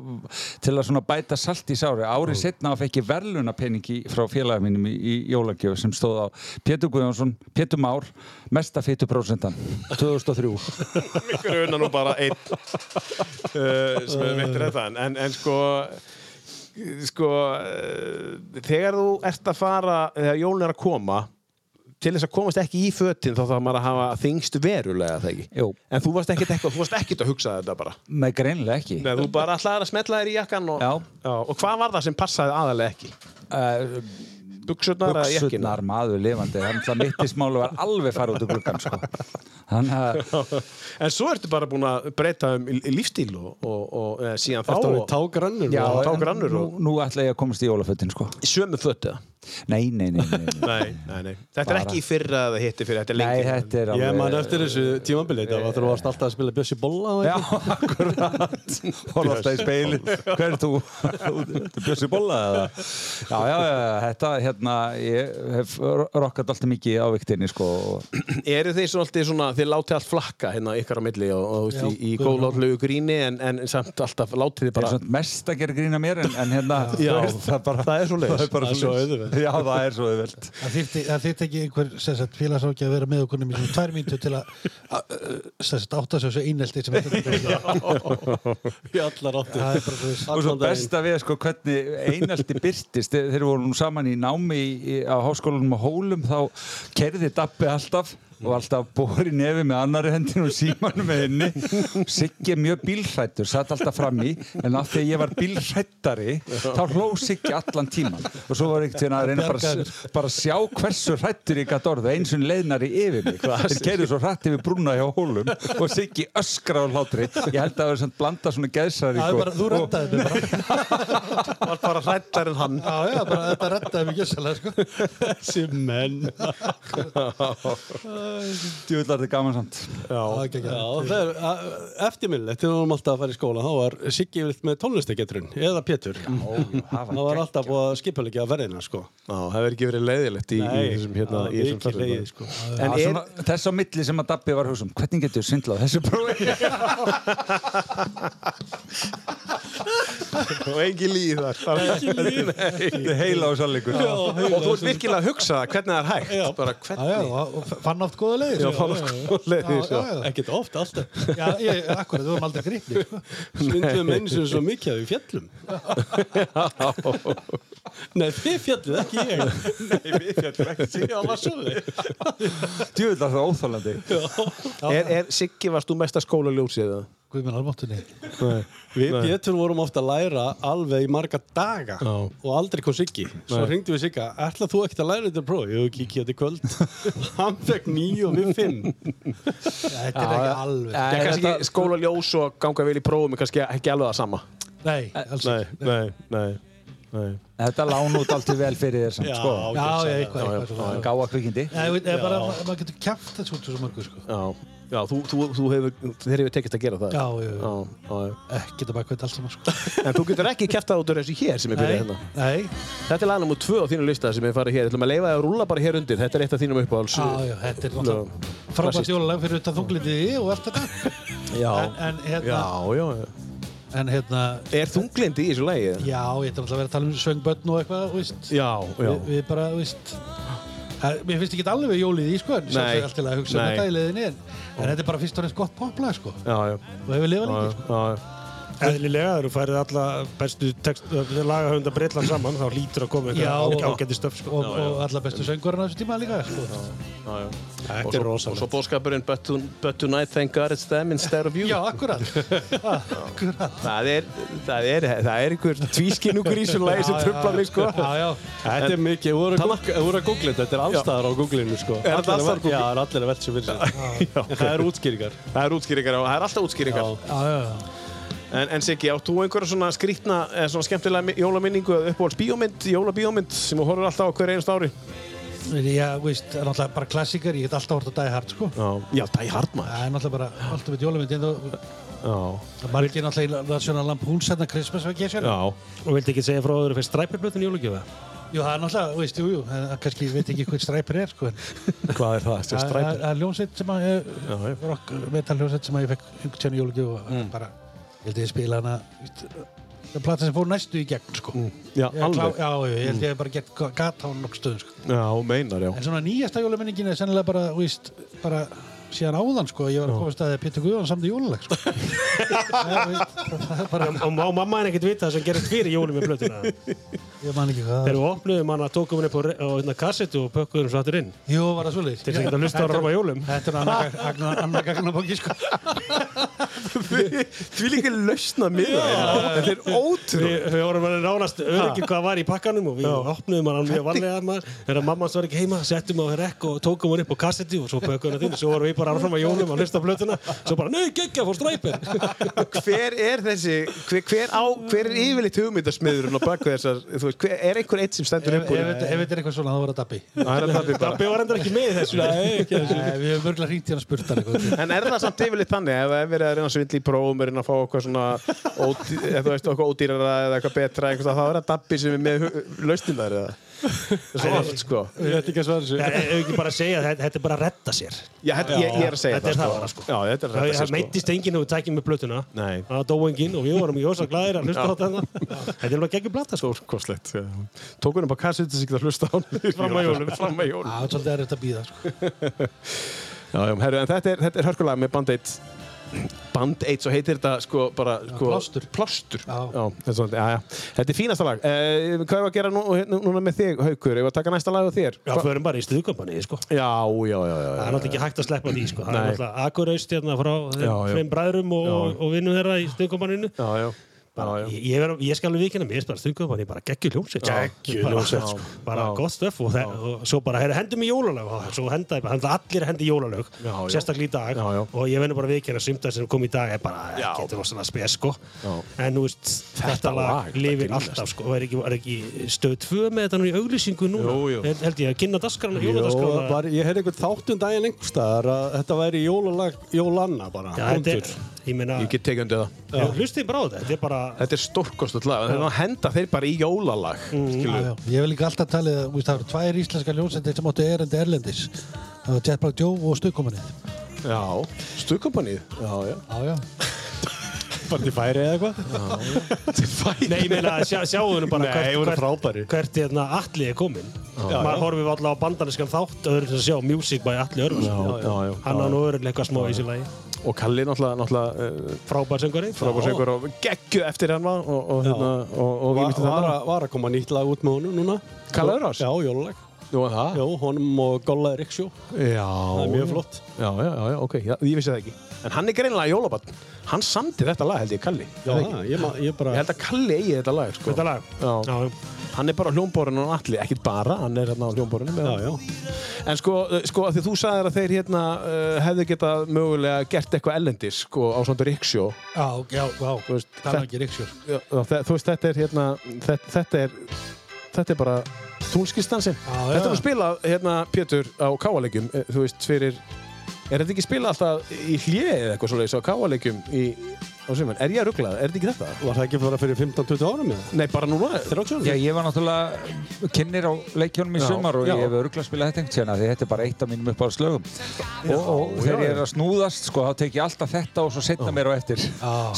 [SPEAKER 4] til að svona bæta salt í sári árið mm. setna fekk ég verðlunapeningi frá félagum mínum í, í jólagjöf sem stóð á Pétur Guðjónsson, Pétur Már mesta feitu 2003
[SPEAKER 1] Ykkur er unna nú bara einn uh, sem við veitir þetta en, en, en sko sko uh, þegar þú ert að fara þegar jólun er að koma til þess að komast ekki í fötin þá þarf maður að hafa þingst verulega það ekki
[SPEAKER 4] Jú.
[SPEAKER 1] en þú varst ekkit eitthvað, þú varst ekkit að hugsa þetta bara
[SPEAKER 4] með greinlega ekki
[SPEAKER 1] Nei, þú bara ætlaðir að smetla þér í jakkan og,
[SPEAKER 4] Já.
[SPEAKER 1] og hvað var það sem passaði aðalega ekki?
[SPEAKER 4] uh,
[SPEAKER 1] Buxurnar eða jakkin?
[SPEAKER 4] Buxurnar maður lifandi Þannig að mittismálu var alveg fara út úr gluggan sko. Þannig að
[SPEAKER 1] en svo ertu bara búin að breyta um í- í lífstíl og, og, og e, síðan þá
[SPEAKER 2] Þetta var
[SPEAKER 1] og,
[SPEAKER 2] tágrannur
[SPEAKER 1] Já,
[SPEAKER 2] og-
[SPEAKER 1] tá-
[SPEAKER 4] en
[SPEAKER 1] grannur
[SPEAKER 4] nú,
[SPEAKER 1] og-
[SPEAKER 4] nú ætla ég að komast í jólafötin sko.
[SPEAKER 1] í sömu fötu
[SPEAKER 4] Nei, nei, nei, nei, nei.
[SPEAKER 1] nei, nei, nei. Þetta er
[SPEAKER 4] Bara-
[SPEAKER 1] ekki í fyrra eða hitti fyrra, þetta er
[SPEAKER 4] nei
[SPEAKER 1] lengi
[SPEAKER 4] þetta er alveg
[SPEAKER 2] Ég man eftir þessu tímabilið Það var þú varst alltaf að spila Bjössi Bolla og
[SPEAKER 4] Já, akkurat Hóla alltaf í speil Hver er þú? Þú Bjössi Bolla eða? Já, já, já, þetta, hérna Ég hef rokkat alltaf mikið á viktinni sko. og-
[SPEAKER 1] Eru þeir svolítið svona, þeir látið allt flakka hérna ykkar á milli og, og þú veist, í, í góðlátlegu gríni en, en samt alltaf látið þið
[SPEAKER 4] Þeir
[SPEAKER 1] bara
[SPEAKER 4] eru svona mest að gera grína mér En, en hérna,
[SPEAKER 1] Já,
[SPEAKER 4] þú veist, það er bara
[SPEAKER 1] það er svo leiðis
[SPEAKER 4] bara
[SPEAKER 2] svo
[SPEAKER 4] svoleiðis.
[SPEAKER 2] auðvelt.
[SPEAKER 4] Já, það er svo auðvöld
[SPEAKER 3] Það þyrfti, það þyrfti ekki einhver sem sagt, félagsáki að vera með okkur um í svona tvær mínútur til að að, uh, sem sagt, átta sig á þessu einelti sem þetta er.
[SPEAKER 2] Í allar áttir
[SPEAKER 3] Það er bara þú veist.
[SPEAKER 4] og svo besta við sko hvernig einaldi byrtist þeir þeir voru nú saman í námi í, í, á háskólanum á Hólum þá kerði Dabbi alltaf og alltaf bóri nefi með annari hendin og símanum með henni Siggi er mjög bílrættur, satt alltaf fram í en af því að ég var bílrættari þá hló Siggi allan tíman og svo var ekkert að reyna bara, að- bara að sjá hversu rættur ég gætt orðið eins og leiðnari yfir mig þeir kerði svo rætt yfir brúna hjá Hólum og Siggi öskra á hlátri ég held að það var blanda svona
[SPEAKER 1] Sko,
[SPEAKER 4] geðsari
[SPEAKER 3] Það er bara, þú rettaði mig bara.
[SPEAKER 1] var bara hrættar en hann
[SPEAKER 3] Já, já, bara þetta rettaði mig gjössalega, sko.
[SPEAKER 2] Þessi menn Já,
[SPEAKER 4] Djúvill er þetta gaman samt
[SPEAKER 3] Það er ekki ekki.
[SPEAKER 2] það er eftirminnilegt Þegar við vorum alltaf að fara í skóla Þá var Siggi yfirleitt með tónlistagetrun Eða Pétur Það var alltaf búið að skipulegja verðina sko
[SPEAKER 1] Ná, það verður ekki verið leiðilegt í, í þessum hérna í
[SPEAKER 2] það var
[SPEAKER 1] þessum
[SPEAKER 2] mikið
[SPEAKER 1] ferðum.
[SPEAKER 2] leiðið sko
[SPEAKER 1] En
[SPEAKER 4] En
[SPEAKER 1] er-
[SPEAKER 4] svona, þess á milli sem að Dabbi var hugsa um hvernig getur svindlað á þessu prófi
[SPEAKER 1] og engin líð þar
[SPEAKER 4] Þetta er heila á sannleikur
[SPEAKER 1] og þú ert virkilega að hugsa hvernig það er hægt bara
[SPEAKER 3] Já,
[SPEAKER 1] hvernig
[SPEAKER 3] já, og- og fann oft góða leiðir.
[SPEAKER 1] Já, fann oft góðar leiðir,
[SPEAKER 3] Já, já, já.
[SPEAKER 2] Ekkert oft alltaf
[SPEAKER 3] Já, ég, akkurat, við vorum aldrei gripni, sko.
[SPEAKER 2] Svindum eins og svo mikið að við fjallum Nei, þið fjallið, ekki ég Nei, við fjallum ekki Siggi, það var svo
[SPEAKER 4] Djúvill er þetta óþálandi
[SPEAKER 1] er, er Siggi, varst þú mesta skóla ljósið það?
[SPEAKER 3] Guðminn almáttunni.
[SPEAKER 2] Við Pétur vorum ofta að læra alveg í marga daga og aldrei kom Siggi Svo hringdi við Sigga, ætlað þú ekkert að læra þetta próf? Jú, kikið þetta í kvöld Hann fekk nýju og við fimm
[SPEAKER 3] Þetta er ekki alveg.
[SPEAKER 1] Já, kannski
[SPEAKER 4] Þetta-
[SPEAKER 1] skóla ljós og ganga vel í prófum er kannski ekki alveg það sama
[SPEAKER 3] Nei, alls ekki.
[SPEAKER 1] nei, nei, nei.
[SPEAKER 4] Þetta lán út allt í vel fyrir þér samt sko
[SPEAKER 3] Já, já, eitthvað, eitthvað svona.
[SPEAKER 4] Gáa kvikindi
[SPEAKER 3] Nei, ég veit, eða bara, ma- maður getur kæft þessu út úr svo mörgu, sko.
[SPEAKER 1] Já, já þú, þú, þú hefur, þeir hefur tekist að gera það
[SPEAKER 3] Já, já, já.
[SPEAKER 1] já, já.
[SPEAKER 3] Ekki þetta bara hvernig allt saman, sko.
[SPEAKER 1] En þú getur ekki kæftað út af þessu hér sem er byrjað hérna
[SPEAKER 3] nei.
[SPEAKER 1] Þetta er lagnum úr tvö á þínu lista sem er farið hér Þú ætlum að leifa það að rúla bara hér undir Þetta er eitt af þínum uppáhalds
[SPEAKER 3] Já, já, þetta er
[SPEAKER 1] Lögum.
[SPEAKER 3] náttúrulega frábært
[SPEAKER 1] Klassískt.
[SPEAKER 3] jólalag fyrir utan þunglindið og allt þetta.
[SPEAKER 1] já.
[SPEAKER 3] En, en,
[SPEAKER 1] já,
[SPEAKER 3] hérna,
[SPEAKER 1] já,
[SPEAKER 3] en hérna,
[SPEAKER 1] Er þunglindi í þessu lagi?
[SPEAKER 3] já, ég ætla náttúrulega að vera að tala um söngbönn og eitthvað, víst.
[SPEAKER 1] Já, já
[SPEAKER 3] Við, við bara, víst, það- mér finnst ekki alveg jólið í, sko, en sjálf
[SPEAKER 1] Nei.
[SPEAKER 3] þegar alltaf að hugsa um
[SPEAKER 1] Nei.
[SPEAKER 3] þetta í leiðinni, en, en þetta er bara fyrst og nefnst gott poplag, sko,
[SPEAKER 1] Já, já,
[SPEAKER 3] og hefur lifað lengi,
[SPEAKER 1] já, já.
[SPEAKER 5] eðlilega, þegar þú færið alla bestu text, lagahöfunda Breitland saman, þá hlýtur að koma
[SPEAKER 3] Já,
[SPEAKER 5] einhver
[SPEAKER 3] og-
[SPEAKER 5] ágæti stöf, sko.
[SPEAKER 3] og, og alla bestu söngurinn á þessu tíma líka sko.
[SPEAKER 2] Þetta er
[SPEAKER 1] Og
[SPEAKER 2] rosalega.
[SPEAKER 1] svo bóðskapurinn But, to, but tonight thank God it's them instead of you
[SPEAKER 3] Já, akkurat Akkurat
[SPEAKER 1] Það er, það er, það er einhver tvískinnúkur í þessu lagi sem trublar mig sko
[SPEAKER 3] Já, já
[SPEAKER 2] Þetta er mikið, þú voru að googla- þú voru að googla þetta, þetta er allstaðar á googlinu sko.
[SPEAKER 1] þetta
[SPEAKER 2] Allir
[SPEAKER 1] alls staðar á
[SPEAKER 2] velt- Já, það er allir að velta sem fyrir sig. Það er útskýringar.
[SPEAKER 1] Það er útskýringar á, það er alltaf útskýringar
[SPEAKER 3] Já, já, já
[SPEAKER 1] En, en Siggi, átt þú einhverja svona skrítna eða svona skemmtilega mi- jólaminningu eða uppáhalds bíómynd, jólabíómynd sem þú horfir alltaf á hver einast ári?
[SPEAKER 3] Já, veist, það er náttúrulega bara klassíkar, ég get alltaf hort að dæja hart, sko.
[SPEAKER 1] Já, já Die Hard maður
[SPEAKER 3] Það er náttúrulega bara, um alltaf við jólamyndi, en þú,
[SPEAKER 1] Já,
[SPEAKER 3] það var ekki náttúrulega National Lampoons hérna, Christmas Vacation.
[SPEAKER 1] já,
[SPEAKER 5] Og vildi ekki segja frá að þú fyrst stræpirblöðin í jólugjöfa?
[SPEAKER 3] Jú, það er náttúrulega, veist, jú, jú, en það kannski, ég veit ekki hvað stræpir er, sko. en
[SPEAKER 1] hvað er það?
[SPEAKER 3] Það það-
[SPEAKER 1] Stræpir?
[SPEAKER 3] það er ljónsett sem að, eh, rock, metal ljónsett sem að ég fekk einhvern tjónu jólugjöf og
[SPEAKER 1] Mm.
[SPEAKER 3] bara, ég held ég spila hana, veist, það er plata sem fór næstu í gegn, sko.
[SPEAKER 1] Mm. Já,
[SPEAKER 3] Ég klá-
[SPEAKER 1] alveg, Mm.
[SPEAKER 3] Já, jú, ég held ég hef bara gett gata á nokk stöðum, sko.
[SPEAKER 1] já, meinar, já
[SPEAKER 3] En svona nýjasta jólaminningin er sennilega bara, víst, bara síðan áðan, sko, ég var að komast að Pétur Guðan samt í jólalag, sko. Það, víst, það er bara,
[SPEAKER 5] Og, og má mamma henni ekkert vita það sem gerist fyrir jólum í blöðina.
[SPEAKER 3] ég man ekki hvað það er.
[SPEAKER 5] Þegar við opnuðum hana, tókum henni upp á, re- á hérna, kassetu og pökkuðum svo aftur inn.
[SPEAKER 3] Jú, var það svolítið.
[SPEAKER 5] Til þess að geta hlusta á Róma jólum.
[SPEAKER 3] Þetta er annar annar gagnabóki, sko.
[SPEAKER 1] Því líka lausna miða Þetta er ótrú
[SPEAKER 5] Við, við vorum alveg nánast öryggi hvað var í pakkanum og við opnuðum hann mjög varlega maður. Þegar mamma hans var ekki heima, settum á rekk og tókum hann upp á kassetti og svo pökkuðum hann inn. Svo vorum við bara áfram á jólum að hlusta á blöðina. Svo bara, nei, geggja, fór stræpir.
[SPEAKER 1] Hver er þessi, hver, hver á, hver er yfirleitt hugmyndasmiðurinn á baku þessar Þú veist, hver, er einhver eitt sem
[SPEAKER 3] Ef
[SPEAKER 1] stendur upp
[SPEAKER 3] ef
[SPEAKER 1] úr
[SPEAKER 3] þetta ef þetta er eitthvað svona, það var að dabbi.
[SPEAKER 1] Það er að tappi bara
[SPEAKER 5] Dabbi var endur ekki með í þessu. Nei, ekki
[SPEAKER 3] Nei, Við hefum örgulega hringt hérna að spurt hann eitthvað.
[SPEAKER 1] En er það samt yfirleitt þannig ef ef verið að reyna að svindla í prófum, reyna að fá eitthvað svona, ódý, eða þú veist, eitthvað ódýrara eða eitthvað betra, eitthvað, þá er það dabbi sem er með laustin þær eða? Svo oft, sko.
[SPEAKER 2] Ég veit ekki að svara
[SPEAKER 5] Nei,
[SPEAKER 2] þessu.
[SPEAKER 5] ef ekki bara að segja að þetta- þetta er bara að redda sér.
[SPEAKER 1] Já, þetta, ég, ég er að segja
[SPEAKER 5] Þetta er
[SPEAKER 1] það,
[SPEAKER 5] það bara, sko.
[SPEAKER 1] Já, þetta er
[SPEAKER 5] Það,
[SPEAKER 1] þetta,
[SPEAKER 5] það
[SPEAKER 1] sko.
[SPEAKER 5] meittist enginn þegar við tækjum með plötuna.
[SPEAKER 1] Nei.
[SPEAKER 5] Það dó enginn og við vorum í ósa glæðir að hlusta á þetta. Þetta er alveg geggjum blata, sko.
[SPEAKER 1] Stórkoslegt. já. Tók hún upp á kassetu sem geta hlusta á hann. Fram að jólum. Fram að jólum.
[SPEAKER 3] Það er svolítið erfitt að býða, sko.
[SPEAKER 1] Já, já, herru, en þetta er, þetta er hörkulag með Band Aid. Band Aid, svo heitir þetta, sko, bara, sko...
[SPEAKER 3] plástur.
[SPEAKER 1] Plástur.
[SPEAKER 3] Já.
[SPEAKER 1] Já, þetta er svona- já, já. Þetta er fínasta lag. Uh, hvað er að gera nú, núna með þig, Haukur? Ég var að taka næsta lag á þér.
[SPEAKER 5] Já, förum bara í stuðkampanið, sko.
[SPEAKER 1] Já, já, já, já, já.
[SPEAKER 5] Það er náttúrulega ekki hægt að sleppa því, sko. Það er
[SPEAKER 1] Nei.
[SPEAKER 5] náttúrulega akuraust hérna frá
[SPEAKER 1] Já, já.
[SPEAKER 5] þeim bræðrum og, og, og vinnum þeirra í stuðkampaninu.
[SPEAKER 1] já, já.
[SPEAKER 5] Bara, ég, ég, er- ég skal alveg vikina, mér finnst bara stuðkampanið bara geggjum hljómsveit. Geggjum hljómsveit, sko. Bara gott stöf og, það, og svo bara, heyrðu, hendum í jólalög. Og Svo henda, henda allir hendi í jólalög,
[SPEAKER 1] Já, já.
[SPEAKER 5] sérstaklega í dag.
[SPEAKER 1] Já, já.
[SPEAKER 5] Og ég vennu bara vikina, sumtað sem kom í dag er bara,
[SPEAKER 1] Já.
[SPEAKER 5] getur rosalega spes, sko.
[SPEAKER 1] Já.
[SPEAKER 5] En þú veist, þetta,
[SPEAKER 1] lag,
[SPEAKER 5] lag lifir
[SPEAKER 1] þetta grínast.
[SPEAKER 5] alltaf, sko. Og er ekki, er ekki stöð tvö með þetta nú í auglýsingu núna?
[SPEAKER 1] Jú, jú.
[SPEAKER 5] Held- Held ég að kynna daskarana,
[SPEAKER 2] Jó,
[SPEAKER 5] jóladaskarana.
[SPEAKER 2] bara, ég heyrði einhvern þátt um daginn einhverstaðar að þetta væri jólalag, jólanna bara.
[SPEAKER 5] Já, þetta
[SPEAKER 2] Búndur.
[SPEAKER 5] er, ég meina,
[SPEAKER 1] Ég get tekið undir það.
[SPEAKER 5] Já, hlustið bara á þetta, þetta er bara,
[SPEAKER 1] Þetta er stórkostið lag. Það er að henda þeir bara í jólalag.
[SPEAKER 3] Já,
[SPEAKER 1] Mm.
[SPEAKER 3] já. Ég hef líka alltaf talið að víst, það eru tvær íslenska ljósendir sem áttu erendi erlendis. Það var Jetpack Joe og Stökkomanið.
[SPEAKER 1] Já. Stuðkompanið. Já, já.
[SPEAKER 3] Já, já.
[SPEAKER 2] Bara til færi eða eitthvað.
[SPEAKER 5] nei, ég meina, sjá, sjáum við nú bara
[SPEAKER 2] Nei,
[SPEAKER 5] hvert,
[SPEAKER 2] voru
[SPEAKER 5] hvert,
[SPEAKER 2] frábæri.
[SPEAKER 5] hvert hérna Atli er kominn. Maður horfið alltaf á bandaniskan þátt, öðrum sem sjá, Music by Atli Örvarsson.
[SPEAKER 1] já, já.
[SPEAKER 5] Hann á nú öðrulega eitthvað smá í sér lagi,
[SPEAKER 1] Og Kalli náttúrulega, náttúrulega uh,
[SPEAKER 5] frábær söngari.
[SPEAKER 1] frábúr sengur og geggju eftir hann var og, og, hérna, og, og
[SPEAKER 2] Var,
[SPEAKER 1] ég myndi
[SPEAKER 2] var,
[SPEAKER 1] það.
[SPEAKER 2] að, var að koma nýtt lag út með honum núna.
[SPEAKER 1] Kalla Örvars?
[SPEAKER 2] Já, jólalag.
[SPEAKER 1] Nú er það.
[SPEAKER 2] Já, honum og Golla Eriksjó.
[SPEAKER 1] Já.
[SPEAKER 2] Það er mjög flott.
[SPEAKER 1] Já, já, já, já, ok. Já, ég vissi það ekki. En hann er greinlega jólabann. Hann samdi þetta lag, held ég, Kalli.
[SPEAKER 2] Já, það, ég, ma- ég bara...
[SPEAKER 1] Ég held að Kalli eigi þetta lag, sko.
[SPEAKER 5] Þetta lag.
[SPEAKER 1] Já.
[SPEAKER 5] Já,
[SPEAKER 1] Hann er bara hljómborinn og allir, ekkert bara, hann er hérna á hljómborinu.
[SPEAKER 2] Já, já.
[SPEAKER 1] En sko, eh, sko af því þú sagðir að þeir hérna uh, hefðu getað mögulega gert eitthvað ellendis sko, á svona Ríksjó
[SPEAKER 3] Já, já, já.
[SPEAKER 1] Þú veist,
[SPEAKER 3] Það er ekki ríksjör.
[SPEAKER 1] Þa- þa- þú veist, þetta er hérna þetta, þetta er þetta er bara túnskistansin
[SPEAKER 3] Já,
[SPEAKER 1] Þetta er
[SPEAKER 3] já.
[SPEAKER 1] að spila hérna Pétur á káalegjum eh, þú veist, fyrir er þetta ekki spila alltaf í hljéið eða eitthvað svoleiðis á káalegjum í á suman er ég að ruggla, er þetta ekki þetta?
[SPEAKER 2] Var það ekki bara fyrir 15-20 árum eða?
[SPEAKER 1] Nei, bara núna
[SPEAKER 2] 30
[SPEAKER 4] Já,
[SPEAKER 2] árum?
[SPEAKER 4] ég var náttúrulega kynir á leikjónum í
[SPEAKER 1] Já,
[SPEAKER 4] sumar og
[SPEAKER 1] já.
[SPEAKER 4] ég hef örgulega spilað þetta einhvern tíðan því þetta er bara eitt af mínum uppáðslögum og, og þegar ég er að snúðast sko, þá tek ég alltaf þetta og svo setna mér á eftir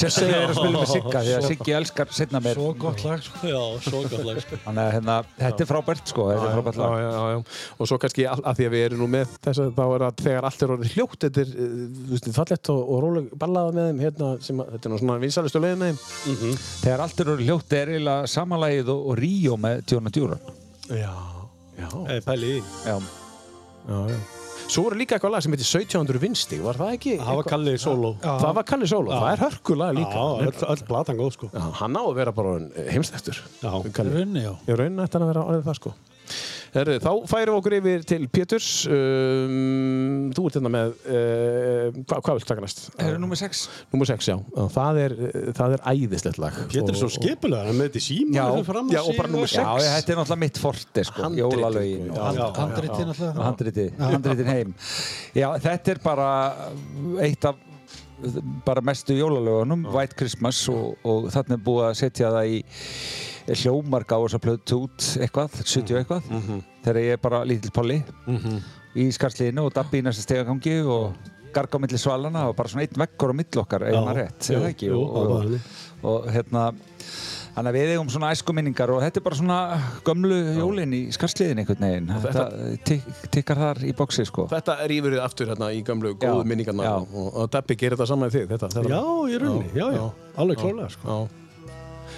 [SPEAKER 4] sérstaklega þegar ég er að spila með Sigga því að Siggi elskar setna mér
[SPEAKER 3] Svo gott lag, sko.
[SPEAKER 2] Já, svo gott lag. sko.
[SPEAKER 4] þannig að hérna, þetta er frábært sko, þetta er frábært
[SPEAKER 1] Já,
[SPEAKER 4] lag
[SPEAKER 1] já, já, já. Og svo kannski all, að því að við erum nú með þess að þá er að þegar allt er orðið hljótt, þetta er eh, þú veist, fallett og, og róleg ballaða með þeim hérna sem að, hljótin og svona vinsalistu leiðin þeim
[SPEAKER 4] Þegar allt eru hljótt er eiginlega samanlægið og, og Ríó með Tjóna Djúran.
[SPEAKER 1] Já, já,
[SPEAKER 2] Eða pæli í því.
[SPEAKER 4] Já,
[SPEAKER 1] já, já. Svo voru líka eitthvað lag sem heitir 1700 vinsti, var það ekki?
[SPEAKER 2] Það var
[SPEAKER 1] eitthvað-
[SPEAKER 2] Kalli sóló.
[SPEAKER 1] Það var Kalli Sóló, það er hörkulag
[SPEAKER 2] Já,
[SPEAKER 1] líka.
[SPEAKER 2] öll, öll platan góð sko.
[SPEAKER 1] Já, hann á að vera bara eh, heimstættur.
[SPEAKER 2] Já.
[SPEAKER 1] Kalli.
[SPEAKER 3] Runni, já.
[SPEAKER 1] Ég raunin eftir að vera orðið það sko. Herðu, þá færum við okkur yfir til Péturs. Um, þú ert hérna með, uh, hva, hvað vilt taka næst?
[SPEAKER 4] það eru nummer 6.
[SPEAKER 1] Númer 6, já. Það er, eh, það er æðislegt lag.
[SPEAKER 2] Pétur er svo
[SPEAKER 1] Og-
[SPEAKER 2] skipulega, hann er með þetta í síma
[SPEAKER 4] Já,
[SPEAKER 2] fyrir fram á
[SPEAKER 1] já, og
[SPEAKER 2] sig
[SPEAKER 1] bara númer
[SPEAKER 2] og-
[SPEAKER 1] sex.
[SPEAKER 4] Já, ég, þetta er náttúrulega mitt forte, sko,
[SPEAKER 1] Handritið,
[SPEAKER 4] jólalögin
[SPEAKER 1] já,
[SPEAKER 4] og hand-
[SPEAKER 2] já,
[SPEAKER 4] hand-
[SPEAKER 3] Handritin
[SPEAKER 4] og
[SPEAKER 3] alltaf.
[SPEAKER 4] handritið, handritin heim. Já, þetta er bara eitt af bara mestu jólalögunum, White Christmas og, og þarna er búið að setja það í hljómarga á þess að plötu út eitthvað, 70
[SPEAKER 2] Mhm.
[SPEAKER 4] eitthvað, þegar ég er bara lítill polli í skarslinu og dabbi í næsta stegagangi og garg á milli svalana og bara svona einn veggur á milli okkar, ef
[SPEAKER 2] Já,
[SPEAKER 4] maður rétt,
[SPEAKER 2] jú,
[SPEAKER 4] eða ekki?
[SPEAKER 2] jú,
[SPEAKER 4] og,
[SPEAKER 2] það var
[SPEAKER 4] og,
[SPEAKER 2] þannig.
[SPEAKER 4] og hérna þannig að við eigum svona æskuminningar og þetta er bara svona gömlu jólin í skarsliðin einhvern veginn þetta tik, tikkar þar í bóksi sko
[SPEAKER 1] Þetta rýfur þið aftur hérna í gamlu
[SPEAKER 4] Já,
[SPEAKER 1] góðu minningarna
[SPEAKER 4] já.
[SPEAKER 1] og, og Dabbi gerir þetta saman með þig. Þetta, þetta.
[SPEAKER 2] Já, í rauninni, já, já, alveg klálega sko.
[SPEAKER 1] Já.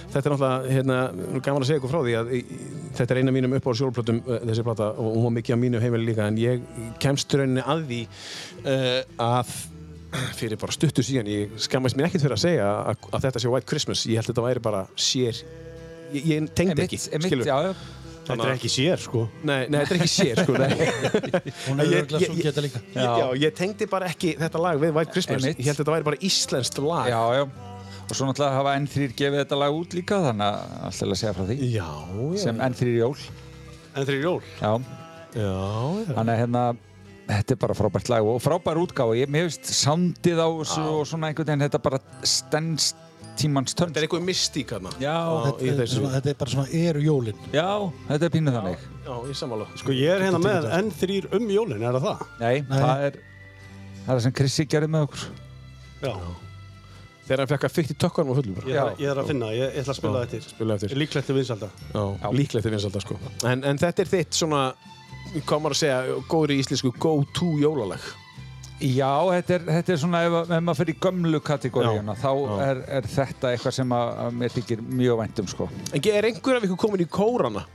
[SPEAKER 1] Þetta er náttúrulega, hérna, nú er gaman að segja ykkur frá því að í, í- þetta er eina af mínum uppáður sjólplötum uh, þessi plata og hún var mikið á mínu heimili líka en ég kemst rauninni að því uh, að fyrir bara stuttu síðan, ég skammast mér ekkert fyrir að segja að, að þetta sé White Christmas, ég held að þetta væri bara sér, ég, ég tengdi ekki, skilurðu.
[SPEAKER 4] já, já,
[SPEAKER 2] Þetta er ekki sér sko.
[SPEAKER 1] Nei, nei, þetta er ekki sér, sko, nei.
[SPEAKER 3] Hún hefur
[SPEAKER 1] Ég-
[SPEAKER 3] örglega
[SPEAKER 1] ég-
[SPEAKER 3] sungið þetta líka.
[SPEAKER 1] Ég- Já, ég tengdi bara ekki þetta lag við White Christmas
[SPEAKER 4] Einmitt.
[SPEAKER 1] Ég held að þetta væri bara íslenskt lag
[SPEAKER 4] já, já og svo náttúrulega hafa N3 gefið þetta lag út líka þannig að alltaf er að segja frá því
[SPEAKER 1] já,
[SPEAKER 4] sem N3 jól
[SPEAKER 2] En þeir eru jól.
[SPEAKER 4] já,
[SPEAKER 1] já,
[SPEAKER 4] þannig að hérna Þetta er bara frábært lag og frábær útgáfa, ég mér finnst soundið á þessu og svona einhvern veginn, þetta bara stendst tímans tönn. sko.
[SPEAKER 1] Þetta er eitthvað mystík hérna
[SPEAKER 4] Já,
[SPEAKER 1] í
[SPEAKER 3] Þetta er,
[SPEAKER 1] þessu.
[SPEAKER 3] svona, þetta er bara svona eru jólin.
[SPEAKER 4] já, þetta er pínu þannig.
[SPEAKER 1] Já, ég sammála
[SPEAKER 2] Sko ég er hérna með enn þrýr um jólin, er það það?
[SPEAKER 4] Nei, það er það er sem Krissi gerði með okkur
[SPEAKER 2] Já.
[SPEAKER 1] Þegar hann fekk að fyrt í tökkanum og fullum bara
[SPEAKER 2] Ég, er, ég er að finna, ég, ég ætla að spila þetta eftir.
[SPEAKER 1] Spila eftir
[SPEAKER 2] Líklegt til vinsalda.
[SPEAKER 1] Já, líklegt er vinsalda sko en, en þetta er þitt svona hvað maður að segja, góðri íslensku go-to jólalag
[SPEAKER 4] Já, þetta er, þetta er svona ef, að- ef maður fyrir gömlu kategóriuna þá er, er þetta eitthvað sem að, að mér þykir mjög vænt um sko
[SPEAKER 1] En ge- er einhver af ykkur komin í kórana?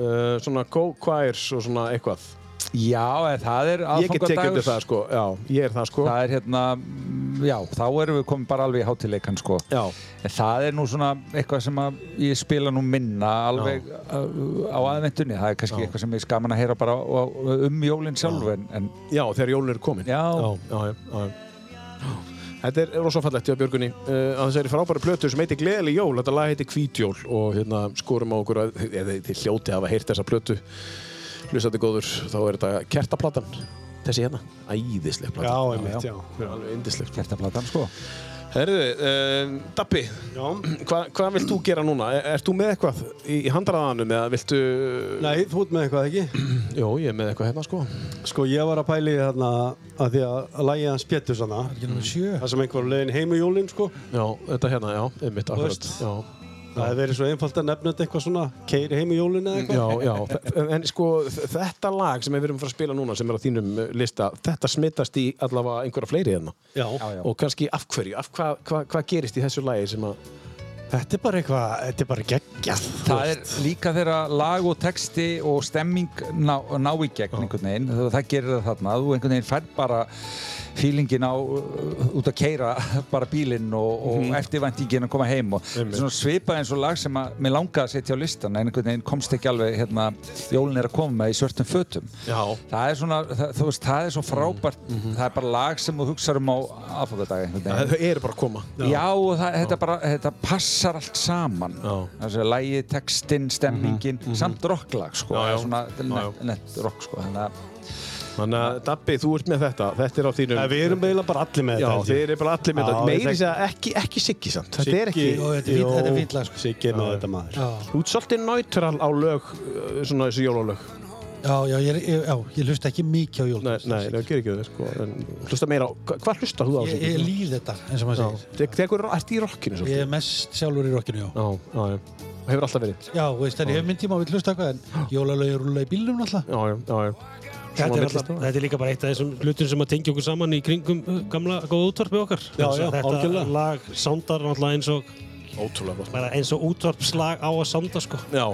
[SPEAKER 1] Uh, svona co-choirs og svona eitthvað
[SPEAKER 4] Já, en það er
[SPEAKER 1] Ég get tekið undir
[SPEAKER 4] aðfangadagur
[SPEAKER 1] það sko Já, ég er það sko
[SPEAKER 4] það er hérna, mm, já, þá erum við komin bara alveg í hátileikan sko
[SPEAKER 1] Já,
[SPEAKER 4] en það er nú svona eitthvað sem að ég spila nú minna alveg uh, á aðvendunni, það er kannski eitthvað sem ég skaman að heyra bara á, á, um jólinn sjálf en, en
[SPEAKER 1] já þegar jólun eru komin
[SPEAKER 4] já,
[SPEAKER 1] já, já, já, já. Þetta er rosafallegt hjá Björgunni uh, að þessari frábæra plötu sem heitir Gleðileg Jól þetta lag heitir Hvítjól og hérna skorum á okkur að eða þið hljóti hafa heyrt þessa plötu hlustandi góður þá er þetta kertaplatan þessi hérna, æðisleg
[SPEAKER 2] Já,
[SPEAKER 1] platan
[SPEAKER 2] einmitt, já.
[SPEAKER 1] alveg yndisleg
[SPEAKER 4] kertaplatan sko
[SPEAKER 1] Herðu, uh, Dabbi
[SPEAKER 2] Já.
[SPEAKER 1] hva, hvað vilt þú gera núna? Er, ert þú með eitthvað í, í handraðanum eða viltu
[SPEAKER 2] Nei, þú ert með eitthvað ekki?
[SPEAKER 1] Jó, ég er með eitthvað hérna sko
[SPEAKER 2] Sko ég var að pæli þarna að því að að lægi hans Pétur sanna.
[SPEAKER 3] Ekki nummer sjö.
[SPEAKER 2] Það sem einhver var á leiðin heim í jólin sko.
[SPEAKER 1] Já, þetta hérna, já, einmitt akkurat
[SPEAKER 2] veist.
[SPEAKER 1] Já,
[SPEAKER 2] Það hefði verið svo einfalt að nefna þetta eitthvað svona keiri heim í jólin eða eitthvað.
[SPEAKER 1] Já, já, þe- en sko þ- þetta lag sem við erum að fara að spila núna sem er á þínum eh, lista, þetta smittast í allavega einhverja fleiri hérna
[SPEAKER 2] Já.
[SPEAKER 4] já, já.
[SPEAKER 1] og kannski af hverju, af hvað hva, hva gerist í þessu lagi sem að
[SPEAKER 2] Þetta er bara eitthvað, þetta er bara geggjað.
[SPEAKER 4] Það er líka þegar lag og texti og stemming ná, ná í gegn einhvern veginn, það, það gerir það þarna þú einhvern veginn fær bara fílingin á, uh, út að keira bara bílinn og, og eftirvæntingin að koma heim og svona svipað eins og lag sem að mér langaði að setja á listan en einhvern veginn komst ekki alveg hérna, jólin er að koma með í svörtum fötum
[SPEAKER 1] Já.
[SPEAKER 4] það er svona, það, þú veist, það er svo frábært það er bara lag sem þú hugsaður um á aðfóðadag einhvern veginn
[SPEAKER 1] þau eru bara að koma
[SPEAKER 4] Já, og það, þetta, bara, þetta passar allt saman Þessi lægi, textinn, stemmingin samt rocklag sko
[SPEAKER 1] Mhm, Já, já.
[SPEAKER 4] Svona
[SPEAKER 1] Já,
[SPEAKER 4] net, net rock sko þannig að
[SPEAKER 1] Þannig að Dabbi, þú ert með þetta, þetta er á þínum
[SPEAKER 2] Nei, við erum eiginlega bara allir með
[SPEAKER 1] Já,
[SPEAKER 2] þetta. held ég.
[SPEAKER 1] þið eru bara allir með
[SPEAKER 2] Já,
[SPEAKER 1] þetta,
[SPEAKER 2] ég
[SPEAKER 1] meiri
[SPEAKER 2] tek-
[SPEAKER 1] segja ekki, ekki Siggi samt, þetta er ekki
[SPEAKER 2] Siggi-
[SPEAKER 3] Jó, þetta er fínt- þetta er fínt lag, sko.
[SPEAKER 2] Siggi er með þetta maður.
[SPEAKER 3] Já,
[SPEAKER 1] Þú ert svolítið náttúral á lög, eh, svona þessu jólalög
[SPEAKER 3] já, já, ég, er- ég, já, ég hlusta ekki mikið á jólin.
[SPEAKER 1] Nei, nei, það gerir ekki það sko, en hlusta meira á, hva- hvað hlustar þú á
[SPEAKER 3] Ég, ég
[SPEAKER 1] Siggi?
[SPEAKER 3] líð þetta, eins og maður segir.
[SPEAKER 1] Tek- Tekur, ert í rockinu svolítið?
[SPEAKER 3] Ég er mest sjálfur í rockinu, já.
[SPEAKER 1] Já, já, já. Hefur alltaf verið.
[SPEAKER 3] Já, veist, þannig ég hef minn tíma að við hlusta eitthvað, en jólalög eru rúlega í bílnum náttúrulega.
[SPEAKER 1] Já, já, já. já.
[SPEAKER 5] Þetta
[SPEAKER 1] Svona
[SPEAKER 5] er,
[SPEAKER 1] á milli
[SPEAKER 5] alltaf,
[SPEAKER 1] stofa.
[SPEAKER 5] þetta er líka bara eitt af þessum hlutum sem að tengja okkur saman í kringum uh, gamla góða útvarpið okkar.
[SPEAKER 2] Já,
[SPEAKER 5] Þess að
[SPEAKER 2] já,
[SPEAKER 5] þetta
[SPEAKER 2] algjörlega.
[SPEAKER 5] lag sándar náttúrulega eins og
[SPEAKER 1] Ótrúlega gott.
[SPEAKER 5] bara eins og útvarpslag á að sánda sko.
[SPEAKER 1] Já,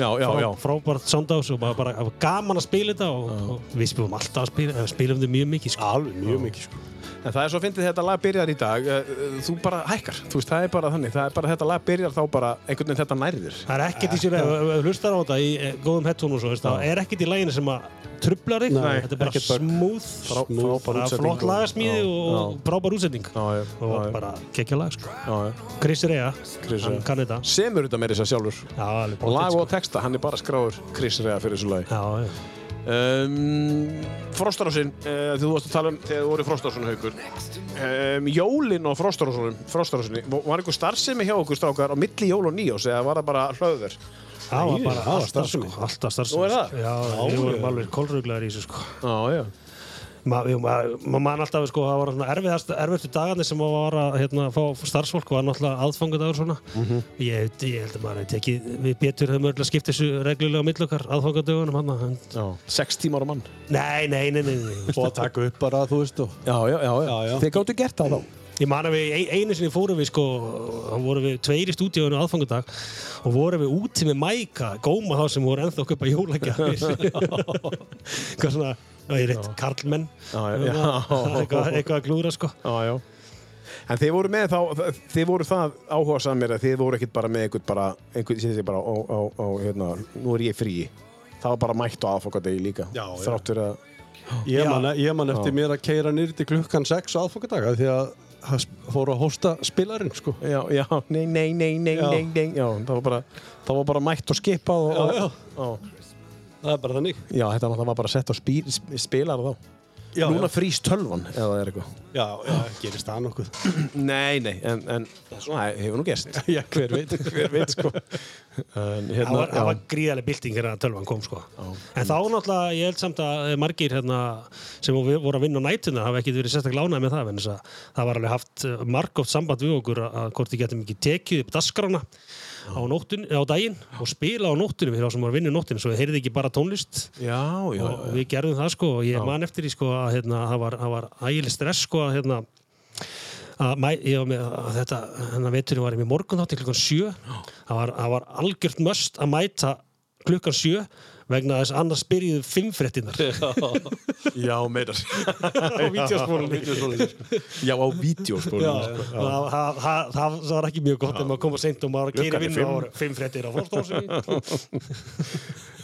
[SPEAKER 1] já, já,
[SPEAKER 5] Frá,
[SPEAKER 1] já.
[SPEAKER 5] frábært sándás og maður bara það var gaman að spila þetta og, og við spilum alltaf að spila, eða spilum þið mjög mikið sko.
[SPEAKER 2] Alveg mjög mikið sko.
[SPEAKER 1] En það er svo fyndið þetta lag byrjar í dag, eh, eh, þú bara hækkar, þú veist, það er bara þannig, það er bara þetta lag byrjar þá bara einhvern veginn þetta nærðir.
[SPEAKER 5] Það er ekkert í sér, ef ef- ef þú hlustar á þetta í eh, góðum hettónum og svo, veist, það er ekkert í læginu sem að trublar þig,
[SPEAKER 2] Nei,
[SPEAKER 5] þetta er bara
[SPEAKER 1] ekkert bögg.
[SPEAKER 5] smooth,
[SPEAKER 1] Frá- frábær
[SPEAKER 5] bara
[SPEAKER 1] útsetning
[SPEAKER 5] flott
[SPEAKER 1] og-
[SPEAKER 5] lagasmíði
[SPEAKER 1] já,
[SPEAKER 5] og, og
[SPEAKER 1] já.
[SPEAKER 5] frábær útsetning
[SPEAKER 1] Já, já,
[SPEAKER 5] og
[SPEAKER 1] já, já.
[SPEAKER 5] bara gekkja lag sko.
[SPEAKER 1] Já, já.
[SPEAKER 5] Chris Rea,
[SPEAKER 1] Chris
[SPEAKER 5] hann
[SPEAKER 1] Rea.
[SPEAKER 5] kann þetta
[SPEAKER 1] Semur þetta meira þess að sjálfur.
[SPEAKER 5] Já, alveg
[SPEAKER 1] Og lag
[SPEAKER 5] pottet,
[SPEAKER 1] og texta, hann er bara skráður Chris Rea fyrir þessu lagi.
[SPEAKER 5] sko. Já, já.
[SPEAKER 1] Um, Frostarásinn, uh, þú varst að tala um þegar þú voru Frostarásun haugur. Um, jólin og Frostarásunum, Frostarásunni, var einhver starfsemi hjá okkur strákar á milli jól og nýjós eða var það bara hlöður?
[SPEAKER 5] Það var bara
[SPEAKER 2] það var
[SPEAKER 5] alltaf
[SPEAKER 2] starfsemi.
[SPEAKER 5] sko, alltaf starfsemi.
[SPEAKER 1] Nú er það?
[SPEAKER 5] sko. Já, við vorum alveg kolruglegar í þessu sko.
[SPEAKER 1] Já, já.
[SPEAKER 5] Ma- við- ma- Maður man alltaf sko, það var svona erfiðast, erfiðstu dagarnir sem maður var að hérna, fá starfsfólk var náttúrulega aðfangadagur svona.
[SPEAKER 1] Mhm.
[SPEAKER 5] ég, ég held að maður hefði tekið, við betur höfum örgulega skipt þessu reglulega á milli okkar aðfangadögunum hann. en-
[SPEAKER 1] já. Sex tímar á mann.
[SPEAKER 5] Nei, nei, nei, nei, nei.
[SPEAKER 2] Og að taka upp bara, þú veist, og
[SPEAKER 1] Já, já, já. já.
[SPEAKER 2] Já, já.
[SPEAKER 1] Þið gáttu gert það þá.
[SPEAKER 5] Ég man að við ein- einu sinni fórum við sko, þá vorum við tveir í stúdíóinu aðfangadag og vorum við úti með mæka, góma þá sem voru ennþá að kaupa jólagjafir. Hvað svona, það er rétt karlmenn,
[SPEAKER 1] Já, já.
[SPEAKER 5] eitthvað, eitthvað að glúra sko.
[SPEAKER 1] Já, já. En þið voru með þá, þið voru það áhuga samir að þið voru ekkert bara með einhvern bara, einhvern sem þið bara, ó, ó, ó, hérna, nú er ég frí. Það var bara mætt á aðfokkadegi líka.
[SPEAKER 2] Já, já.
[SPEAKER 1] Þrátt fyrir að,
[SPEAKER 2] Ég
[SPEAKER 5] Já.
[SPEAKER 2] man, e- ég man eftir mér að keira nýr til klukkan 6 á aðfokkardaga því að það sp- fóru að hósta spilarinn sko.
[SPEAKER 1] já, já, nei, nei, nei, nei,
[SPEAKER 2] Já.
[SPEAKER 1] nei, nei, já, það var bara, það var bara mætt og skipað og,
[SPEAKER 2] Já, já.
[SPEAKER 1] og,
[SPEAKER 2] Það er bara þannig.
[SPEAKER 1] já, þetta var, það var bara sett á spí, sp- spilara þá.
[SPEAKER 2] Já,
[SPEAKER 1] Núna frýst tölvan, eða það er eitthvað.
[SPEAKER 2] já, já, gerist það nokkuð.
[SPEAKER 1] Nei, nei, en, en, svona hefur nú gerst.
[SPEAKER 2] já, hver veit.
[SPEAKER 1] Hver veit, sko. En,
[SPEAKER 5] Það
[SPEAKER 1] hérna,
[SPEAKER 5] var, það var gríðarlega bylting hérna að tölvan kom sko. En þá náttúrulega, ég held samt að margir hérna, sem við- voru að vinna á nætuna hafa ekkert verið sérstaklega lánað með það vegna þess að það var alveg haft margóft samband við okkur að- að hvort þið getum ekki tekið upp dasgrána á, nóttun, á daginn og spila á nóttunum fyrir þá sem voru að vinna í nóttunum svo þið heyrið ekki bara tónlist
[SPEAKER 1] já, já, já.
[SPEAKER 5] og við gerðum það sko og ég man eftir því sko að hérna, það var, það var ægileg stress sko að hérna, að, mæ, ég, var með, að þetta, hennar veturinn var ég með morgun þátti klukkan sjö það var, það var algjört möst að mæta klukkan sjö vegna þess annars byrjuðu fimm fréttinnar
[SPEAKER 1] Já, meinar.
[SPEAKER 5] á vídeospólunni
[SPEAKER 1] Já, á vídeospólunum. sko.
[SPEAKER 5] það það- það- það var ekki mjög gott ef maður kom að seint og maður
[SPEAKER 1] Klukkan
[SPEAKER 5] keyri
[SPEAKER 1] er
[SPEAKER 5] vinnu og það voru fimm fréttir á fórstofsvík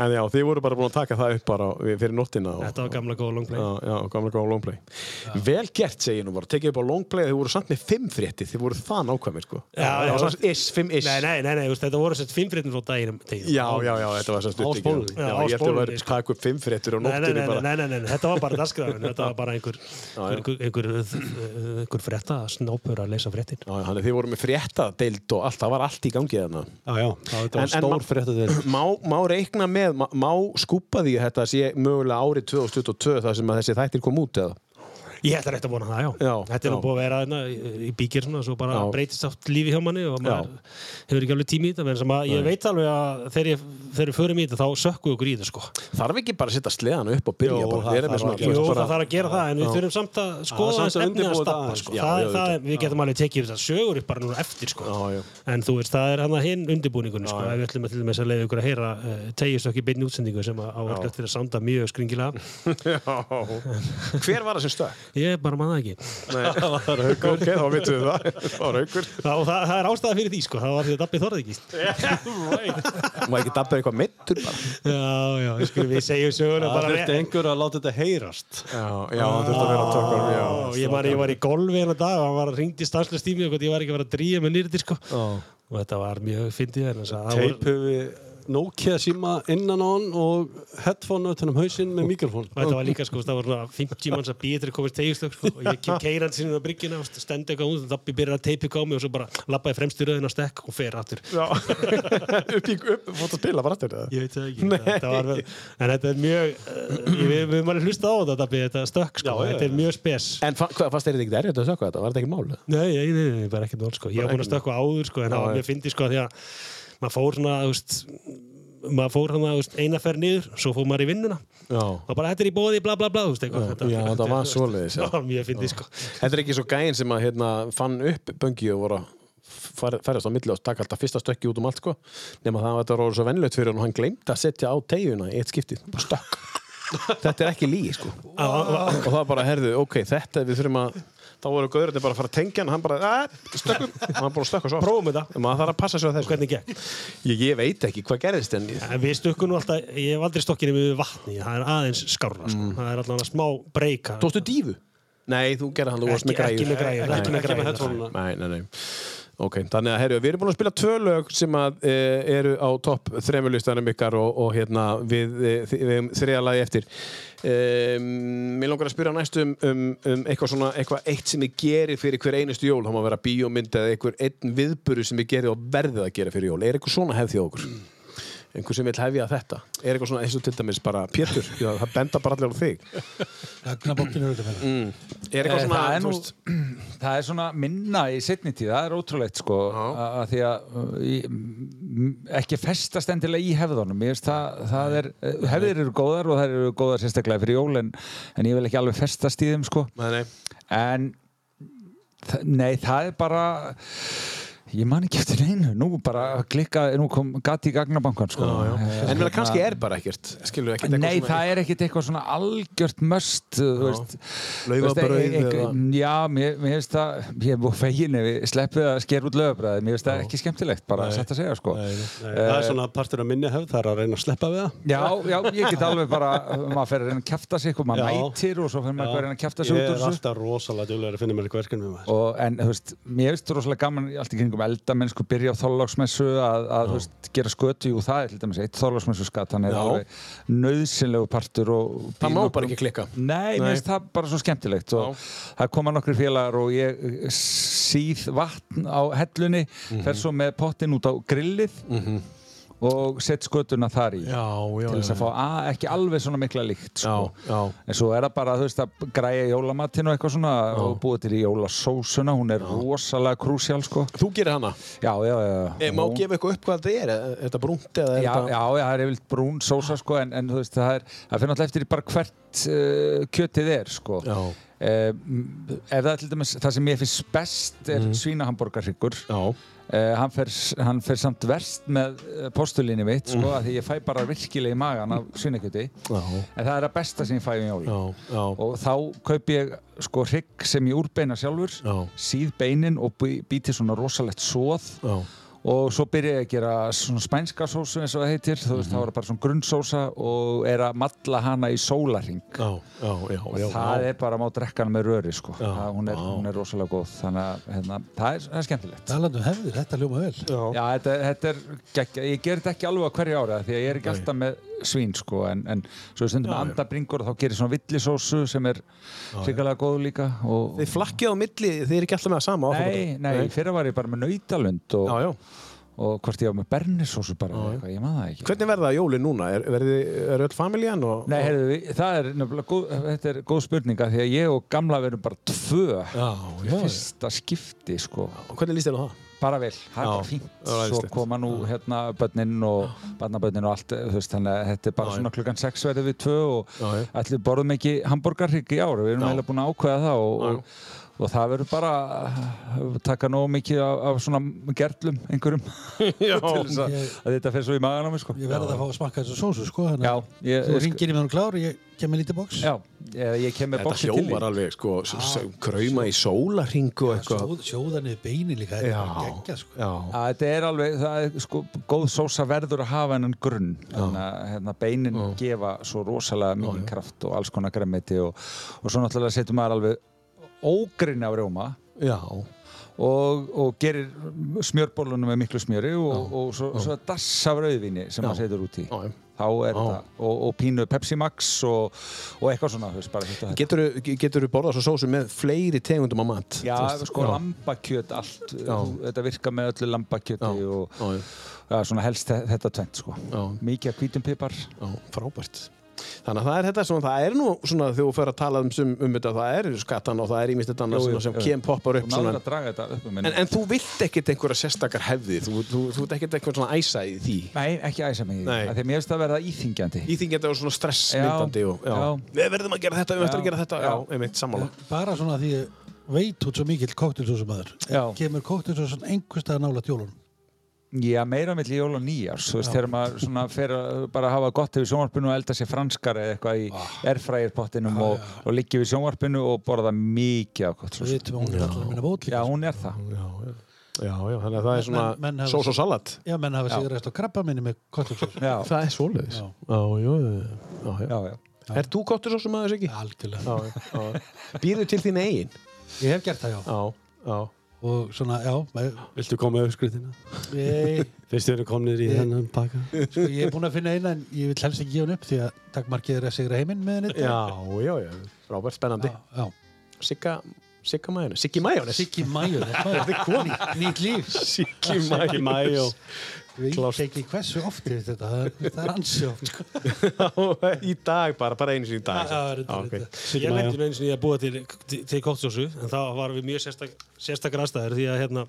[SPEAKER 1] En já, þið voru bara búin að taka það upp bara við- fyrir nóttina og,
[SPEAKER 5] þetta var gamla góða longplay
[SPEAKER 1] já, já, gamla góða longplay Vel gert, segi ég nú bara, tekið upp á longplay þið voru samt með fimm frétti, þið voru það nákvæmir sko.
[SPEAKER 5] Já,
[SPEAKER 1] það
[SPEAKER 5] já.
[SPEAKER 1] var samt is, fimm is
[SPEAKER 5] nei, nei, nei, nei, þú veist, þetta voru sett fimm fréttir frá daginum deginum.
[SPEAKER 1] Já, já, já, þetta var samt
[SPEAKER 2] Á
[SPEAKER 1] upptökin.
[SPEAKER 2] spólunni.
[SPEAKER 1] Já,
[SPEAKER 5] Já, á
[SPEAKER 1] ég ætti að
[SPEAKER 5] spólunni,
[SPEAKER 1] vera að
[SPEAKER 5] sko.
[SPEAKER 1] taka upp fimm fréttir á
[SPEAKER 5] Nei, nei,
[SPEAKER 1] nóttinni
[SPEAKER 5] nei,
[SPEAKER 1] bara
[SPEAKER 5] nei, nei, nei, nei, þetta var bara dasgrafin, þetta var bara einhver, einhver, einhver, einhver, einhver frétta snópur að leysa fréttin.
[SPEAKER 1] Já, þannig að þið voru með fréttadeild og allt, það var allt í gangi þarna
[SPEAKER 2] Já, já, það
[SPEAKER 1] En-
[SPEAKER 2] var
[SPEAKER 1] en ma-
[SPEAKER 2] stór fréttadeild.
[SPEAKER 1] Má, má reikna með, má, má skúpa því að þetta sé mögulega árið 2022 þar sem að þessi þættir kom út eða?
[SPEAKER 5] Ég ætla rétt að vona það, já.
[SPEAKER 1] Já,
[SPEAKER 5] þetta er nú
[SPEAKER 1] já.
[SPEAKER 5] búið að vera þarna í- í bíkir svona, svo bara
[SPEAKER 1] Já.
[SPEAKER 5] breytist átt lífi hjá manni og maður hefur ekki alveg tími í þetta, menn sem að ég veit alveg að þegar, ég, þegar við förum í þetta þá sökkum við okkur í þetta, sko.
[SPEAKER 1] Þarf ekki bara að setja sleðan upp og byrja
[SPEAKER 2] Jó,
[SPEAKER 1] bara,
[SPEAKER 2] það
[SPEAKER 1] vera með
[SPEAKER 2] þarf
[SPEAKER 1] svona-
[SPEAKER 2] að
[SPEAKER 5] Jú,
[SPEAKER 2] gera.
[SPEAKER 1] bara-
[SPEAKER 5] það þarf að gera það, en við þurfum samt að skoða
[SPEAKER 2] samt
[SPEAKER 5] aðeins
[SPEAKER 2] að
[SPEAKER 5] efnið að
[SPEAKER 2] undirbúa
[SPEAKER 5] stafna,
[SPEAKER 2] þetta
[SPEAKER 1] aðeins.
[SPEAKER 5] sko.
[SPEAKER 1] Já,
[SPEAKER 5] það,
[SPEAKER 1] já,
[SPEAKER 5] það, við getum alveg tekið þetta sögur upp bara núna eftir, sko.
[SPEAKER 1] Já, já.
[SPEAKER 5] En þú veist, það er hann að hinn undirbúningunni, sko. Ef Við ætlum að til dæmis að leiða ykkur að heyra uh, tegjustökk í beinni útsendingu sem að- á öll eftir að sanda mjög skringilega.
[SPEAKER 1] Hver var það sem stökk?
[SPEAKER 5] Ég bara manna það ekki.
[SPEAKER 1] það var haugur Ok, þá vitum við það Það var haugur
[SPEAKER 5] Það, og það, það er ástæða fyrir því, sko. Það var því að Dabbi þorði ekki.
[SPEAKER 1] Má ekki dabba eitthvað mittur bara
[SPEAKER 5] Já, já, við skulum við segjum söguna
[SPEAKER 2] Það
[SPEAKER 5] bara
[SPEAKER 2] þurfti einhver að láta þetta heyrast.
[SPEAKER 1] Já, já, það þurfti að vera tökkar Já,
[SPEAKER 5] Ó, Ég var, ég var í golfi hennar dag og hann var að ringdi stanslust í mig og hvort ég var ekki að vera að dríja með nýrti, sko. Og þetta var mjög fyndið. vegna þess að það voru-
[SPEAKER 2] Teipu við Nokia síma innan á hann og headphone utan um hausinn með mikrofón.
[SPEAKER 5] Og þetta var líka, sko, það var svona 50 manns að býja til að komast tegjustökk, sko, og ég kem keirandi sinni á bryggjuna og stendi eitthvað út og Dabbi byrjar að teipi á mig og svo bara lappaði fremstu röðin á stekk og fer aftur.
[SPEAKER 1] já. Upp í, upp, fótt að spila bara aftur eða?
[SPEAKER 5] Ég veit það ekki. Þetta var, vel- en þetta er mjög, uh, við við höfum alveg hlusta á þetta, Dabbi, þetta stökk, sko, þetta er mjög spes.
[SPEAKER 1] En fa hvað fannst þér þetta ekki erfitt að sökva þetta? Var þetta ekki mál?
[SPEAKER 5] Nei, nei, nei, nei, bara ekkert mál, sko. Ég var búinn að stökka áður, sko, en það var mjög fyndið, sko, því að maður fór svona, þú veist, maður fór hann að eina ferð niður, svo fór maður í vinnuna
[SPEAKER 1] Já.
[SPEAKER 5] og bara þetta er í bóði, bla bla bla þú veist, eitthvað,
[SPEAKER 1] Já, þetta var svoleiðis, já.
[SPEAKER 5] já. mjög fyndið sko
[SPEAKER 1] Þetta er ekki svo gæinn sem að hérna, fann upp böngi og voru að far- ferðast á milli og taka alltaf fyrsta stökki út um allt sko nema það að þetta var orðið svo vennlögt fyrir hann og hann gleymdi að setja á tegjuna í eitt skipti bara stökk þetta er ekki lígi sko og það bara herðu, ok, þetta við þurfum að þá voru gauðurinn bara að fara að tengja hann hann bara, að, stökkum og hann bara stökk og svo
[SPEAKER 5] prófum þetta,
[SPEAKER 1] maður þarf að passa sig á þessu
[SPEAKER 5] hvernig gekk
[SPEAKER 1] ég, ég veit ekki hvað gerðist en ég,
[SPEAKER 5] En Við stukkum nú alltaf, ég hef aldrei stokkinni með vatni, það er aðeins skárra sko. það er alltaf smá breyka
[SPEAKER 1] tóstu dífu? Nei, þú gerði hann, þú varst
[SPEAKER 5] Ekki-
[SPEAKER 1] með græður
[SPEAKER 5] ekki með græjur,
[SPEAKER 1] Nei,
[SPEAKER 5] ekki með græjur. sko.
[SPEAKER 1] Nei, nei, nei. Ok, þannig að herru, við erum búin að spila tvö lög sem að, e, eru á topp þremurlistanum ykkar og, og hérna við, e, þi- við um þriða lagi eftir. E, mér langar að spyrja næst um, um, um eitthvað svona, eitthvað eitt sem ég geri fyrir hver einustu jól, þá má vera bíómynd eða eitthvað einn viðburu sem ég geri og verðið að gera fyrir jól. Er eitthvað svona hefð hjá okkur? einhver sem vil hefja þetta er eitthvað svona eins og til dæmis bara Pétur, já, það benda bara allir á þig
[SPEAKER 3] Gagnabokkin er auðvitað með það.
[SPEAKER 1] er eitthvað
[SPEAKER 4] Eh,
[SPEAKER 1] svona,
[SPEAKER 4] það,
[SPEAKER 1] þú
[SPEAKER 4] er nú,
[SPEAKER 1] veist
[SPEAKER 4] það er svona minna í setni tíð, það er ótrúlegt sko, að að því að uh, í, m- ekki festast endilega í hefðunum Ég veist, það, það er, eh, hefðir eru góðar og það eru góðar sérstaklega fyrir jól en, en ég vil ekki alveg festast í þeim sko.
[SPEAKER 1] Nei, nei.
[SPEAKER 4] en þa- nei, það er bara ég man ekki eftir einu nú bara klikkaði, nú kom gati í gagnabankan sko. Eh,
[SPEAKER 1] En vel að
[SPEAKER 4] hérna-
[SPEAKER 1] kannski er bara ekkert Skilur ekkert
[SPEAKER 4] Nei, það er ekkit eitthvað svona algjört möst
[SPEAKER 1] Laufabrauð
[SPEAKER 4] eða Já, mér mér finnst það, ég er búið fegin ef ég sleppið að sker út löfabræði mér finnst það ekki skemmtilegt, bara satt að segja sko
[SPEAKER 2] það er svona partur af minni hefð, það er að reyna að sleppa við það
[SPEAKER 4] Já, já, ég get alveg bara maður fer að reyna að kjafta sig og maður
[SPEAKER 2] Já.
[SPEAKER 4] mætir og svo fer maður eitthvað að reyna að kjafta
[SPEAKER 2] ég
[SPEAKER 4] sig út úr
[SPEAKER 2] er
[SPEAKER 4] þessu
[SPEAKER 2] alltaf rosalega djúlega að finna mér eitthvað verkefni með maður
[SPEAKER 4] og, en þú veist, mér finnst rosalega gaman í allt í kringum eldamennsku, byrja á þorláksmessu að, að þú veist, gera skötu, jú það er til dæmis eitt þorláksmessu skatt, hann er alveg nöðsynlegu partur og
[SPEAKER 1] Það
[SPEAKER 4] býr
[SPEAKER 1] má
[SPEAKER 4] nokkrum-
[SPEAKER 1] bara ekki klikka.
[SPEAKER 4] Nei, mér finnst það bara svo skemmtilegt og það koma nokkri félagar og ég eh, síð vatn á hellunni
[SPEAKER 1] Mhm.
[SPEAKER 4] fer svo með pottin út á grillið og sett skötuna þar í
[SPEAKER 1] Já, Mhm. já,
[SPEAKER 4] til þess að fá a, ekki alveg svona mikla líkt sko.
[SPEAKER 1] Já, já.
[SPEAKER 4] en svo er það bara þú veist að græja jólamatinn og eitthvað svona og búið til í jólasósuna, hún er rosalega krúsjál sko.
[SPEAKER 1] Þú gerir hana
[SPEAKER 4] já, já, já,
[SPEAKER 1] e, Má
[SPEAKER 4] Hún-
[SPEAKER 1] gefa eitthvað upp hvað þetta er? Er þetta brúnt eða er
[SPEAKER 4] Já, já,
[SPEAKER 1] þetta
[SPEAKER 4] já, það er yfirleitt brún sósa sko, en, en þú veist, það er, það fyrir náttúrulega eftir í bara hvert uh, kjötið er sko.
[SPEAKER 1] Já.
[SPEAKER 4] Eh, m- ef það er til dæmis, það sem ég finnst best er mm. svínahamborgarhryggur.
[SPEAKER 1] já.
[SPEAKER 4] Eh, hann, fer, hann fer samt verst með eh, postulinni mitt, sko, mm. því ég fæ bara virkilega í magan af svínakjöti. En það er það besta sem ég fæ um jóli.
[SPEAKER 1] Já, já.
[SPEAKER 4] Og þá kaup ég sko hrygg sem ég úrbeina sjálfur,
[SPEAKER 1] Já.
[SPEAKER 4] síð beinin og bý, býti svona rosalegt svoð
[SPEAKER 1] Já.
[SPEAKER 4] og svo byrja ég að gera svona spænska sósu eins og það heitir þú
[SPEAKER 1] Mhm.
[SPEAKER 4] veist, það var bara svona grunnsósa og er að matla hana í sólaring
[SPEAKER 1] Já, já, já,
[SPEAKER 4] og
[SPEAKER 1] já, já.
[SPEAKER 4] það er bara að má drekka hana með röri sko. það, hún, er,
[SPEAKER 1] já.
[SPEAKER 4] hún er rosalega góð þannig að hérna, það, er, það er skemmtilegt
[SPEAKER 3] Talandi um hefðir, þetta ljóma vel.
[SPEAKER 1] Já.
[SPEAKER 4] Já, þetta, þetta er, geggja- ég ger þetta ekki alveg á hverju ára því að ég er ekki alltaf með svín sko, en, en svo við stundum andabringur og þá gerir svona villisósu sem er sikarlega góð líka og,
[SPEAKER 1] Þið flakkið á milli, þið er ekki alltaf með það sama
[SPEAKER 4] Nei, nei, nei. fyrra var ég bara með nautalund og,
[SPEAKER 1] Já, já.
[SPEAKER 4] og hvort ég var með bernisósu bara, eða eitthvað, ég maður það ekki
[SPEAKER 1] Hvernig verða jólin núna? Er, verði, er öll familjan og...
[SPEAKER 4] Nei, heyrðu, við- það er nefnilega góð, þetta er góð spurninga því að ég og gamla verðum bara tvö
[SPEAKER 1] Já, já.
[SPEAKER 4] fyrsta skipti sko,
[SPEAKER 1] Og Hvernig líst þér á það?
[SPEAKER 4] bara vel, það er
[SPEAKER 1] Já,
[SPEAKER 4] bara fínt
[SPEAKER 1] það var
[SPEAKER 4] svo
[SPEAKER 1] æðislegt.
[SPEAKER 4] koma nú hérna börnin og barnabörnin og allt þú veist, þannig að þetta er bara svona klukkan 6 verðum við tvö og
[SPEAKER 1] Já, já.
[SPEAKER 4] allir borðum ekki hambúrgarhrygg í ár, við erum eiginlega búin að ákveða það og, og, og það verður bara að taka nógu mikið af, af svona gerlum einhverjum
[SPEAKER 1] Já, til þess að...
[SPEAKER 3] Ég,
[SPEAKER 4] að þetta fer svo í magan á mig sko
[SPEAKER 3] ég verði að fá að smakka þessu sósu, sko. þannig
[SPEAKER 4] Já,
[SPEAKER 3] að
[SPEAKER 4] ég,
[SPEAKER 3] Þú ringir í mig og klár, ég kem með lítið boks.
[SPEAKER 4] Já, ég, ég kem með
[SPEAKER 1] Þetta
[SPEAKER 4] boxi til þín.
[SPEAKER 1] hljómar alveg, sko, s- s- krauma í sólaringu og eitthvað.
[SPEAKER 4] sko.
[SPEAKER 3] Sjóð- Sjóða niður beinin líka, þetta er bara geggja, sko.
[SPEAKER 1] Já,
[SPEAKER 4] Já, þetta er alveg, það er sko, góð sósa verður að hafa hennan grunn þannig að hérna, beinin gefa svo rosalega mikið kraft og alls konar gremmiti og, og svo náttúrulega setur maður alveg ógrinn af rjóma
[SPEAKER 1] já.
[SPEAKER 4] og, og gerir smjörbólunum með miklu smjöri og, og svo, svo dass af rauðvinni sem maður setur út í
[SPEAKER 1] Já, já.
[SPEAKER 4] þá er þetta, og, og pínu Pepsi Max og, og eitthvað svona, þú veist, bara þetta og þetta.
[SPEAKER 1] Getur þú borðað svo sósu með fleiri tegundum á mat?
[SPEAKER 4] Já,
[SPEAKER 1] Þú veist,
[SPEAKER 4] sko lambakjöt allt, þú- þetta virkar með öllu lambakjöti
[SPEAKER 1] Já,
[SPEAKER 4] og
[SPEAKER 1] já, já.
[SPEAKER 4] já, svona helst þe- þetta tvent sko.
[SPEAKER 1] Já.
[SPEAKER 4] Mikið af hvítum pipar.
[SPEAKER 1] Já, frábært. þannig að það er þetta svona, það er nú svona þegar þú fyrir að tala um, um, um þetta, það er skattan og það er ímyndið annars svona sem kem poppar upp
[SPEAKER 4] náður
[SPEAKER 1] svona,
[SPEAKER 4] að draga þetta upp um minni
[SPEAKER 1] en, en þú vilt ekkert einhverja sérstakar hefði, þú, þú, þú, þú ert ekkert einhver svona æsa í því,
[SPEAKER 4] Nei, ekki æsa mig í því
[SPEAKER 1] Nei.
[SPEAKER 4] af Því að mér finnst það verða íþingjandi
[SPEAKER 1] íþingjandi og svona stressmyndandi og, já,
[SPEAKER 4] já.
[SPEAKER 1] við verðum að gera þetta, við verðum að
[SPEAKER 4] Já,
[SPEAKER 1] gera þetta, já, einmitt, sammála
[SPEAKER 3] bara svona því ég veit út svo mikill kóktilsúsumæður
[SPEAKER 4] Já.
[SPEAKER 3] kemur kóktilsúsum einhverstað nála tjólun
[SPEAKER 4] Já, meira mitt í jól og nýjars Þú veist, þegar maður svona fer að bara hafa gott yfir sjónvarpinu og elda sér franskar eða eitthvað í erfrægirpottinum og, og liggja við sjónvarpinu og borða mikið af gott svo
[SPEAKER 3] við
[SPEAKER 4] sem.
[SPEAKER 3] veitum að hún er allar minna
[SPEAKER 4] Já,
[SPEAKER 3] bót líka
[SPEAKER 4] hún er það
[SPEAKER 1] Já, já, þannig að það er svona
[SPEAKER 3] Menn- menn hafa-
[SPEAKER 1] sós og salat
[SPEAKER 3] já, menn hafa sigræst á krabba minni með kóktilsúsum
[SPEAKER 4] Já,
[SPEAKER 1] Það er svoleiðis
[SPEAKER 3] Já.
[SPEAKER 1] já, já, já, já.
[SPEAKER 4] já, já
[SPEAKER 1] Er þú kottur svo sem aðeins ekki?
[SPEAKER 3] algjörlega,
[SPEAKER 1] Býrðu til þín eigin?
[SPEAKER 3] ég hef gert það já
[SPEAKER 1] Já, já
[SPEAKER 3] og svona, já, maður-
[SPEAKER 2] Viltu koma auðskriðina?
[SPEAKER 3] ég,
[SPEAKER 2] Fyrst við erum komnir í
[SPEAKER 3] Ég-
[SPEAKER 2] þennan pakka
[SPEAKER 3] sko, ég er búin að finna eina en ég vil helst ekki gefa hann upp því að takkmarkið er að sigra heiminn með henni
[SPEAKER 1] Já, já, já, frábært spennandi
[SPEAKER 3] já, já.
[SPEAKER 1] Sigga, Sigga Mæjónis Siggi Mæjónis
[SPEAKER 3] Siggi Mæjó, þetta er koni nýtt líf,
[SPEAKER 1] Siggi Mæjónis
[SPEAKER 3] við veit ekki hversu oft er þetta, það er, það er ansi oft sko.
[SPEAKER 1] Í dag bara, bara einu sinni í dag
[SPEAKER 5] Já, reyndar,
[SPEAKER 1] ok.
[SPEAKER 5] reyndar. Ég lendi með eins og ég að búa til, til, til kóttsósu en þá varum við mjög sérstak, sérstakar aðstæður því að hérna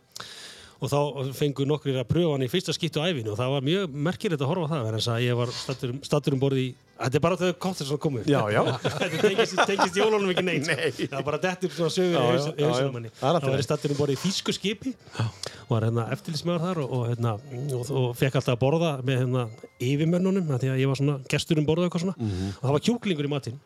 [SPEAKER 5] og þá fengu nokkrir að pröfa hann í fyrsta skipti á æfinu og það var mjög merkilegt að horfa á það vegna þess að ég var stattur, stattur um borði í Þetta er bara þegar kóttsósu komu
[SPEAKER 1] Já, já.
[SPEAKER 5] Þetta tengist, tengist jólunum ekki neitt sko.
[SPEAKER 1] Nei.
[SPEAKER 5] Það var bara dettur svona sögur
[SPEAKER 1] Já, já,
[SPEAKER 5] í haus- í
[SPEAKER 1] já, já.
[SPEAKER 5] hausinum henni
[SPEAKER 1] Það er allt í
[SPEAKER 5] Það var
[SPEAKER 1] lagi.
[SPEAKER 5] ég stattur um borði í þýsku skipi og var hérna eftirlismjöður þar og, og, hérna, og, og fekk alltaf að borða með hérna, yfirmönnunum af því að ég var svona gestur um borða og eitthvað svona og það var kjúklingur í matinn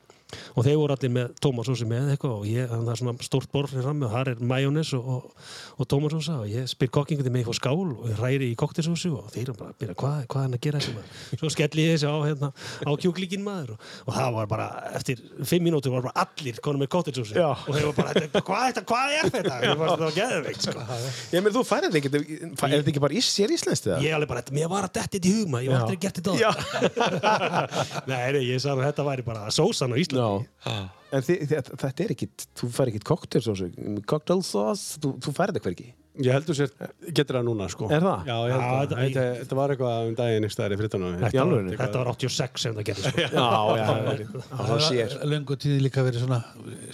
[SPEAKER 5] og þeir voru allir með tómasósi með eitthvað og ég, þannig að það er svona stórt borð fyrir fram og þar er majónes og, og, og tómasósa og ég spyr kokkingunni með eitthvað skál og ég ræri í koktisósu og þeir eru bara að byrja hvað, hvað er hann að gera þessi maður svo skelli ég þessi á, hérna, á kjúklingin maður og, og það var bara, eftir fimm mínútur var bara allir konum með koktisósu
[SPEAKER 1] Já.
[SPEAKER 5] og þeir voru bara, "Þetta- hvað, þetta- hvað er þetta? Ég var svona geðveikt sko.
[SPEAKER 1] Ég meir, þú færið ekki, er þetta ekki bara í sér íslenskt eða?
[SPEAKER 5] Ég alveg bara, mér var að detti þetta í hugma, ég var aldrei gert þetta á
[SPEAKER 1] Já.
[SPEAKER 5] Nei, nei, ég sagði að þetta væri bara sósan á Íslandi.
[SPEAKER 1] Já En þi, þi, þetta er ekki, þú færið ekki koktelsósu Koktelsós, þú, þú færið eitthvað ekki
[SPEAKER 2] Ég heldur sér, getur það núna sko
[SPEAKER 1] Er það?
[SPEAKER 2] Já, ég
[SPEAKER 5] Já,
[SPEAKER 2] heldur
[SPEAKER 5] þetta-
[SPEAKER 2] það Þetta- Þetta var eitthvað um daginn ekki staðar í frittanum
[SPEAKER 1] Í alvöru?
[SPEAKER 5] Þetta var 86 sem það gerði sko.
[SPEAKER 1] Já, já, já,
[SPEAKER 3] það
[SPEAKER 1] þá sé ég.
[SPEAKER 3] var löngu tíð líka verið svona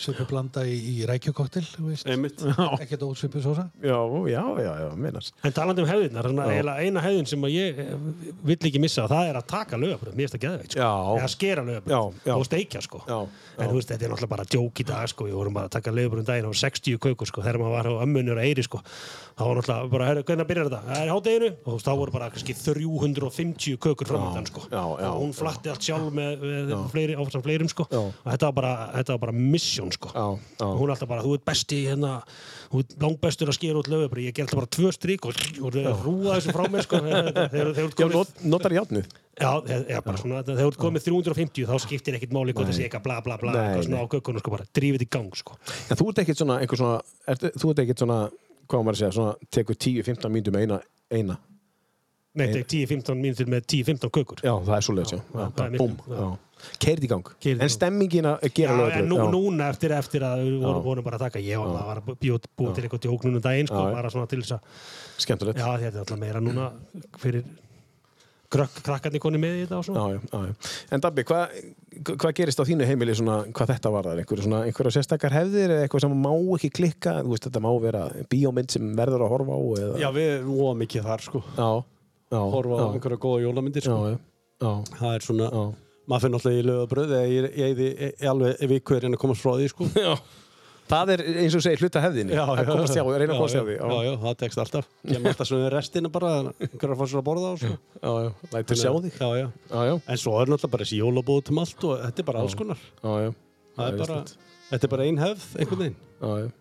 [SPEAKER 3] svipur blanda í, í rækjukoktil
[SPEAKER 2] Einmitt
[SPEAKER 3] ekkert ósvipur sósa
[SPEAKER 1] já, já, já, já, minnast
[SPEAKER 5] En talandi um hefðirnar, svona eiginlega eina hefðin sem að ég eh, vill ekki missa, það er að taka lögabröð, mér finnst það geðveikt, sko.
[SPEAKER 1] Já.
[SPEAKER 5] Eða skera
[SPEAKER 1] Já,
[SPEAKER 5] lögabröð
[SPEAKER 1] já.
[SPEAKER 5] og steikja, sko.
[SPEAKER 1] Já,
[SPEAKER 5] En þú veist, þetta er náttúrulega bara djók í dag, sko, ég vorum að taka lögabröð um daginn á 60 kökur, sko, þegar maður var á ömmunur að eyri, sko. Það var náttúrulega bara, herru, hvernig byrjar þetta? Það er í hádeginu og þú veist, þá voru bara kannski 350 kökur framöndan, sko.
[SPEAKER 1] já, já,
[SPEAKER 5] og hún flatti allt sjálf með, með fleiri, áfram fleirum, sko. Og þetta var bara, þetta var bara mission, sko.
[SPEAKER 1] Já, já.
[SPEAKER 5] Og hún er alltaf bara, þú ert besti hérna, þú ert langbestur að skera út lögabri ég ger alltaf bara tvö strík og, og rúa þessu frá mér sko, þegar þegar- þegar þú ert
[SPEAKER 1] Já,
[SPEAKER 5] komið
[SPEAKER 1] not, notar játnið
[SPEAKER 5] já, þegar- já, bara svona, þegar þú ert komið 350 þá skiptir ekkit máli hvort það sé eitthvað bla bla bla
[SPEAKER 1] Nei,
[SPEAKER 5] eitthvað svona á gökkunum sko, bara drífið í gang sko.
[SPEAKER 1] En þú ert ekkert svona, einhver svona er, þú ert ekkert svona, hvað á maður að segja svona, tekur 10-15 mínútur með eina, eina
[SPEAKER 5] nei, þetta er 10-15 mínútur með 10-15 kökur
[SPEAKER 1] Já, það er svoleiðis, já, já,
[SPEAKER 5] það
[SPEAKER 1] já
[SPEAKER 5] er
[SPEAKER 1] Búm,
[SPEAKER 5] miklu, já.
[SPEAKER 1] já, keirð í gang
[SPEAKER 5] Keyrði í gang.
[SPEAKER 1] En stemmingin að gera lögur
[SPEAKER 5] en nú, núna eftir, eftir að við vorum, vorum bara að taka ég var bara að bjóð búið til eitthvað djóknunum daginn sko,
[SPEAKER 1] Já, já.
[SPEAKER 5] bara svona til þess að
[SPEAKER 1] Skemmtilegt
[SPEAKER 5] já,
[SPEAKER 1] já.
[SPEAKER 5] þetta er alltaf meira núna fyrir krökk, krakkarnir koni með í þetta og svona
[SPEAKER 1] Já, já, já. En Dabbi, hvað hva gerist á þínu heimili svona, hvað þetta var þar? Einhverja svona, einhverja sérstakar hefðir eða eitthvað sem má ekki klikka, þú veist, þetta má vera bíómynd sem verður að horfa á eða...
[SPEAKER 2] Já, við vorum mikið þar sko
[SPEAKER 1] já, já,
[SPEAKER 2] Horfa á
[SPEAKER 1] já,
[SPEAKER 2] einhverja góða
[SPEAKER 1] já,
[SPEAKER 2] jólamyndir sko
[SPEAKER 1] já, já,
[SPEAKER 2] Það er svona
[SPEAKER 1] já.
[SPEAKER 2] Maður finn alltaf í lögabröð Ég, ég, ég, ég, ég, ég alveg viku er einn að komast frá því sko
[SPEAKER 1] Já. Það er eins og segir hluta hefðinni að komast hjá, að reyna að komast hjá því
[SPEAKER 2] Já, já, það tekst alltaf Kemur alltaf svona restina bara Einhverja fór sér að borða á sko
[SPEAKER 1] já, já, lætur sjá þig
[SPEAKER 2] Já, já
[SPEAKER 1] Já, já,
[SPEAKER 2] En svo er náttúrulega bara þessi jólabóð til allt og þetta er bara alls konar.
[SPEAKER 1] já, já,
[SPEAKER 2] Það er
[SPEAKER 1] Já,
[SPEAKER 2] bara,
[SPEAKER 1] víst.
[SPEAKER 2] þetta er bara ein hefð, einhvern veginn,
[SPEAKER 1] já, já,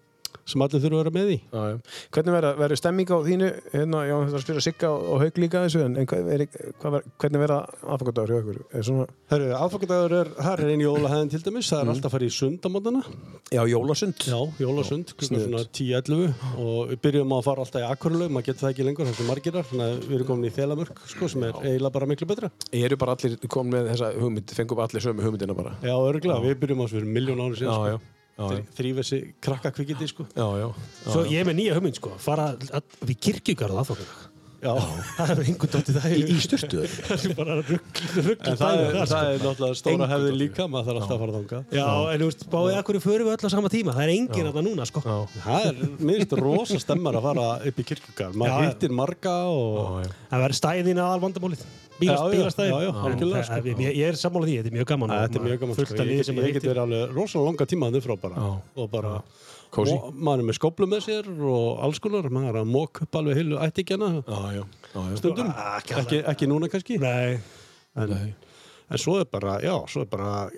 [SPEAKER 2] sem allir þurfa að vera með í.
[SPEAKER 1] já, já. Hvernig verða- verður stemming á þínu, hérna, já, þetta er að spyrja Sigga og, og Hauk líka að þessu, en, en hvað er, hvað ver, hvernig verða aðfangandagur hjá ykkur? Er svona,
[SPEAKER 2] Hörru, aðfangadagur er, það er einn jólahæðin til dæmis, það er alltaf að fara í sund á mótana.
[SPEAKER 1] já, jólasund.
[SPEAKER 2] Mm. Já, jólasund, klukkan
[SPEAKER 1] sniðugt.
[SPEAKER 2] svona 10-11 og við byrjum á að fara alltaf í akkurlaug, maður getur það ekki lengur, það er margirar, þannig að við erum komin í þelamörk, sko, sem er eiginlega bara miklu betra.
[SPEAKER 1] Eru bara allir komin með þessa hugmynd, fengum allir sömu hugmyndina bara.
[SPEAKER 2] Já, örgulega, við byrjum á þessu fyrir miljón ári síðan,
[SPEAKER 1] Já, já, já, já.
[SPEAKER 2] sko. Þrýf þessi krakkakvikindi, sko.
[SPEAKER 1] Já, já,
[SPEAKER 5] Svo ég er með nýja hugmynd sko, fara að, við kirkjugarð aðfokkulag.
[SPEAKER 2] Já,
[SPEAKER 5] það er engu dótt í það
[SPEAKER 8] í, í styrtu
[SPEAKER 5] það er bara ruggl
[SPEAKER 2] en um það sko. er, það er náttúrulega stóra hefðin líka, maður þarf alltaf að fara þangað.
[SPEAKER 5] sko. Já, en þú veist, báðið akkur förum við öll á sama tíma það er engin að það núna, sko já.
[SPEAKER 2] Það er, mér finnst rosa stemmar að fara upp í kirkugar. Maður
[SPEAKER 5] Já, já.
[SPEAKER 2] hittir marga og...
[SPEAKER 5] það verður stæðin aðal vandamálið Bílas,
[SPEAKER 2] Já, já,
[SPEAKER 5] bílastæði
[SPEAKER 2] já, já, algjörlega, sko.
[SPEAKER 5] ég, ég er sammála því, þetta er mjög gaman
[SPEAKER 2] Æ, þetta er mjög gaman.
[SPEAKER 5] fullt
[SPEAKER 2] sko.
[SPEAKER 5] af
[SPEAKER 2] Ég
[SPEAKER 5] liði
[SPEAKER 2] get-
[SPEAKER 5] sem að
[SPEAKER 2] Ég get
[SPEAKER 5] hittir
[SPEAKER 2] verið alveg rosalega langa tíma þannig frá bara. Og bara...
[SPEAKER 1] Kósí.
[SPEAKER 2] mo- Maður er með skóplu með sér og alls konar. Maður er að móka upp alveg heilu ættingjana
[SPEAKER 1] Já, já, já, já.
[SPEAKER 2] stundum. Ekki, ekki núna kannski.
[SPEAKER 5] Ah, Nei,
[SPEAKER 2] En, en svo er bara, já, svo er bara...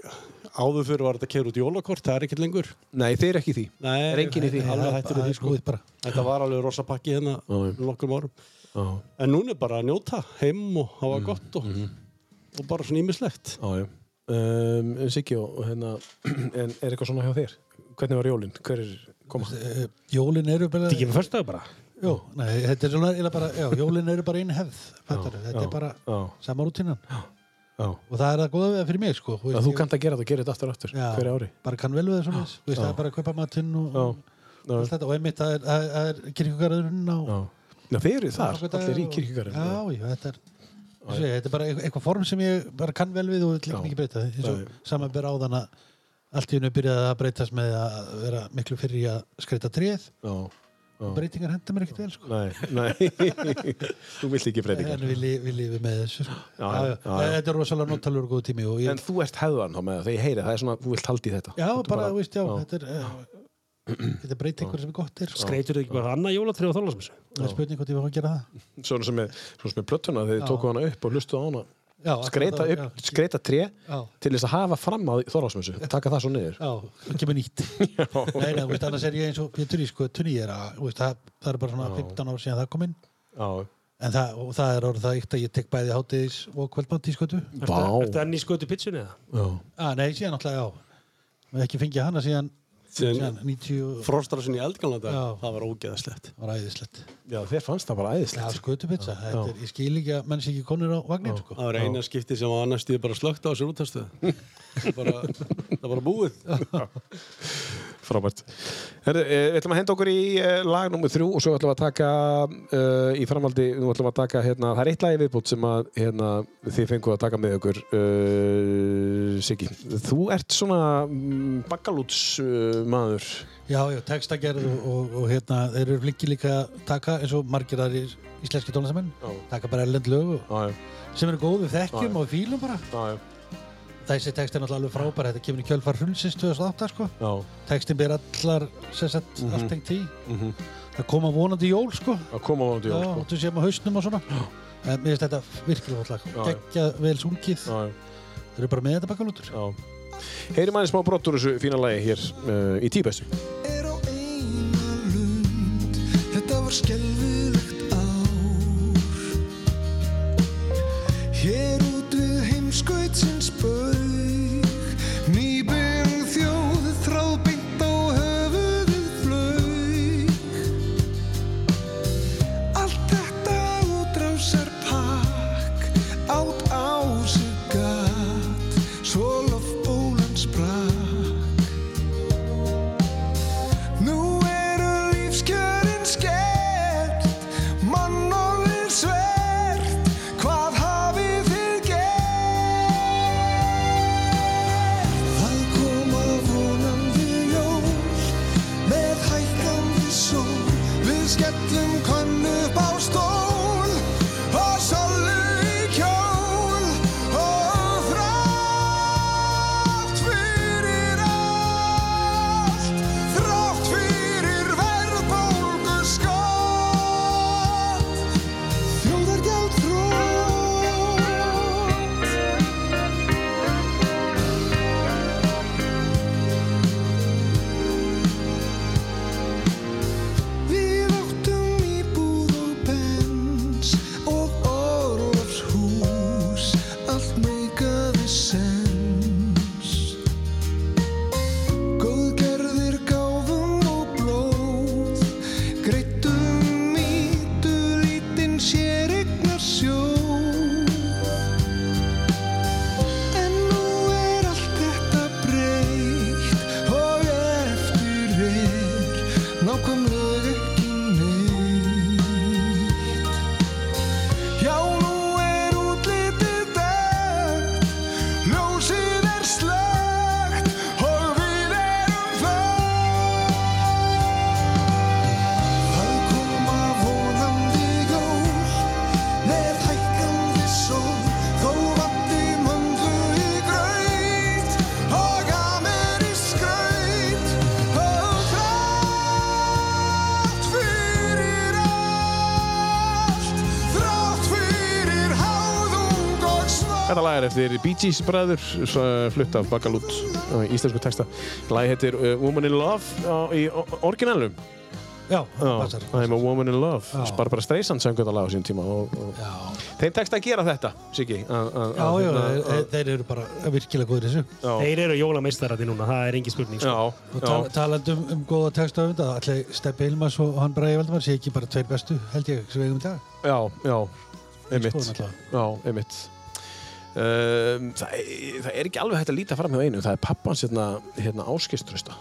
[SPEAKER 2] Áður fyrir var þetta keir út jólakort, það er ekkert lengur.
[SPEAKER 1] Nei, þeir eru ekki í því
[SPEAKER 2] Nei,
[SPEAKER 1] Er enginn í því?
[SPEAKER 2] Alveg hættur við því, sko.
[SPEAKER 3] bara
[SPEAKER 2] Þetta var alveg rosa pakki hérna
[SPEAKER 1] Já, já.
[SPEAKER 2] nokkrum árum.
[SPEAKER 1] Já,
[SPEAKER 2] En núna er bara að njóta heim og hafa gott og, og bara svona ímislegt.
[SPEAKER 1] já, já um, En Siggi og og hérna en Er eitthvað svona hjá þér? Hvernig var jólinn? Hver er koma?
[SPEAKER 3] Eh, Jólin eru bara
[SPEAKER 5] þetta er ekki með fyrstu bara
[SPEAKER 3] Jó, nei, þetta er svona eiginlega bara, já, jólin eru bara einn hefð fattar, þetta er bara
[SPEAKER 1] Já,
[SPEAKER 3] sama rútinan
[SPEAKER 1] já
[SPEAKER 3] og það er það góða við fyrir mig sko veist,
[SPEAKER 1] Að þú
[SPEAKER 3] ég
[SPEAKER 1] kannt að gera þetta og gera þetta aftur og aftur
[SPEAKER 3] Já.
[SPEAKER 1] Hverja ári
[SPEAKER 3] bara kann vel við það svona þú veist, það er bara að kaupa matinn og, og allt þetta og einmitt það er, það er- það er kirkugarðurinn á
[SPEAKER 1] Já Já, þeir eru þar,
[SPEAKER 3] Ákveða-
[SPEAKER 1] allir í hérna. kirkjugarinn
[SPEAKER 3] já, já, þetta er Þessi, þetta er bara e- eitthvað eitthvað form sem ég bara kann vel við og vil líka ekki breyta eins og saman ber áðan að allt í hennu byrjaði að breytast með að vera miklu fyrir í að skreita tréð
[SPEAKER 1] já
[SPEAKER 3] og breytingar henda mér ekkert vel sko.
[SPEAKER 1] Nei, nei Þú vilt ekki breytingar
[SPEAKER 3] en við, li- við lifum með þessu sko.
[SPEAKER 1] Já,
[SPEAKER 3] Já, já.
[SPEAKER 1] já, já.
[SPEAKER 3] þetta er rosalega notalur og góð tími og
[SPEAKER 1] En
[SPEAKER 3] ég,
[SPEAKER 1] þú ert hefðan þá með það, þegar ég heyri það, það er svona, þú vilt haldi í þetta
[SPEAKER 3] já,
[SPEAKER 1] Þú ert
[SPEAKER 3] bara, þú veist, já, þetta er eh, þetta er breytingar sem er gott er sko.
[SPEAKER 5] Greitur þið ekki bara annað jólatrið á þólasmessu?
[SPEAKER 3] það er spurning hvort ég var að gera það
[SPEAKER 1] Svona sem er, svona sem er plötuna, þeir tóku hana upp og hlustu á hana
[SPEAKER 3] já, akkurat,
[SPEAKER 1] Skreita
[SPEAKER 3] já,
[SPEAKER 1] upp, skreita tré
[SPEAKER 3] já,
[SPEAKER 1] til þess að hafa fram á Þorlásmessu Taka það svo niður
[SPEAKER 3] já, það kemur nýtt nei, nei, þú veist, annars er ég eins og Pétur í sko, tunni er að, þú veist, það, það er bara svona 15 ár síðan það kom inn
[SPEAKER 1] Já,
[SPEAKER 3] en það, og það er orðið það eitt að ég tek bæði hátiðis og kvöldmátt í skotu
[SPEAKER 1] Vá.
[SPEAKER 5] Ertu enn í skötu pitsunni eða?
[SPEAKER 3] ah, nei, síðan náttúrulega, já, við ekki fengið hana síðan, síðan
[SPEAKER 2] Síðan
[SPEAKER 3] 90
[SPEAKER 2] frostrasin í eldgamla dag,
[SPEAKER 3] Já.
[SPEAKER 2] það var ógeðaslegt.
[SPEAKER 3] það var æðislegt
[SPEAKER 1] Já, þér fannst það bara
[SPEAKER 3] Já,
[SPEAKER 1] æðislegt
[SPEAKER 3] skutupizza, þetta er, ég skil ekki að menn sé ekki konur á vagnin, sko.
[SPEAKER 2] Það var eina skipti sem að annars stíði bara slögt á sér útastöðu. bara, það var bara búið.
[SPEAKER 1] Frábært Herru, eh, Við ætlum að henda okkur í eh, lag nummer þrjú og svo ætlum við að taka uh, í framhaldi, nú ætlum við að taka hérna, það er eitt lagi viðbútt sem að hérna, þið fenguð að taka með okkur uh, Siggi, þú ert svona mm, baggalúts uh, maður
[SPEAKER 3] Já, já, textagerð og, og, og hérna, þeir eru flinkir líka að taka, eins og margir aðri íslenski tónlistamenn, taka bara erlend lög og,
[SPEAKER 1] Já, já,
[SPEAKER 3] sem eru góð við þekkjum og fílum bara.
[SPEAKER 1] já, já,
[SPEAKER 3] Þessi text er náttúrulega alveg frábær, þetta kemur í kjölfar hrulsins 2008, sko.
[SPEAKER 1] já,
[SPEAKER 3] Textin ber allar, sem sagt, allt tengt í.
[SPEAKER 1] mhm.
[SPEAKER 3] Það koma vonandi jól, sko.
[SPEAKER 1] að koma á
[SPEAKER 3] Já,
[SPEAKER 1] djól sko.
[SPEAKER 3] þú séum á hausnum og svona. En mér finnst þetta virkilega gott lag.
[SPEAKER 1] Já, já.
[SPEAKER 3] Gekkja vel sungið.
[SPEAKER 1] Já, já,
[SPEAKER 3] Þeir eru bara með þetta bakalútur.
[SPEAKER 1] já Heyrim aðeins smá brott úr þessu fína lagi hér uh, í tíbestu
[SPEAKER 9] er á eina lund Þetta var skelfilegt ár Hér út við heimskautsins baug Nýbyrjum þjóð þráðbynt á höfuðið flaug Allt þetta útrásar pakk Átt á sig gat Svo loftbólan sprakk Nú eru lífskjörin skert, mann orðin svert, hvað hafið þið
[SPEAKER 1] Þetta lag er eftir Bee Gees bræður, s- uh, flutt af Bakalút uh, í íslensku texta. Lagi heitir uh, Woman in Love á, í o- orginalnum.
[SPEAKER 3] Já, það
[SPEAKER 1] Já,
[SPEAKER 3] passar.
[SPEAKER 1] I'm a Woman in Love.
[SPEAKER 3] Já.
[SPEAKER 1] Barbara Streisand sang þetta lag á sín tíma. Og, og...
[SPEAKER 3] Já,
[SPEAKER 1] Þeim tekst að gera þetta, Siggi. að- að-
[SPEAKER 3] já, e- hérna,
[SPEAKER 1] að-
[SPEAKER 3] já,
[SPEAKER 1] að-
[SPEAKER 3] þeir- þeir eru bara virkilega góður í þessu.
[SPEAKER 5] Þeir eru jólameistararnir núna, það er engin spurning. Sko.
[SPEAKER 1] Já,
[SPEAKER 3] Og
[SPEAKER 1] já.
[SPEAKER 3] tal, talandi um, um góða textaöfunda, allir Steppi Hilmas og hann Bræði Valdimar sé ekki bara tveir bestu, held ég, sem við eigum í dag.
[SPEAKER 1] Já, já,
[SPEAKER 3] Skoðun
[SPEAKER 1] einmitt,
[SPEAKER 3] allavega.
[SPEAKER 1] já, einmitt. Um, það, það er ekki alveg hægt að líta fram hjá einu, það er pappans hérna, hérna áskiströsta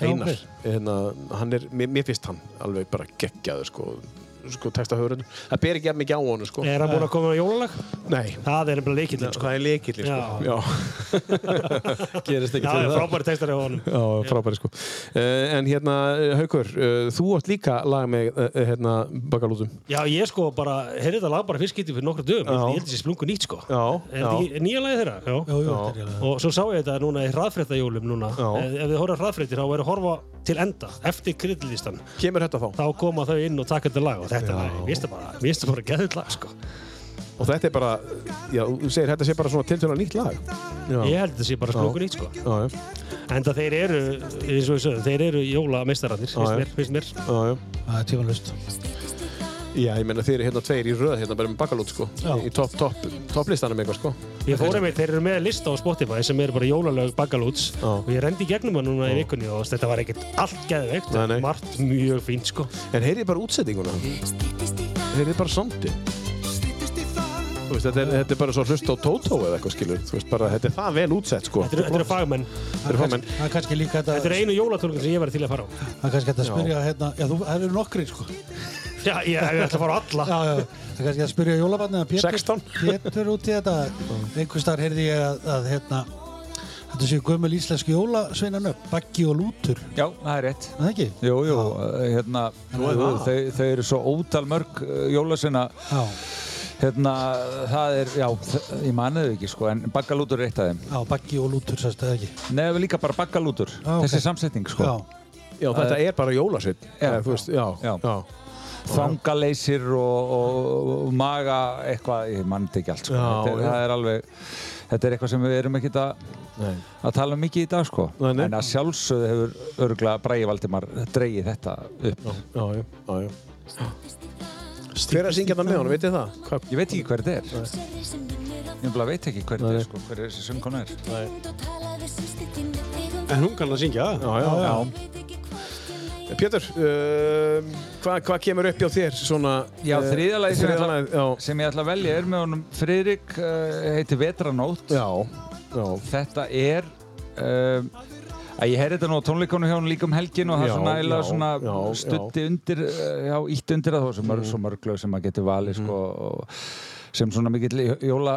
[SPEAKER 3] Já,
[SPEAKER 1] Einar,
[SPEAKER 3] ok.
[SPEAKER 1] hérna, hann er, mér, mér finnst hann alveg bara geggjaður sko, sko texta höfurinn, það ber ekki jafn mikið á honum sko
[SPEAKER 5] Er hann búinn að koma með jólalag?
[SPEAKER 1] Nei,
[SPEAKER 5] Það er nefnilega leikillin, sko.
[SPEAKER 1] það er leikillin sko Já,
[SPEAKER 2] gerist
[SPEAKER 5] Já,
[SPEAKER 2] ekki til
[SPEAKER 5] það er
[SPEAKER 2] það
[SPEAKER 5] frábæri textar á honum.
[SPEAKER 1] já frábæri sko uh, En hérna, eh, Haukur, uh, þú átt líka lag með uh, hérna bakalútum
[SPEAKER 5] Já, ég sko bara, heyrði þetta lag bara fyrst getið fyrir nokkra dögum.
[SPEAKER 1] Já.
[SPEAKER 5] Ég held þessi splungu nýtt, sko.
[SPEAKER 1] Já,
[SPEAKER 5] Er þetta ekki nýja lagið þeirra?
[SPEAKER 3] Jú, jú,
[SPEAKER 1] Já.
[SPEAKER 3] þetta er ég alveg.
[SPEAKER 5] Og svo sá ég þetta núna í hraðfréttajólum núna.
[SPEAKER 1] Já.
[SPEAKER 5] Ef, ef þið horfum hraðfréttir þá verður að horfa til enda, eftir kryddlistan.
[SPEAKER 1] Kemur þetta þá?
[SPEAKER 5] Þá koma þau inn og taka þetta lag og þetta lag, mér finnst það bara, mér finnst það bara geðið lag, sko.
[SPEAKER 1] Og þetta er bara, já, þú segir þetta sé bara svona tiltölu nýtt lag Já,
[SPEAKER 5] Ég held þetta sé bara splungu nýtt, sko.
[SPEAKER 1] já, já.
[SPEAKER 5] En það þeir eru, eins og við sögum, þeir eru jólameistararnir,
[SPEAKER 1] Já,
[SPEAKER 5] finnst
[SPEAKER 1] já.
[SPEAKER 5] mér, finnst mér.
[SPEAKER 1] Já, já.
[SPEAKER 3] hérna, Það er tímanlust.
[SPEAKER 1] Já, ég meina þeir eru hérna tveir í röð hérna bara með bakalút sko
[SPEAKER 3] Já.
[SPEAKER 1] í topp top, top listanum eitthvað sko
[SPEAKER 5] Ég fór einmitt, þeir eru með lista á Spotify sem eru bara jólalög bakalúts
[SPEAKER 1] Já.
[SPEAKER 5] og ég rendi í gegnum hann núna í vikunni og þetta var ekkert allt geðveikt,
[SPEAKER 1] Nei, nei.
[SPEAKER 5] margt mjög fínt sko.
[SPEAKER 1] En heyrið bara útsettinguna Heyrið bara sondi Þú veist, þetta er, þetta er bara svo hlust á Tótó eða eitthvað skilur Þú veist bara, þetta er það vel útsett sko
[SPEAKER 5] Þetta eru- þetta eru fagmenn.
[SPEAKER 1] Þetta er fá menn
[SPEAKER 3] Það er kannski líka þetta,
[SPEAKER 5] Þetta eru einu jólatólkun sem ég var til að fara á.
[SPEAKER 3] það er kannski hægt að spyrja hérna, já, þú, það eru nokkri, sko.
[SPEAKER 5] Já, ég, ég ætla að fara á alla.
[SPEAKER 3] Já, já, það er kannski að spyrja jólabarnið að Pétur,
[SPEAKER 1] 16.
[SPEAKER 3] Pétur út í þetta. Einhvers þar heyrði ég að, að hérna, þetta séu gömul íslensk jólasveinanöfn, Baggi og Lútur, er
[SPEAKER 4] Já, það er rétt.
[SPEAKER 3] það ekki?
[SPEAKER 4] Jú, jú, eh, hérna, jú, jú, þau, þau eru svo ótal mörg eh, jólasina,
[SPEAKER 3] Já,
[SPEAKER 4] hérna, það er, já, þ- ég maniðu ekki, sko, en baggalútur er eitt af þeim.
[SPEAKER 3] já, Baggi og Lútur, sérst, eða ekki?
[SPEAKER 4] Nei, við líka bara baggalútur,
[SPEAKER 3] Já, ok.
[SPEAKER 4] þessi samsetning, sko.
[SPEAKER 3] Já,
[SPEAKER 1] Ah, Já, þetta er bara jólasveit
[SPEAKER 4] Já.
[SPEAKER 1] Eða, þú veist, já,
[SPEAKER 4] Já. Þangaleysir og, og, og maga eitthvað, ég mann þetta ekki allt, sko.
[SPEAKER 1] Já,
[SPEAKER 4] þetta, er,
[SPEAKER 1] já.
[SPEAKER 4] það er alveg, þetta er eitthvað sem við erum ekkert að,
[SPEAKER 1] Nei.
[SPEAKER 4] að tala um mikið í dag, sko.
[SPEAKER 1] Nei, nei.
[SPEAKER 4] En að sjálfsögðu hefur örgulega Bræði Valdimar dreigið þetta upp.
[SPEAKER 1] já, já, já, já. Hver er að syngja þetta með honum, veit þið það? Hvað?
[SPEAKER 4] Ég veit ekki hver þetta er. Ég bara veit ekki hver þetta er, sko, hver þessi söngkona er.
[SPEAKER 2] en hún kann að syngja
[SPEAKER 1] Já, já, já. Pétur, uh, hvað hva kemur upp hjá þér svona?
[SPEAKER 4] Já,
[SPEAKER 1] eh,
[SPEAKER 4] þriðja lagið sem ég
[SPEAKER 1] þriðja
[SPEAKER 4] ætla-
[SPEAKER 1] lagið, já.
[SPEAKER 4] Sem ég ætla að velja er með honum Friðrik, uh, heitir Vetranótt.
[SPEAKER 1] Já, já,
[SPEAKER 4] Þetta er... Um, að ég heyrði þetta nú á tónleikonum hjá hún líka um helgin og það
[SPEAKER 1] Já,
[SPEAKER 4] svona eiginlega
[SPEAKER 1] já,
[SPEAKER 4] svona
[SPEAKER 1] já, já. Mm.
[SPEAKER 4] stutti undir, eh, já, ítt undir að það var svo mörg, svo mörg lög sem maður getur valið sko, og sem svona mikill jóla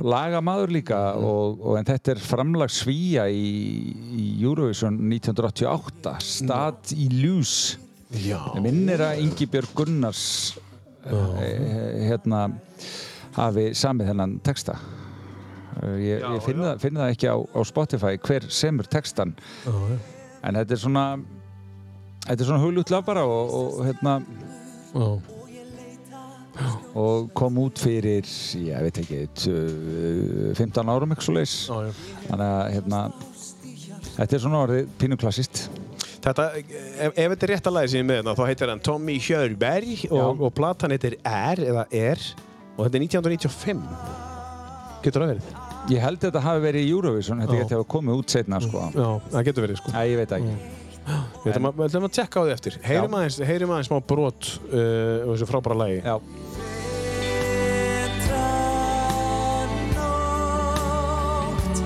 [SPEAKER 4] lagamaður líka
[SPEAKER 1] Mm.
[SPEAKER 4] og, og en þetta er framlag svíja í, í Eurovision 1988 Stad
[SPEAKER 1] Mm.
[SPEAKER 4] í ljús
[SPEAKER 1] já.
[SPEAKER 4] Ég minnir að Ingi Björg Gunnars eh, hérna hafi samið þennan texta Eh, ég, ég finn, það, finn það ekki á, á Spotify hver semur textan en þetta er svona þetta er svona huglút lag bara og, og hérna og kom út fyrir ég veit ekki t- 15 árum eitthvað svo leis
[SPEAKER 1] já.
[SPEAKER 4] þannig að hérna þetta er svona orðið pínu klassist
[SPEAKER 1] Þetta, ef, ef þetta er rétt að lagi sem ég er með hérna, þá heitir hann Tommy Hjörberg og, og platan heitir R eða R og þetta er 1995. Getur það verið?
[SPEAKER 4] ég held þetta hafi verið í Eurovision þetta geti hafa komið út setna sko
[SPEAKER 1] Já, það getur verið sko.
[SPEAKER 4] Æ, ég veit það ekki
[SPEAKER 1] Við ætlum að- við ætlum að tjekka á því eftir. Heyrum
[SPEAKER 4] Já.
[SPEAKER 1] aðeins, heyrum aðeins smá brot uh, og þessu frábæra lagi.
[SPEAKER 4] Já.
[SPEAKER 8] Nótt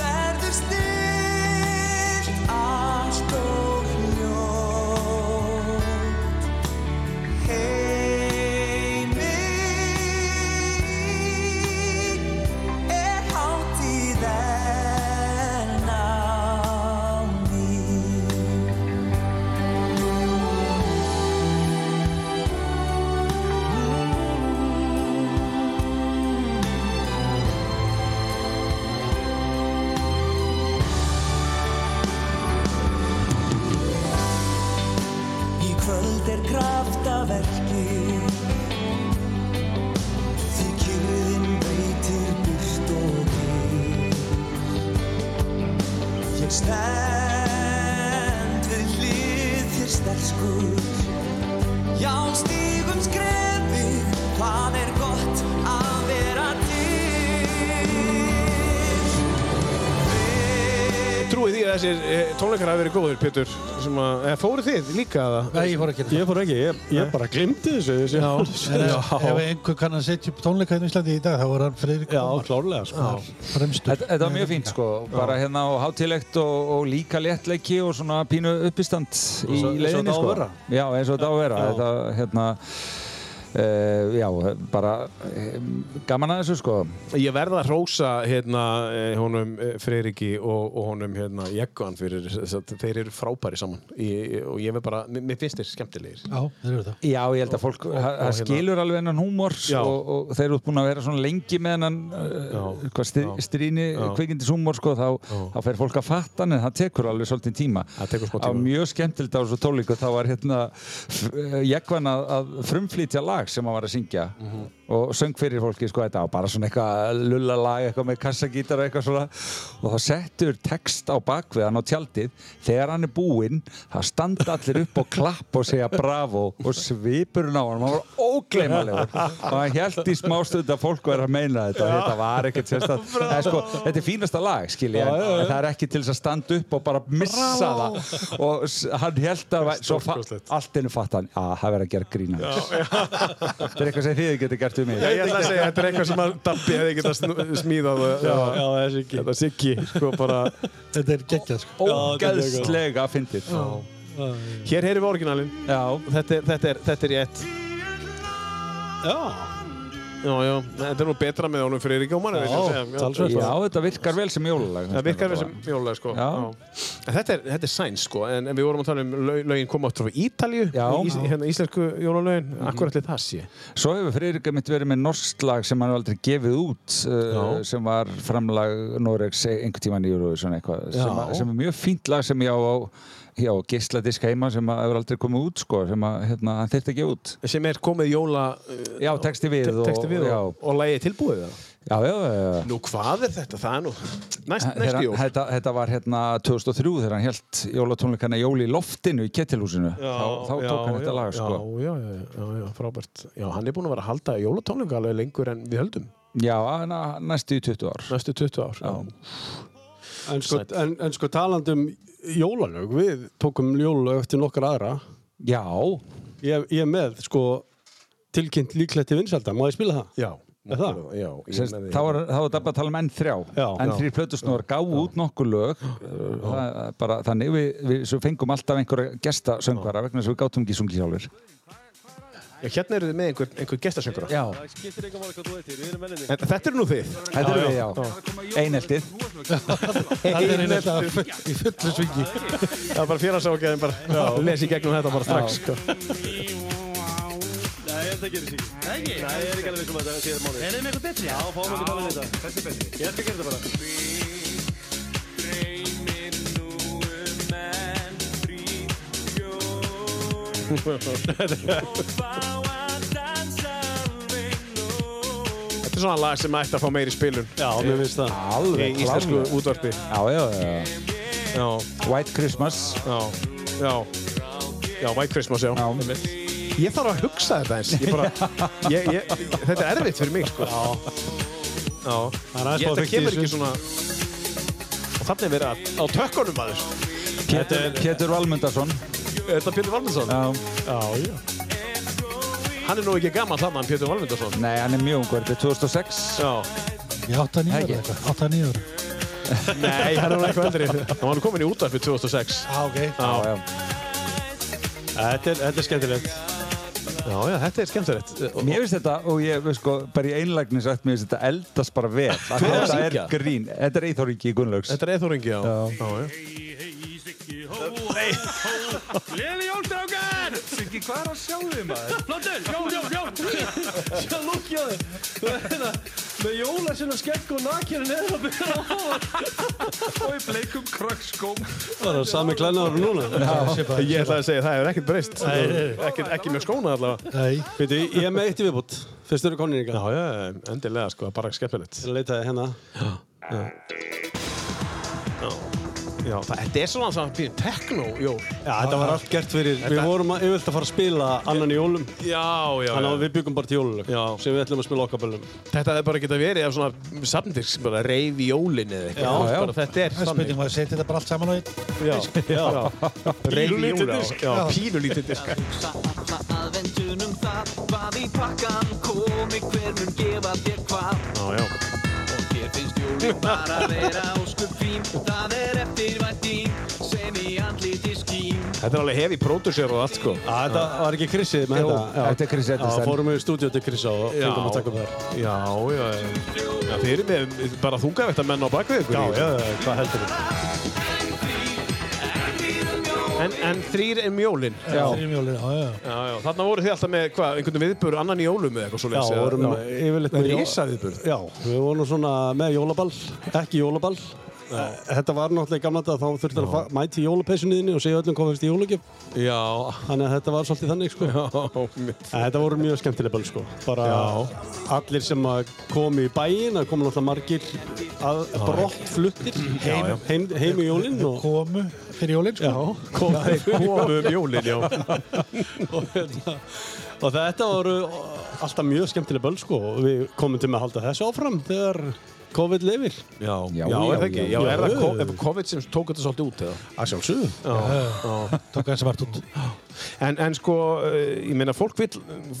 [SPEAKER 8] verður stillt allt og hljótt. Heimir er hátíð enn á ný. Í kvöld er kraftaverki Því kyrðin veitir byrtu Stend við hlið þér stelskur Já, stígum skrefi Hvað er gott að vera til
[SPEAKER 1] Trúið því að þessir eh, tónleikar hafi verið góður, Pétur sem að, eða fóruð þið líka að
[SPEAKER 3] Nei, ég fór ekki
[SPEAKER 2] Ég fór ekki, ég, ég bara glimti þessu. þessu.
[SPEAKER 3] Já, en ef ef einhver kann að setja upp tónleika hérna í Íslandi í dag, þá var hann Freirik
[SPEAKER 2] Já, klárlega, sko.
[SPEAKER 3] fremstur.
[SPEAKER 4] Þetta, þetta var mjög fínt sko, bara hérna og hátilegt og, og líka léttleiki og svona pínu uppistand í
[SPEAKER 2] eins og
[SPEAKER 4] leiðinni
[SPEAKER 2] þetta á að
[SPEAKER 4] sko.
[SPEAKER 2] vera.
[SPEAKER 4] Já, eins og þetta á að vera. Þetta, hérna, uh, já, bara uh, gaman að þessu sko.
[SPEAKER 1] Ég verða að rósa hérna eh, honum eh, Freyriki og, og honum hérna Jekkoan fyrir þess að þeir eru frábæri saman ég, og ég verð bara, mér mér finnst þeir skemmtilegir
[SPEAKER 3] Já, þeir eru það.
[SPEAKER 4] Já, ég held að fólk, það það
[SPEAKER 1] hérna-
[SPEAKER 4] skilur alveg hennan húmor
[SPEAKER 1] Já.
[SPEAKER 4] og, og þeir eru búin að vera svona lengi með hennan uh,
[SPEAKER 1] Já,
[SPEAKER 4] hvað stri,
[SPEAKER 1] já.
[SPEAKER 4] stríni
[SPEAKER 1] Já.
[SPEAKER 4] kvikindis húmor sko, þá, þá fer fólk að fatta hann en það tekur alveg svolítið tíma.
[SPEAKER 1] Það tekur smá
[SPEAKER 4] Það var
[SPEAKER 1] tíma.
[SPEAKER 4] mjög skemmtilegt á þessu tólíku, þá var hérna Jekvan að, að frumflýtja lag sem hann var að syngja
[SPEAKER 1] Mhm.
[SPEAKER 4] og söng fyrir fólki sko þetta var bara svona eitthvað lulla lag, eitthvað með kassagítar og eitthvað svona og þá settur text á bakvið hann á tjaldið þegar hann er búinn, það standa allir upp og klapp og segja bravo og svipurinn á hann, hann var óglemmalegur og hann held í smástund að fólk var að meina þetta, þetta var ekkert sérstaklega, en sko, þetta er fínasta lag skilja, en, en það er ekki til þess að standa upp og bara missa það og s- hann held að, svo fa- allt innum fatt hann, að það verður að gera grína þetta er eitthvað sem þið getur gert um mig
[SPEAKER 1] Ég ætla að segja, þetta er eitthvað sem að Dabbi hefði getað snú- smíðað og-
[SPEAKER 2] Já, já, þessi ekki.
[SPEAKER 1] Þetta Siggi, sko bara
[SPEAKER 3] Þetta er geggjað, sko.
[SPEAKER 4] ógeðslega að fyndið
[SPEAKER 1] Hér heyrum við orginalinn
[SPEAKER 4] já,
[SPEAKER 1] Þetta er, þetta er, þetta er ég ett
[SPEAKER 2] Já,
[SPEAKER 1] Já, já, þetta er nú betra með honum Freyriki og mann
[SPEAKER 2] Já, talsvert.
[SPEAKER 4] já, þetta virkar vel sem jólulag
[SPEAKER 1] Það virkar við sem jólulega sko
[SPEAKER 4] Já.
[SPEAKER 1] En Þetta er, þetta er sæns sko en, en við vorum að tala um lög, lögin koma áttur frá Ítalju
[SPEAKER 4] Já. Mhm.
[SPEAKER 1] Ís, hérna íslensku jólalögin mm. Akkur allir það sé
[SPEAKER 4] Svo hefur Freyrika mitt verið með norskt lag sem hann hefur aldrei gefið út uh,
[SPEAKER 1] Já.
[SPEAKER 4] sem var framlag Noregs einhvern tíman í Eurovision eitthvað sem,
[SPEAKER 1] Já.
[SPEAKER 4] sem er mjög fínt lag sem ég á á já, geisladisk heima sem að hefur aldrei komið út sko, sem að hérna, hann þurfti að gefa út
[SPEAKER 1] sem er komið jóla uh,
[SPEAKER 4] Já, texti við og,
[SPEAKER 1] texti við
[SPEAKER 4] já,
[SPEAKER 1] og, og lægi tilbúið það
[SPEAKER 4] já, já, já, já.
[SPEAKER 1] Nú hvað er þetta? Það er nú næst,
[SPEAKER 4] Þegar
[SPEAKER 1] næst
[SPEAKER 4] hann-
[SPEAKER 1] jól
[SPEAKER 4] Þetta, þetta var hérna 2003 þegar hann held jólatónleikana jól í loftinu í Kettilhúsinu þá, þá tók hann þetta lag sko.
[SPEAKER 1] já, já, já, já, já, frábært Já, hann er búinn að vera að halda jólatónleika alveg lengur en við höldum
[SPEAKER 4] Já, hann næstu í 20 ár
[SPEAKER 1] næstu 20 ár
[SPEAKER 4] Já.
[SPEAKER 2] en sko, en, en sko talandum jólalög, við tókum jólalög eftir nokkar aðra.
[SPEAKER 4] Já,
[SPEAKER 2] Ég, ég er með, sko, tilkynnt líklegt til vinsalda, má ég spila það?
[SPEAKER 1] Já,
[SPEAKER 2] Er það?
[SPEAKER 1] já ég
[SPEAKER 4] Sest,
[SPEAKER 1] með því.
[SPEAKER 4] þá var það bara að tala um N3
[SPEAKER 2] Já,
[SPEAKER 4] N3 plötusnúar gáðu út nokkur lög það, bara, þannig við, við svo fengum alltaf einhverja gestasöngvara vegna þess að við gátum ekki sungið sjálfur
[SPEAKER 1] Hérna eru þið með einhver, einhver gestasöngur
[SPEAKER 4] Já,
[SPEAKER 1] Þetta eru nú þið
[SPEAKER 4] þetta er við, já Eineltið
[SPEAKER 3] Það er einhverja í fullu svingi.
[SPEAKER 1] Það er bara félagsákjæðin bara lesi í gegnum þetta bara strax sko.
[SPEAKER 8] Dreymir nú um enn frítjón Og fá að dansa alveg nóg
[SPEAKER 1] Þetta er svona lag sem ætti að fá meiri spilun Eh,
[SPEAKER 2] Já, mér finnst
[SPEAKER 1] í
[SPEAKER 2] það.
[SPEAKER 4] Alveg
[SPEAKER 1] íslensku
[SPEAKER 4] klárlega.
[SPEAKER 1] útvarpi
[SPEAKER 4] Já, já, já
[SPEAKER 1] Já,
[SPEAKER 4] White Christmas
[SPEAKER 1] já, já Já, White Christmas, já
[SPEAKER 4] Já,
[SPEAKER 1] Ég þarf að hugsa þetta eins ég bara, ég, ég, Þetta er erfitt fyrir mig sko. Já,
[SPEAKER 2] er aðeins
[SPEAKER 1] Ég,
[SPEAKER 2] smá
[SPEAKER 1] þetta
[SPEAKER 2] fikti í
[SPEAKER 1] kemur
[SPEAKER 2] þessu.
[SPEAKER 1] ekki svona Og þannig er verið að- á tökkunum maður
[SPEAKER 4] Pétur, Pétur Valmundarsson
[SPEAKER 1] Er Þetta Pétur Valmundsson
[SPEAKER 4] Já,
[SPEAKER 1] Hann er nú ekki gammal það mann, Pétur Valmundsson
[SPEAKER 4] nei, hann er mjög ungur, þetta er 2006
[SPEAKER 1] Já,
[SPEAKER 3] Ég átta nýjur
[SPEAKER 4] Ekki.
[SPEAKER 3] eitthvað, átta nýjur.
[SPEAKER 1] nei, hann er nú eitthvað eldri Hann var nú komin í útvarpi 2006
[SPEAKER 3] Já, ok.
[SPEAKER 1] Já,
[SPEAKER 4] já.
[SPEAKER 2] Þetta er, þetta er skemmtilegt. Eh,
[SPEAKER 1] já, já, þetta er skemmtilegt
[SPEAKER 4] Mér finnst þetta, og ég, veist sko, bara í einlægni sagt, mér finnst þetta eldast bara vel
[SPEAKER 1] er
[SPEAKER 4] Hver
[SPEAKER 1] að
[SPEAKER 4] Þetta er
[SPEAKER 1] syngja?
[SPEAKER 4] grín, þetta er Eithor Ingi Gunnlaugs
[SPEAKER 1] Þetta er Eithóringi, já. Já. já, já.
[SPEAKER 8] Lili Jónstrákar! Siggi, hvað er að sjá þig maður? Flottur! Jón, Jón, Jón!
[SPEAKER 2] Sjá lúkjaði, með jólasinn og skegg og nakjörn eða að byrja á Og í bleikum krökskóm. Það er sami klænaður og núna.
[SPEAKER 1] Ég ætlaði að segja, það hefur ekkert breyst. Ekki, ekki mjög skóna allavega.
[SPEAKER 3] Nei,
[SPEAKER 2] Veitu, ég er með eitt í viðbútt. Fyrst eru konin ykkar.
[SPEAKER 1] Já, já, endilega,
[SPEAKER 2] hérna.
[SPEAKER 1] sko, bara skemmtilegt.
[SPEAKER 2] Leitaði hérna.
[SPEAKER 1] Já, það, þetta er svona svona býðin techno, jú.
[SPEAKER 2] Já, þetta var allt gert fyrir, við vorum að yfirleitt að fara að spila annan í jólum,
[SPEAKER 1] Já, já,
[SPEAKER 2] þannig að við byggum bara til jólulög
[SPEAKER 1] Já.
[SPEAKER 2] sem við ætlum að spila okkar böllum.
[SPEAKER 1] Þetta hefði bara geta verið af svona samtidig, bara reyf í jólinn eða eitthvað.
[SPEAKER 2] Já, já.
[SPEAKER 1] Bara, þetta er
[SPEAKER 3] Það er
[SPEAKER 1] þannig.
[SPEAKER 3] spurning maður setja þetta bara allt saman á einn.
[SPEAKER 1] Já, já. Reyf í
[SPEAKER 11] Pínulítið
[SPEAKER 1] jólinn.
[SPEAKER 11] disk.
[SPEAKER 1] Já, pínulítið disk.
[SPEAKER 12] hugsa alla aðvendunum það Hvað í pakkan komi hver mun gefa þér hvað
[SPEAKER 1] Já, já.
[SPEAKER 12] Og þér finnst jólin bara vera óskup fín Það er eftirvænting sem í andliti skín
[SPEAKER 1] Þetta er alveg hefi pródusser og allt, sko.
[SPEAKER 2] Já, þetta var ekki Chrissið með
[SPEAKER 4] Jú,
[SPEAKER 2] þetta.
[SPEAKER 4] þetta er Chris Edison.
[SPEAKER 2] Já, fórum við í stúdíu til Chrissa og fengum að taka upp þær.
[SPEAKER 1] Já, já, já. Já, Þið eru með bara þungavægt að menna á bakvið ykkur. í þessu.
[SPEAKER 2] já, hvað heldur við?
[SPEAKER 1] En, en þrýr er mjólinn.
[SPEAKER 3] Já. Þrjumjólið, já, já.
[SPEAKER 1] Já, já. Þarna voru þið alltaf með, hvað, einhvern viðbur annan í jólum eða eitthvað svo
[SPEAKER 2] Já,
[SPEAKER 1] leiðis.
[SPEAKER 2] vorum yfirleitt með jóla- Já, við vorum svona með jólaball, ekki jólaball. Eh, Þetta var náttúrulega í gamla dag, þá þurfti að fa- mæta í jólapeysunniðinni og segja öllum hvað fyrst í jólagjöf.
[SPEAKER 1] Já,
[SPEAKER 2] Þannig að þetta var svolítið þannig, sko.
[SPEAKER 1] já, mitt.
[SPEAKER 2] En þetta voru mjög skemmtileg böll, sko. Bara allir sem að komu í bæinn, það komu náttúrulega margir að brott fluttir heim, heim, heim í jólinn og
[SPEAKER 3] Komu fyrir jólinn, sko.
[SPEAKER 2] komið
[SPEAKER 1] Komum um jólinn, já.
[SPEAKER 2] og, hérna, og þetta voru alltaf mjög skemmtileg böll sko og við komum til með að halda þessu áfram þegar COVID lifir
[SPEAKER 1] Já, já, er
[SPEAKER 4] Já, já,
[SPEAKER 1] það ekki?
[SPEAKER 4] já,
[SPEAKER 1] Já,
[SPEAKER 2] já.
[SPEAKER 1] er það ko- er COVID sem tók þetta svolítið út eða?
[SPEAKER 2] að sjálfsögðu
[SPEAKER 3] Tók hann svart út.
[SPEAKER 1] En, en sko, eh, ég meina, fólk vill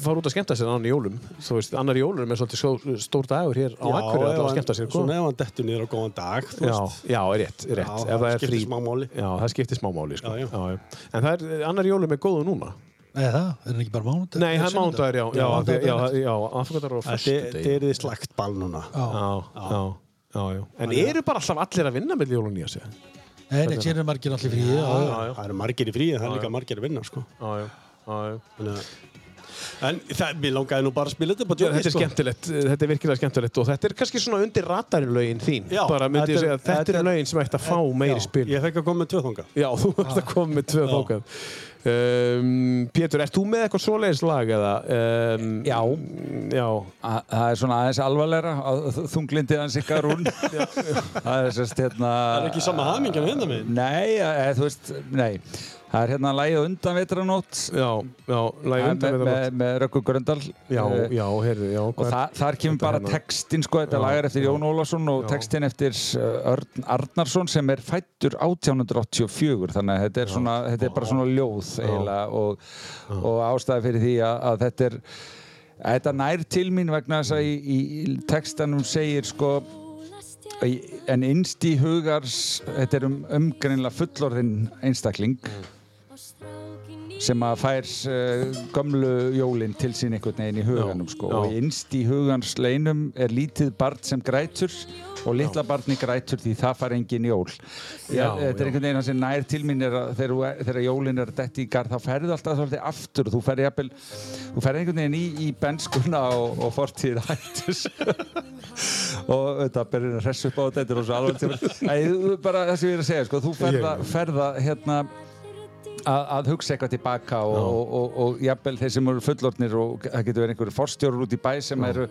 [SPEAKER 1] fara út að skemmta sér annan í jólum. Þú veist, annar í jólum er svolítið svo, stór dagur hér á Akureyri að það að skemmta sér, sko.
[SPEAKER 2] svona ef hann dettur niður á góðan dag þú
[SPEAKER 1] Já,
[SPEAKER 2] veist
[SPEAKER 1] já, er rétt, er rétt. Ef það er frí.
[SPEAKER 2] skiptir smá máli
[SPEAKER 1] Já, það skiptir smámáli, sko.
[SPEAKER 2] Já, já.
[SPEAKER 1] En það er, annar í jólum er góðu núna.
[SPEAKER 3] Nei, það er hann ekki bara mánudag.
[SPEAKER 1] Nei, það er mándagur, já, já,
[SPEAKER 3] mánudagur,
[SPEAKER 1] já, já, já, aðfangatar og
[SPEAKER 2] þetta
[SPEAKER 1] föstudegi.
[SPEAKER 2] er því slagt ball núna
[SPEAKER 1] Já, já, já, já. En eru bara alltaf allir að vinna með jólun í þessu?
[SPEAKER 3] Nei, nei, sér er margir allir frí. Já, já.
[SPEAKER 1] já.
[SPEAKER 2] það eru margir í frí en það er líka margir að vinna sko
[SPEAKER 1] Já, já, já, já.
[SPEAKER 2] Þannig að- en það, mér langaði nú bara að spila þetta bara
[SPEAKER 1] Já, þetta er
[SPEAKER 2] djókið, sko.
[SPEAKER 1] skemmtilegt, þetta er virkilega skemmtilegt og þetta er kannski svona undir radarlögin þín
[SPEAKER 2] Já,
[SPEAKER 1] bara myndi ég
[SPEAKER 2] þetta
[SPEAKER 1] segja
[SPEAKER 2] er-
[SPEAKER 1] að þetta
[SPEAKER 2] þetta
[SPEAKER 1] er
[SPEAKER 2] er-
[SPEAKER 1] lögin sem ætti að fá meiri
[SPEAKER 2] Já,
[SPEAKER 1] spil
[SPEAKER 2] ég fekk að koma með tvö þanga
[SPEAKER 1] Já, þú ert
[SPEAKER 4] Ah.
[SPEAKER 1] að koma með tvö þókað um, Pétur, ert þú með eitthvað svoleiðis lag eða? Um,
[SPEAKER 4] Já,
[SPEAKER 1] Já,
[SPEAKER 4] að- það er svona aðeins alvarlegra að þunglindi hans ykkar hún Það er sérst hérna
[SPEAKER 2] það er ekki sama hamingja með hérna minn
[SPEAKER 4] Nei, eða, þú veist, nei Það er hérna lagið á undan vetranótt
[SPEAKER 1] já, já, lagi undan
[SPEAKER 4] með,
[SPEAKER 1] með það
[SPEAKER 4] með, með Rökkur Gröndal
[SPEAKER 1] Já,
[SPEAKER 4] Eh,
[SPEAKER 1] já, heyrðu, já
[SPEAKER 4] og
[SPEAKER 1] hvað er-
[SPEAKER 4] þa þar kemur bara
[SPEAKER 1] hérna?
[SPEAKER 4] textin sko, þetta lag er eftir Jón Ólafsson og
[SPEAKER 1] Já.
[SPEAKER 4] textin eftir eh, Örn Arnarsson sem er fættur 1884 þannig að þetta er, svona, þetta er bara svona ljóð eiginlega og, og ástæði fyrir því að, að þetta er að þetta nær til mín vegna þess að í, í í textanum segir sko í- en innst í hugars þetta er um umgreinlega fullorðinn einstakling sem að fær uh, gömlu jólinn til sín einhvern veginn í huganum sko.
[SPEAKER 1] já.
[SPEAKER 4] og innst í hugans leinum er lítið barn sem grætur og litla barni grætur því það fær engin jól já,
[SPEAKER 1] Já,
[SPEAKER 4] þetta
[SPEAKER 1] já.
[SPEAKER 4] er einhvern veginn sem nær til mín er að þegar, þú- þegar jólinn er dætt í garð þá færðu alltaf svolítið aftur þú færði jafnvel, þú færði einhvern veginn í, í benskuna og, og fortíð hættis og þetta byrjar að hressa upp á þetta, þetta er rosa alveg Æ, bara það sem ég er að segja sko, þú ferða, ferða hérna að, að hugsa eitthvað tilbaka og, og, og, og jafnvel þeir sem eru fullornir og það getur verið einhverju forstjórar út í bæ sem eru,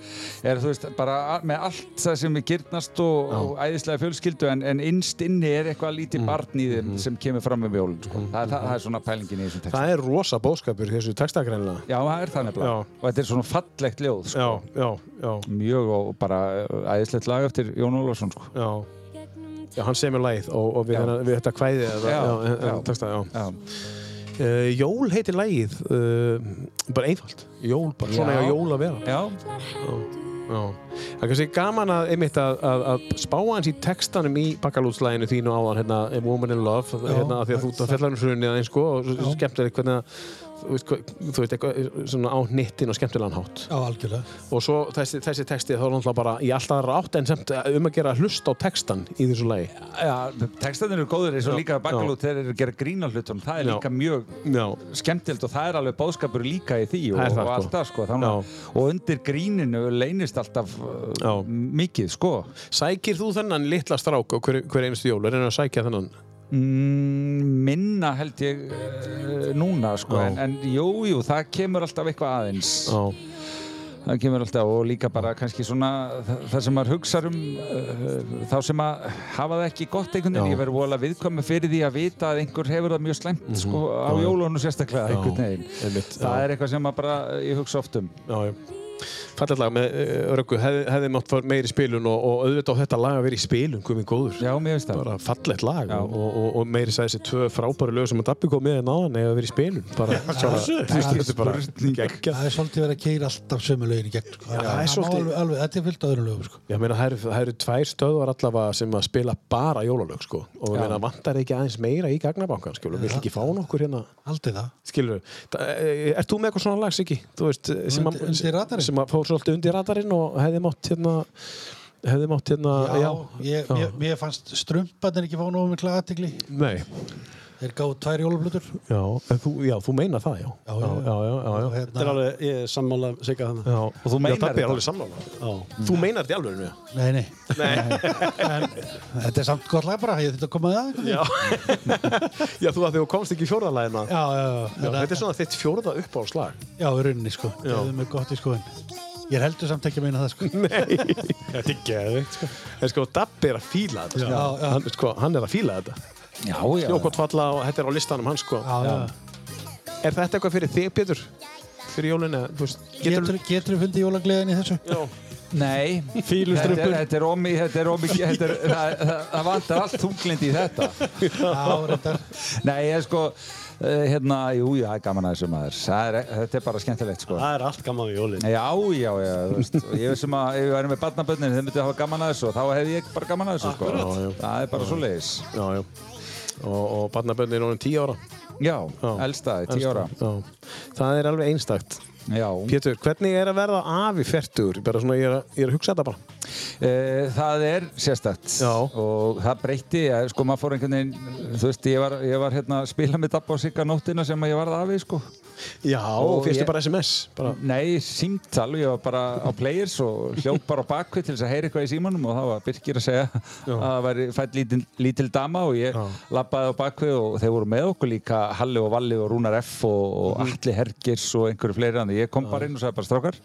[SPEAKER 4] eru þú veist, bara a- með allt það sem er gyrnast og, og æðislega fjölskyldu en, en innst inni er eitthvað
[SPEAKER 1] Mm.
[SPEAKER 4] lítið barn í þeim sem kemur fram með mjólun sko. það, það, það er svona pælingin í þessum textum
[SPEAKER 1] Það er rosa bóðskapur í þessu textagreinlega
[SPEAKER 4] Já, það er þannig bara
[SPEAKER 1] Já.
[SPEAKER 4] og þetta er svona fallegt ljóð sko.
[SPEAKER 1] Já, já, já,
[SPEAKER 4] mjög og bara uh, æðislegt lag eftir Jón Ólafsson sko.
[SPEAKER 1] já Já, hann semur lagið og, og við,
[SPEAKER 4] Já.
[SPEAKER 1] hennar, við þetta kvæðið eða-
[SPEAKER 4] Já,
[SPEAKER 1] já, já,
[SPEAKER 4] já.
[SPEAKER 1] texta, já.
[SPEAKER 4] Já.
[SPEAKER 1] Uh, jól heitir lægið uh, bara einfalt jól, bara svona
[SPEAKER 4] Já.
[SPEAKER 1] já. jól að vera
[SPEAKER 4] Já,
[SPEAKER 1] já. það er kannski gaman að, einmitt, að, að, að spá hans í textanum í bakalútslæginu þínu áðan hérna, A Woman in Love hérna, af því að þú ert að fella um hrunni eða eins sko, og svo- svo skemmtileg hvernig að þú veist, hvað- þú veist eitthvað svona á hnittin og skemmtilegan hátt
[SPEAKER 3] Já, algjörlega.
[SPEAKER 1] og svo þessi, þessi texti þá er náttúrulega bara í alltaf rátt en semt um að gera hlust á textan í þessu lægi
[SPEAKER 4] Já, textanir eru góður eins og líka bakalút þeir eru að gera grín á hlutum, það er
[SPEAKER 1] Já.
[SPEAKER 4] líka mjög
[SPEAKER 1] já,
[SPEAKER 4] skemmtilegt og það er alveg bóðskapur líka í því og,
[SPEAKER 1] Það er það,
[SPEAKER 4] og
[SPEAKER 1] sko.
[SPEAKER 4] allt það sko, þannig að- og undir gríninu leynist alltaf uh,
[SPEAKER 1] Já.
[SPEAKER 4] mikið sko
[SPEAKER 1] sækir þú þennan litla strák á hver, hver einstu jól, er hann að sækja þennan
[SPEAKER 4] mm, minna held ég uh, núna sko,
[SPEAKER 1] Já.
[SPEAKER 4] en, en jú, jú, það kemur alltaf eitthvað aðeins
[SPEAKER 1] já,
[SPEAKER 4] það kemur alltaf og líka bara kannski svona þa- það sem maður hugsar um uh, þá sem að hafa það ekki gott einhvern veginn,
[SPEAKER 1] Já.
[SPEAKER 4] ég verður vola viðkvæmi fyrir því að vita að einhver hefur það mjög slæmt
[SPEAKER 1] Mhm.
[SPEAKER 4] sko, á jólunum sérstaklega einhvern veginn
[SPEAKER 1] einmitt,
[SPEAKER 4] það
[SPEAKER 1] já.
[SPEAKER 4] er eitthvað sem að bara eh, ég hugsa oft um
[SPEAKER 1] Já, já. Fallet lag með uh, Röggu, hefði, hefði mátt fara meiri í spilun og, og auðvitað á þetta lag að vera í spilun, komið góður.
[SPEAKER 4] já, mér finnst það
[SPEAKER 1] Bara fallet lag
[SPEAKER 4] Já.
[SPEAKER 1] og, og, og meiri sagði þessi tvö frábæru lög sem að Dabbi kom með en áðan eða verið í spilun. Bara, já, bara, þetta er bara geggjað.
[SPEAKER 3] Það er svolítið verið að keira alltaf sömu lögin í gegn sko. Það
[SPEAKER 1] það er
[SPEAKER 3] má
[SPEAKER 1] svolítið-
[SPEAKER 3] alveg, alveg, Þetta er fyllt á öðrum lögum sko.
[SPEAKER 1] Ég meina, það eru, það eru tvær stöðvar allavega sem að spila bara jólalög, sko. Og ég meina, vantar ekki aðeins meira í gagnabankan, skilur. Vil ekki fá nokkur hérna,
[SPEAKER 3] Aldrei það
[SPEAKER 1] skilur. eh, Ert þú með eitthvað svona lag, Siggi? Þú veist, eh, sem að,
[SPEAKER 3] Undir- undir radarinn?
[SPEAKER 1] sem að fór svolítið undir radarinn og hefði mátt hérna, hefði mátt hérna,
[SPEAKER 3] Já,
[SPEAKER 1] já,
[SPEAKER 3] ég,
[SPEAKER 1] já.
[SPEAKER 3] Ég, ég fannst strumpanir ekki fá nógu mikla aðtegli
[SPEAKER 1] Nei,
[SPEAKER 3] Þeir gáðu tvær jólablutur Já,
[SPEAKER 1] já, en þú, já, þú meina það, já.
[SPEAKER 3] já, já,
[SPEAKER 1] já, já, já, já.
[SPEAKER 3] Og
[SPEAKER 2] Þetta er
[SPEAKER 3] Hérna,
[SPEAKER 2] alveg, ég er sammála Sigga þannig.
[SPEAKER 1] já. Og
[SPEAKER 4] þú meinar
[SPEAKER 1] já, Dabbi
[SPEAKER 4] þetta? Mm.
[SPEAKER 1] er alveg sammála.
[SPEAKER 2] Já.
[SPEAKER 1] Þú meinar þetta í alveg, já.
[SPEAKER 3] nei, nei, en, Þetta er samt gott lag bara Ég þetta komaði að sko. einhvern veginn.
[SPEAKER 1] Já, þú að þegar þú komst ekki í fjórðalæðina. Já,
[SPEAKER 3] Já, já, já, já,
[SPEAKER 1] þetta er svona þitt fjórða uppáhalslag.
[SPEAKER 3] já, í rauninni sko
[SPEAKER 1] Já.
[SPEAKER 3] Það er mjög gott í skoðin Ég er heldur samt ekki að meina það sko
[SPEAKER 1] Þetta er geðvikt, sko. En sko, Dabbi er að fíla þetta, sko.
[SPEAKER 3] Já, já.
[SPEAKER 1] Hann, veist hvað, hann er að fíla þetta.
[SPEAKER 4] já, já,
[SPEAKER 1] Jókot falla og þetta er á listanum hans, sko.
[SPEAKER 3] Já, já, já.
[SPEAKER 1] Er þetta eitthvað fyrir þig, Pétur? Fyrir jólinu, þú veist,
[SPEAKER 3] Getur, getur við fundið jólagleðin í þessu?
[SPEAKER 4] nei þetta er, þetta er omi, þetta er omi þetta er, það, það, það vantar allt þunglindi í þetta
[SPEAKER 3] Já, reyndar
[SPEAKER 4] Nei, ég sko, eh, hérna, jú, já, það er gaman að þessu maður. Það Er, þetta er bara skemmtilegt, sko.
[SPEAKER 2] Það er allt gaman við jólin.
[SPEAKER 4] Já, já, já, þú veist, og ég veist sem að ef við værum með barnaböndin, þeir myndið hafa gaman að þessu og þá hefði ég bara gaman að þessu, sko.
[SPEAKER 1] Já, já.
[SPEAKER 4] Það er bara svo leiðis.
[SPEAKER 1] Já, já. Og, og barnabönni er orðin tíu ára.
[SPEAKER 4] Já,
[SPEAKER 1] Já.
[SPEAKER 4] elstaði, tíu ára.
[SPEAKER 1] Já. Það er alveg einstakt.
[SPEAKER 4] Já,
[SPEAKER 1] Pétur, hvernig er að verða afi færtur? Bara svona, ég er að, ég er að hugsa þetta bara.
[SPEAKER 4] Eh, það er sérstætt
[SPEAKER 1] Já.
[SPEAKER 4] og það breytti, eh, sko, maður fór einhvern veginn, þú veist, ég var, ég var hérna að spila með Dabba og Sigga nóttina sem að ég varð afi, sko.
[SPEAKER 1] Já,
[SPEAKER 4] og
[SPEAKER 1] fyrstu
[SPEAKER 4] ég-
[SPEAKER 1] bara SMS. Bara.
[SPEAKER 4] Nei, símtal, ég var bara á players og hljóp bara á bakvið til þess að heyra eitthvað í símanum og það var Birkir að segja að það væri fætt lítil, lítil dama og ég labbaði á bakvið og þeir voru með okkur líka Halli og Valli og Rúnar F og, og
[SPEAKER 1] Mhm.
[SPEAKER 4] Alli Hergers og einhverju fleiri þannig ég kom bara inn og sagði bara strákar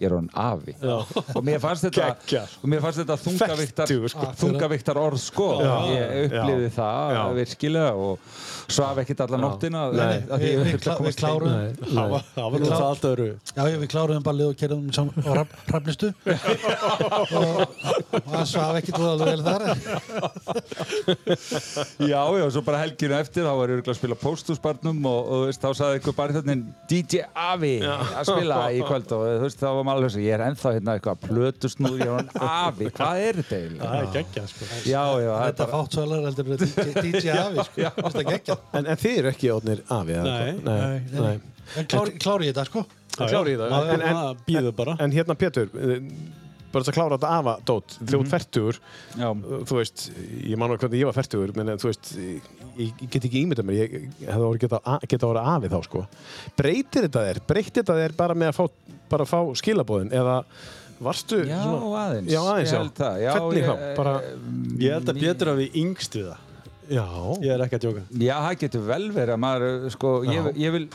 [SPEAKER 4] ég er hann afi og mér fannst þetta,
[SPEAKER 1] Geggjað.
[SPEAKER 4] og mér fannst þetta þungaviktar,
[SPEAKER 1] Fertugur, sko.
[SPEAKER 4] þungaviktar orð sko ég upplifði
[SPEAKER 1] Já.
[SPEAKER 4] það
[SPEAKER 1] Já.
[SPEAKER 4] virkilega og svaf ekkert alla nóttina
[SPEAKER 1] Nei.
[SPEAKER 4] að
[SPEAKER 3] Við,
[SPEAKER 4] ég
[SPEAKER 3] við, klá, við klárum
[SPEAKER 2] Það var- það var nú það allt öðru.
[SPEAKER 3] Já, já, við kláruðum ballið og kerðum saman á raf, rafnistu og og hann svaf ekki til alveg vel þar en-
[SPEAKER 4] Já, já, svo bara helginu eftir þá var ég örugglega að spila póstúsbarnum og, og þú veist, þá sagði einhver barþjóðnin DJ Avi að spila í kvöld og þú veist, þá var maður alveg svo, ég er ennþá hérna eitthvað plötusnúður, ég er hann Avi, hvað er þetta eiginlega?
[SPEAKER 2] Það er geggjað, sko.
[SPEAKER 4] Já, já, það er
[SPEAKER 3] Þetta
[SPEAKER 4] bara,
[SPEAKER 3] fátt svalar heldur en DJ, DJ Afi sko, þetta gekkja
[SPEAKER 1] En, en þið eru ekki átnir afi? eða
[SPEAKER 2] Nei,
[SPEAKER 1] hvað? nei, nei. nei.
[SPEAKER 3] En klár, kláru ég þetta sko
[SPEAKER 1] Það klára í það.
[SPEAKER 2] Maður-
[SPEAKER 1] En, en,
[SPEAKER 2] maður býður bara.
[SPEAKER 1] en hérna Pétur, eh, bara þess að klára þetta afa, Dótt, þjótt færtur,
[SPEAKER 4] já,
[SPEAKER 1] þú veist, ég man alveg hvernig ég var færtur, menn en þú veist, ég, ég get ekki ímyndað mér, ég ég hefði orðið geta, a- geta að vera afi þá, sko. Breytir þetta þér? Breytir þetta þér bara með að fá, bara að fá skilabóðin? Eða varstu
[SPEAKER 4] já, aðeins.
[SPEAKER 1] Já, aðeins,
[SPEAKER 4] Ég
[SPEAKER 1] já.
[SPEAKER 4] held það, já,
[SPEAKER 1] Hvernig
[SPEAKER 4] ég- eh,
[SPEAKER 1] þá? Bara,
[SPEAKER 2] Ég held að Pétur hafi yngst við það.
[SPEAKER 1] já.
[SPEAKER 2] Ég er ekki að djóka.
[SPEAKER 4] Já, það getur vel verið að maður, uh, sko, ég, ég vil,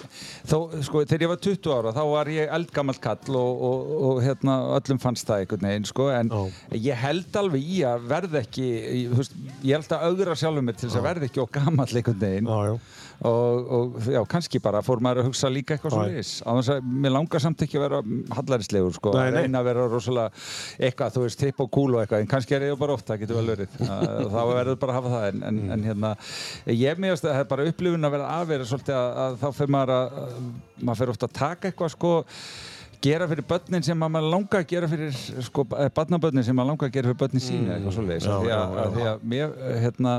[SPEAKER 4] þó, sko, þegar ég var 20 ára þá var ég eldgammal kall og, og, og hérna, öllum fannst það einhvern veginn, sko, en ég held alveg í að verð ekki, ég, þú veist, ég held að augra sjálfum mig til þess að verð ekki og gammal einhvern veginn
[SPEAKER 1] Já, já.
[SPEAKER 4] og, og, já, kannski bara fór maður að hugsa líka eitthvað svo leiðis, á þess að mér langar samt ekki að vera hallarislegur, sko,
[SPEAKER 1] Nei,
[SPEAKER 4] að
[SPEAKER 1] nei.
[SPEAKER 4] reyna að vera rosalega eitthvað, þú veist, tripp og kúl og eitthvað, en kannski er ég bara oft, það getur vel verið, Að- þá verður bara að hafa það, en, en, en hérna, ég meðast að það er bara upplifun að vera afverið svolítið að, að þá fyrir maður að, að maður fyrir ofta að taka eitthvað, sko, gera fyrir börnin sem að maður langar að gera fyrir sko, barnabörnin sem maður langar að gera fyrir börnin sín eða
[SPEAKER 1] Mm.
[SPEAKER 4] eitthvað svoleiðis af því að, að, því að mér, eh, hérna,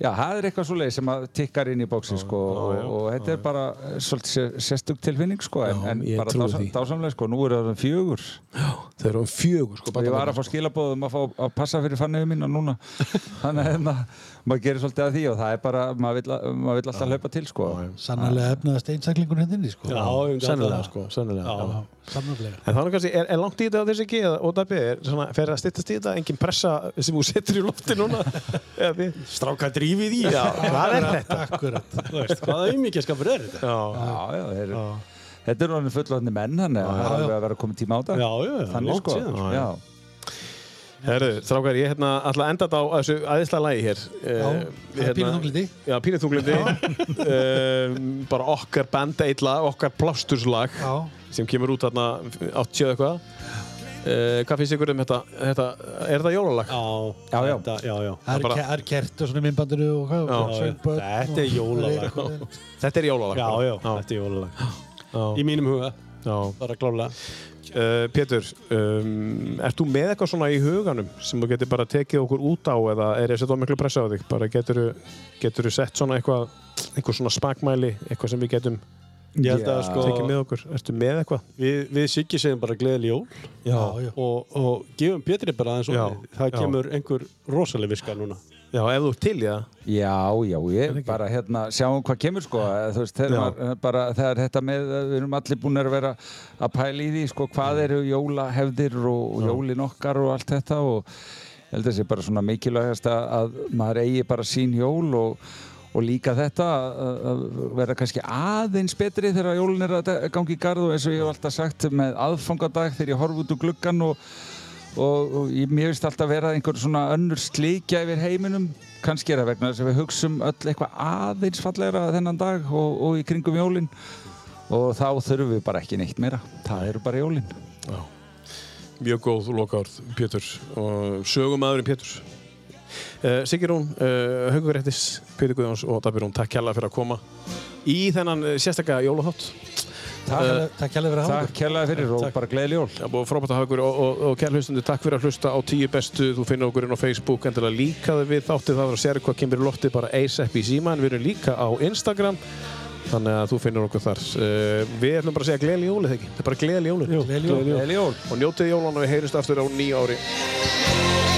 [SPEAKER 4] já, það er eitthvað svoleiðis sem að tikkar inn í bóksi sko, og, og þetta er bara eh, svolítið sér- sérstök tilfinning sko, en, en
[SPEAKER 1] ég
[SPEAKER 4] bara
[SPEAKER 1] trúi
[SPEAKER 4] dásam,
[SPEAKER 1] því.
[SPEAKER 4] dásamlega sko, nú eru það fjögur
[SPEAKER 1] Þau eru um fjögur, sko.
[SPEAKER 4] og ég var að fá skilabóðum að fá að passa fyrir fannuðu mína núna þannig að hérna, maður gerir svolítið að því og það er bara, maður vill, að- maður vill alltaf hlaupa til sko.
[SPEAKER 3] Sannlega efnaðast einsaklingur hendinni sko
[SPEAKER 2] Já, ég myndi alltaf
[SPEAKER 1] Sennilega,
[SPEAKER 2] það, sko.
[SPEAKER 1] sko, sennilega. Já.
[SPEAKER 3] Já, Sannlega
[SPEAKER 1] En þannig kannski, er, er langt í þetta á þessu ekki? Eða, og Dabbi, er svona, fer að styttast í þetta engin pressa sem þú setur í lofti núna? Eða þið?
[SPEAKER 2] Stráka drífið í.
[SPEAKER 1] Já, hvað er þetta?
[SPEAKER 3] Akkurat
[SPEAKER 2] Þú veist, Hvaða auðmyggjaskapur er þetta?
[SPEAKER 1] Já,
[SPEAKER 4] já, já, þeir, þetta er orðin fullotni menn þannig að það er alveg að vera komið tíma á þetta
[SPEAKER 2] Já, já,
[SPEAKER 4] þannig
[SPEAKER 2] langt
[SPEAKER 4] sko
[SPEAKER 2] síðan.
[SPEAKER 4] já.
[SPEAKER 1] Herru, strákar, ég hérna ætla að enda þetta á þessu æðislega lægi hér. Já,
[SPEAKER 3] það er pínu þunglindi.
[SPEAKER 1] Já, pínu þunglindi. Eh, bara okkar bandeitla, okkar plásturslag
[SPEAKER 3] Já.
[SPEAKER 1] sem kemur út þarna 80 eða eitthvað. Uh, hvað finnst ykkur um þetta? þetta er þetta jólalag?
[SPEAKER 2] Já,
[SPEAKER 4] Já, já.
[SPEAKER 2] Þetta, já, já.
[SPEAKER 3] Það er
[SPEAKER 1] bara-
[SPEAKER 3] ke- það er kert og svona í myndbandinu og hvað, og söngbörn
[SPEAKER 2] Þetta
[SPEAKER 3] og-
[SPEAKER 2] er jólalag.
[SPEAKER 3] og- og-
[SPEAKER 1] Þetta er jólalag.
[SPEAKER 2] Já,
[SPEAKER 1] bara.
[SPEAKER 2] já, þetta er jólalag.
[SPEAKER 1] já.
[SPEAKER 2] Í mínum huga,
[SPEAKER 1] já.
[SPEAKER 2] bara klálega.
[SPEAKER 1] Uh, Pétur, um, ert þú með eitthvað svona í huganum sem þú getur bara tekið okkur út á eða er þetta miklu pressa á þig? Bara getur þú sett svona eitthvað, eitthvað svona spakmæli, eitthvað sem við getum
[SPEAKER 2] Ég held að
[SPEAKER 4] Já.
[SPEAKER 2] sko,
[SPEAKER 1] tekið með okkur? Ertu með eitthvað?
[SPEAKER 2] við, við Siggi segjum bara gleðil jól
[SPEAKER 1] Já,
[SPEAKER 3] já.
[SPEAKER 2] og, og gefum Pétri bara aðeins
[SPEAKER 1] Já,
[SPEAKER 2] orðið. Það
[SPEAKER 1] já.
[SPEAKER 2] kemur einhver rosaleg viska núna.
[SPEAKER 1] já ef þú ert til, já.
[SPEAKER 4] Já, já, ég bara hérna sjáum hvað kemur sko eh, þú veist, þegar,
[SPEAKER 1] Já.
[SPEAKER 4] maður, eh, bara, þegar þetta með, eh, við erum allir búin að vera að pæla í því sko hvað eru jólahefðir og, og jólin okkar og allt þetta og ég held að sé bara svona mikilvægast að, að maður eigi bara sín jól og, og líka þetta að- að vera kannski aðeins betri þegar jólin er að gangi í garð og eins og ég hef alltaf sagt með aðfangadag þegar ég horf út úr gluggan og og, og ég, mér finnst alltaf vera einhver svona önnur slíkja yfir heiminum kannski er það vegna þess að við hugsum öll eitthvað aðeins fallegra þennan dag og, og í kringum jólin og þá þurfum við bara ekki neitt meira það eru bara jólin
[SPEAKER 1] Mjög góð lokaord, Pétur og sögum aðurinn Pétur. Uh, Sigurún, uh, Haukur Réttis, Pétur Guðjóns og Dabirún, takk kjalla fyrir að koma í þennan eh, sérstaka jólaþátt.
[SPEAKER 4] Takk,
[SPEAKER 3] Takk hérlega fyrir að hafa
[SPEAKER 4] takk kjærlega fyrir og bara gleðileg jól
[SPEAKER 1] Það er búið frábært að hafa ykkur og, og, og kæra hlustundu, takk fyrir að hlusta á tíu bestu, þú finnir okkur inn á Facebook, endilega líkaðu við þáttið það var að sér hvað kemur í loftið bara ASAP í síma, en við erum líka á Instagram, þannig að þú finnir okkur þar. Uh, við ætlum bara að segja gleðli jólið, ekki? Það er bara gleðli jólið.
[SPEAKER 3] Gleðileg jól.
[SPEAKER 4] gleðileg jól
[SPEAKER 1] Og njótið jólana, við heyrumst aftur á nýja ári.
[SPEAKER 8] Gleðileg